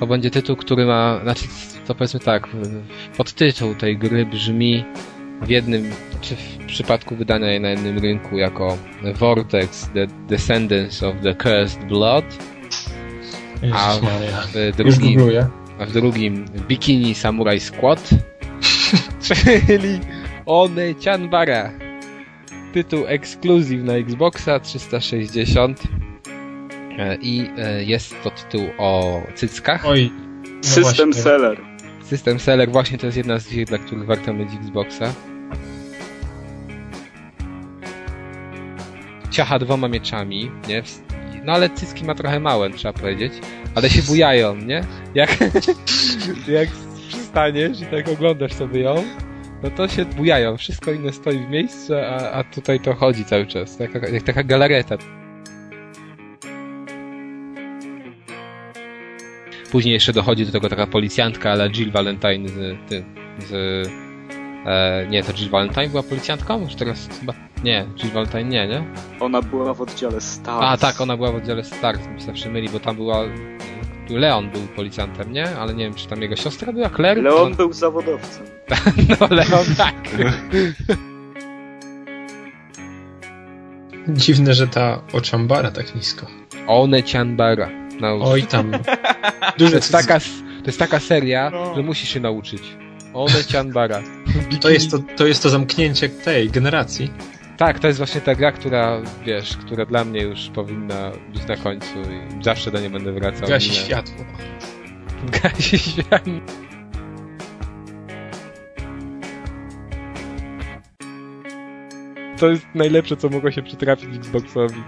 A: To będzie tytuł, który ma, znaczy, to powiedzmy tak, w- podtytuł tej gry brzmi w jednym, czy w przypadku wydania jej na jednym rynku jako Vortex, The Descendants of the Cursed Blood, a
W: Jezus Maria.
A: w
W: Już
A: drugim,
W: googluję.
A: a w drugim Bikini Samurai Squad, czyli One Chanbara. Tytuł ekskluzyw na Xboxa 360 E, i e, jest to tytuł o cyckach.
W: Oj,
J: System seller.
A: System Seller właśnie to jest jedna z gier, dla których warto mieć Xboxa. Ciacha dwoma mieczami, nie? W- No ale cycki ma trochę małe, trzeba powiedzieć. Ale się bujają, nie? Jak, <laughs> jak przystaniesz i tak oglądasz sobie ją, no to się bujają. Wszystko inne stoi w miejscu, a, a tutaj to chodzi cały czas. Taka, jak taka galareta. Później jeszcze dochodzi do tego taka policjantka, ale Jill Valentine z tym. Z, e, nie, to Jill Valentine była policjantką? Czy teraz chyba. Nie, Jill Valentine nie, nie?
J: Ona była w oddziale Stars.
A: A tak, ona była w oddziale Stars, mi się zawsze myli, bo tam była. tu Leon był policjantem, nie? Ale nie wiem, czy tam jego siostra była, Claire?
J: Leon był zawodowcem.
A: No, Leon, <laughs> tak.
W: Dziwne, że ta oczambara tak nisko.
A: One Chanbara. No,
W: Oj tam.
C: <laughs>
A: to, jest No. taka, s- to jest taka seria, że musisz się nauczyć. One Chanbara.
W: To jest to, to jest to zamknięcie tej generacji.
A: Tak, to jest właśnie ta gra, która, wiesz, która dla mnie już powinna być na końcu i zawsze do niej będę wracał.
W: Gasi
A: Nie.
C: <laughs>
W: światło.
A: Gasi światło. To jest najlepsze, co mogło się przytrafić Xboxowi.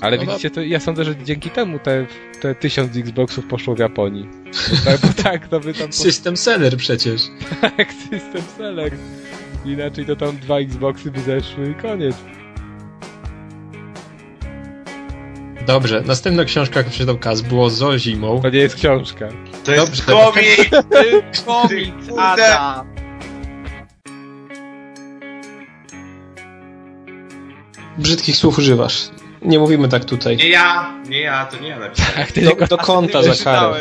A: Ale
V: No
A: widzicie, to ja sądzę, że dzięki temu te, te tysiąc Xboxów poszło w Japonii. <laughs> Bo tak, bo tak to by tam... Po...
C: System seller przecież.
A: <laughs> Tak, system seller. Inaczej to tam dwa Xboxy by zeszły i koniec.
C: Dobrze, następna książka, jaką przeczytał Kaz, było Zo zimą.
A: To nie jest książka.
B: To
C: jest
X: Komiks,
B: kurde.
X: Adam.
C: Brzydkich słów używasz. Nie mówimy tak tutaj.
B: Nie ja, nie ja, to nie ja napisałem.
A: Tak,
C: Do, do konta za karę.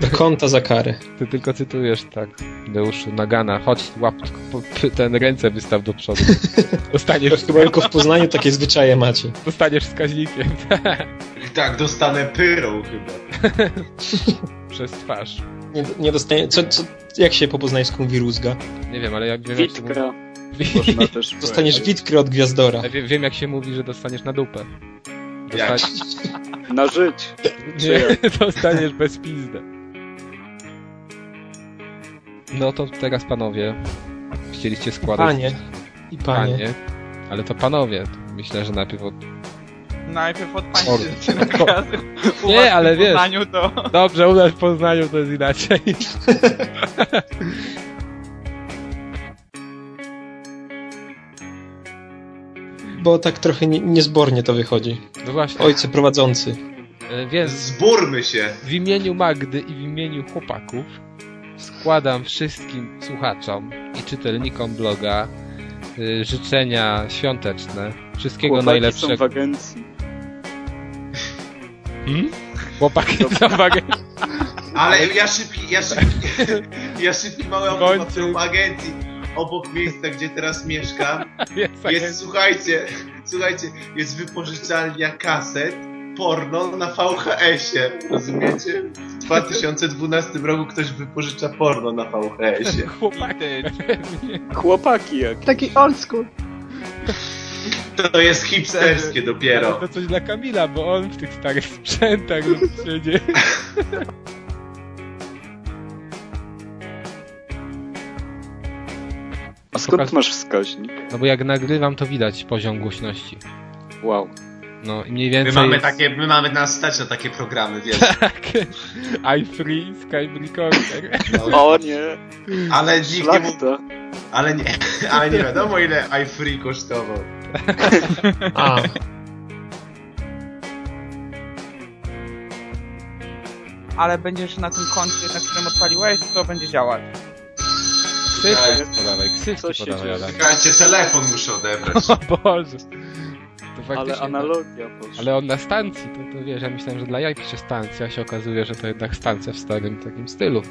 C: Do konta za karę.
A: Ty tylko cytujesz tak. Deuszu, Nagana, chodź, łap p- p- ten ręce wystaw
C: <laughs>
A: do przodu. Dostaniesz...
C: Chyba tylko w Poznaniu takie zwyczaje macie.
A: Dostaniesz wskaźnikiem.
B: Tak, dostanę pyrą chyba.
A: Przez twarz.
C: Nie, nie dostanie... Co, co, jak się po poznańsku mówi rózga?
A: Nie wiem, ale ja wiem jak się
C: Witka.
A: mówi...
C: Można też Dostaniesz witkę od gwiazdora.
A: Ja wie, wiem jak się mówi, że dostaniesz na dupę. Dostaniesz...
J: <laughs> Na żyć.
A: <laughs> Nie, dostaniesz bez pizdy. No to teraz panowie, chcieliście składać...
C: Panie. I panie.
A: Ale to panowie, to myślę, że najpierw od...
X: Najpierw od
A: Or-
X: pańszczyzny
A: Ko-
X: nakazy. U was
A: Nie, ale
X: w
A: wiesz...
X: Poznaniu to...
A: Dobrze, u nas w Poznaniu to jest inaczej. <laughs>
C: Bo tak trochę nie, niezbornie to wychodzi.
A: No właśnie.
C: Ojcze prowadzący.
A: E, Więc
B: zburmy się.
A: W imieniu Magdy i w imieniu chłopaków składam wszystkim słuchaczom i czytelnikom bloga y, życzenia świąteczne. Wszystkiego
J: Chłopaki
A: najlepszego.
J: są w agencji.
A: Hmm? Chłopaki
J: <laughs>
A: są w agencji.
B: Ale ja szybki, ja szybki, <laughs> ja szybki mały obywatelom agencji. Obok miejsca, gdzie teraz <laughs> mieszkam,
A: tak jest,
B: Tak słuchajcie, słuchajcie, jest wypożyczalnia kaset porno na VHS-ie. Rozumiecie? W 2012 roku ktoś wypożycza porno na <laughs> VHS-ie.
J: Chłopaki jak.
V: Taki old school.
B: To jest hipsterskie dopiero.
A: To coś dla Kamila, bo on w tych starych sprzętach lub siedzi.
J: A skąd masz wskaźnik?
A: No bo jak nagrywam, to widać poziom głośności.
J: Wow.
A: No i mniej
B: My
A: więcej.
B: mamy
A: jest...
B: takie, my mamy nas stać na takie programy,
A: <laughs>
B: wiesz.
A: I free Skype Recorder.
J: O nie.
B: no. Ale nikt nie mówi,
J: Szlachta.
B: ale nie, <laughs> ale nie wiadomo ile iFree kosztował.
C: A.
X: Ale będziesz na tym koncie, na którym odpaliłeś, to będzie działać.
A: Ksywki podawaj, ksywki
X: Co się
A: podawaj.
X: dzieje?
A: Adam.
B: Czekajcie, telefon muszę
A: <laughs>
B: odebrać.
A: O Boże. To faktycznie
J: Ale
A: tak.
J: analogia poszła.
A: Ale on na stacji, to, to wiesz, ja myślałem, że dla jaj pisze stacja, a się okazuje, że to jednak stacja w starym takim stylu.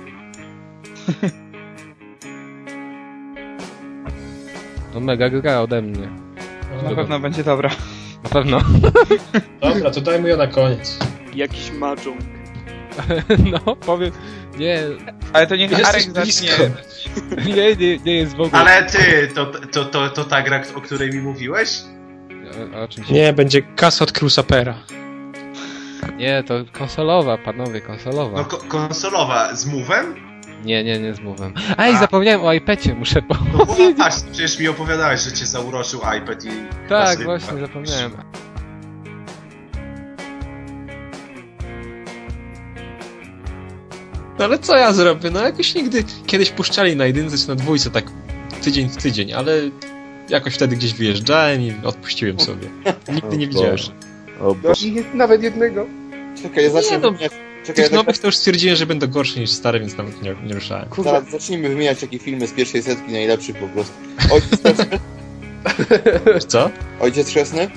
A: <laughs> No mega gra ode mnie.
X: Na pewno będzie dobra.
A: Na pewno.
C: Dobra, to dajmy ją na koniec.
J: Jakiś mahjong.
A: <laughs> No, powiem, nie,
X: Ale to niech
A: Jesteś
X: Arek
A: blisko.
X: zacznie.
A: nie, nie, nie jest w ogóle.
B: Ale ty, to, to, to, to ta gra, o której mi mówiłeś?
A: A- a o czym się-
C: Nie, będzie kas od Krusapera.
A: Nie, to konsolowa, panowie, konsolowa.
B: No ko konsolowa, z mówem?
A: Nie, nie, nie z mówem. Ej, zapomniałem o iPadzie, muszę po... <laughs>
B: No bo właśnie, przecież mi opowiadałeś, że cię zauroczył iPad i...
A: Tak,
B: nasypa.
A: właśnie, zapomniałem.
C: No ale co ja zrobię? No jakoś nigdy... Kiedyś puszczali na jedynce czy na dwójce tak tydzień w tydzień, ale jakoś wtedy gdzieś wyjeżdżałem i odpuściłem sobie. Nigdy nie widziałem.
H: No,
D: O Boże.
F: Nawet jednego.
H: Czekaj, ja zacznę.
C: Nie, no,
H: wymieniać- Czekaj,
C: Tych
H: ja tak,
C: nowych to już stwierdziłem, że będą gorsze niż stare, więc nawet nie, nie ruszałem.
H: zaraz zacznijmy wymieniać takie filmy z pierwszej setki najlepszych po prostu. Ojciec chrzestny?
C: Co?
H: Ojciec chrzestny?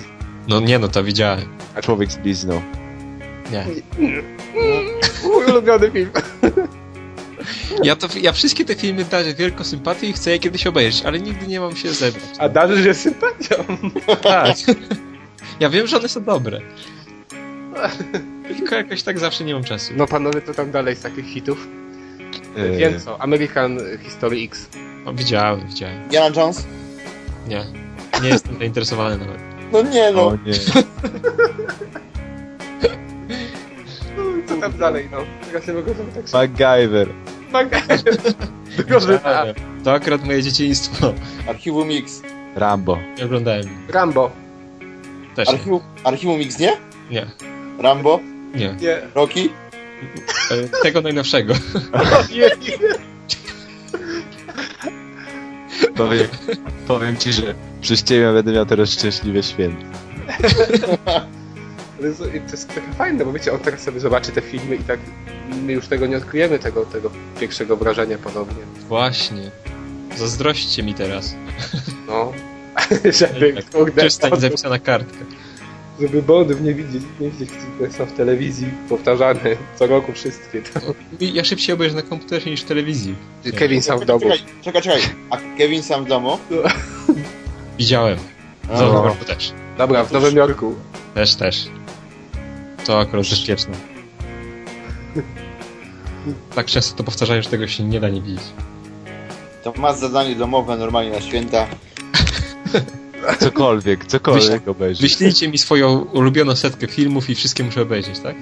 C: No nie, no to widziałem.
D: A człowiek z blizną.
C: Nie.
F: Mój ulubiony film.
C: Ja, to, ja wszystkie te filmy darzę wielką sympatię i chcę je kiedyś obejrzeć, ale nigdy nie mam się zebrać.
F: A darzysz się sympatią.
C: Tak. Ja wiem, że one są dobre. Tylko jakoś tak zawsze nie mam czasu.
F: No panowie, co tam dalej z takich hitów?
C: Yy.
F: Wiem co, American History X.
C: O, widziałem, widziałem.
H: Diana Jones?
C: Nie. Nie jestem zainteresowany nawet.
H: No nie no.
D: nie.
F: Co tam dalej, no? Teraz nie mogę sobie tak
D: MacGyver.
F: Dobrze.
C: To akurat moje dzieciństwo.
H: Archiwum X.
D: Rambo.
C: Nie oglądałem.
F: Rambo.
C: Też nie.
E: Archiwum, Archiwum X nie?
C: Nie.
E: Rambo?
C: Nie.
E: Nie. Rocky?
C: E, Tego najnowszego.
D: Powiem, powiem ci, że przez ciebie będę miał teraz szczęśliwe święto.
F: Ale z- i To jest taka fajne, bo wiecie, on teraz sobie zobaczy te filmy i tak my już tego nie odkryjemy, tego, tego pierwszego wrażenia podobnie.
C: Właśnie. Zazdrośćcie mi teraz.
F: No. <laughs> Żeby, kurde,
C: Przestań tak zapisana kartka.
F: żeby bondów nie widzieć, nie widzieć, które są w telewizji powtarzane <laughs> co roku wszystkie. Tam.
C: I Ja szybciej obejrzę na komputerze niż w telewizji.
F: Kevin sam w domu.
E: Czekaj, czekaj, czekaj. A Kevin sam w domu?
C: Widziałem.
E: A.
C: W Nowym Jorku też.
F: Dobra, w Nowym Jorku.
C: Też, też. To akurat bezpieczne. Tak często to powtarzają, że tego się nie da nie widzieć.
E: To masz zadanie domowe normalnie na święta.
D: Cokolwiek, cokolwiek obejrzysz.
C: Wyślijcie mi swoją ulubioną setkę filmów i wszystkie muszę obejrzeć, tak?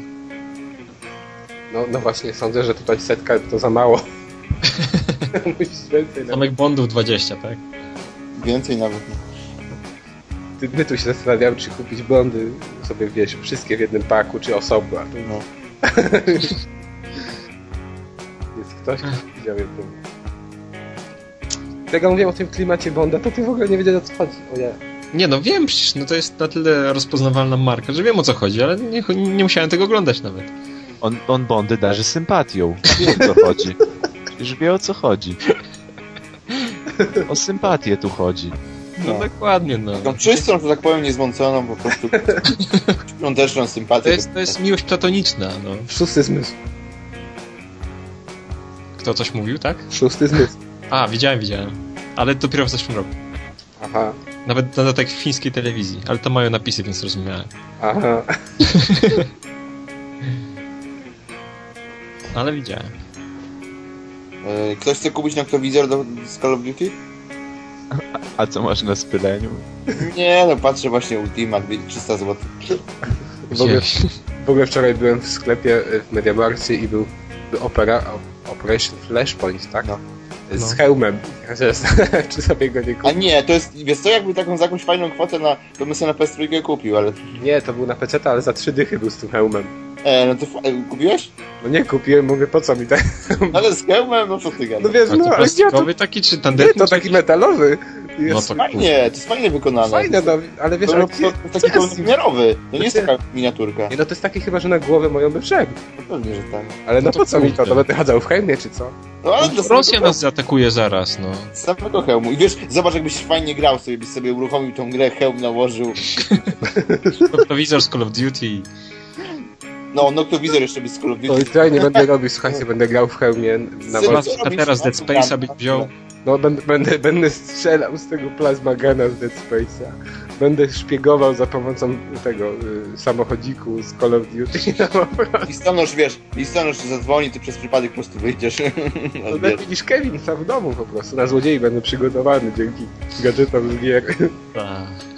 F: No, no właśnie, sądzę, że tutaj setka to za mało.
C: <laughs>
F: Musisz więcej no. na...
C: Tomek Bondów 20, tak?
E: Więcej nawet.
F: Ty- My tu się zastanawiamy, czy kupić bondy sobie, wiesz, wszystkie w jednym paku, czy osobno. a tu- Jest ktoś, kto widział jednym. Tego mówię o tym klimacie Bonda, to ty w ogóle nie wiedziałeś o co chodzi. O ja.
C: Nie no, wiem przecież, no to jest na tyle rozpoznawalna marka, że wiem o co chodzi, ale nie, nie musiałem tego oglądać nawet.
D: On, on Bondy darzy sympatią. Wie o co chodzi. Już wie o co chodzi. O sympatię tu chodzi.
C: No, dokładnie, no.
E: Tą czystą, że tak powiem, niezmąconą po prostu. <laughs> Świąteczną sympatię.
C: To jest, to jest miłość platoniczna, no.
F: Szósty zmysł.
C: Kto coś mówił, tak?
F: Szósty zmysł.
C: A, widziałem, widziałem. Ale dopiero w zeszłym roku.
F: Aha.
C: Nawet na dodatek w fińskiej telewizji, ale tam mają napisy, więc zrozumiałem.
F: Aha.
C: <laughs> Ale widziałem.
E: E, Ktoś chce kupić noktowizor do z Call of Duty?
D: A co masz na spyleniu?
E: Nie, no patrzę właśnie Ultimate, wie- 300 zł.
F: W ogóle, w ogóle wczoraj byłem w sklepie y, w Mediamarkcie i był był opera, o- Operation Flashpoint, tak? Z
E: No.
F: hełmem. <laughs> Czy sobie go nie kupić?
E: A nie, to jest, wiesz co, jakby taką za jakąś fajną kwotę na, to bym sobie na PS3 kupił, ale...
F: Nie, to był na PC, ale za trzy dychy był z tym hełmem.
E: E, no to fa- e, kupiłeś?
F: No nie kupiłem, mówię, po co mi ten
E: No ale z hełmem, no co ty gadasz?
F: No wiesz,
E: A to
F: no, ale ja to...
E: plastikowy
C: taki czy
F: Nie, to taki metalowy. Jest
E: No to fajnie, to jest fajnie wykonane.
F: Fajne, no, ale wiesz,
E: To-
F: ale
E: to-
F: gdzie-
E: to taki pełnowymiarowy, to nie jest taka miniaturka.
F: Nie, no to jest taki chyba, że na głowę moją by wszedł.
E: Pewnie, że tak.
F: Ale no,
E: No to
F: po co mi to?
E: kurde.
F: To będę chadzał w hełmie, czy co?
E: No ale do
C: Rosja
E: samego,
C: nas zaatakuje zaraz, no.
E: z samego hełmu. I wiesz, zobacz jakbyś fajnie grał sobie, byś sobie uruchomił tą grę, hełm nałożył.
C: Prowizor z Call of Duty.
E: No, noktowizor jeszcze by z Call of Duty.
F: To i ja nie będę robił, słuchajcie, będę grał w hełmie na
E: Synu,
F: was.
E: co robisz? A teraz Dead Space'a byś wziął?
F: No, będę, będę, będę strzelał z tego plazmagana z Dead Space'a. Będę szpiegował za pomocą tego y, samochodziku z Call of Duty. No,
E: Listonosz, wiesz, listonosz zadzwoni, ty przez przypadek po prostu wyjdziesz. <laughs>
F: to lepiej niż Kevin sam w domu po prostu. Na złodziei będę przygotowany dzięki gadżetom z gier.
C: Tak.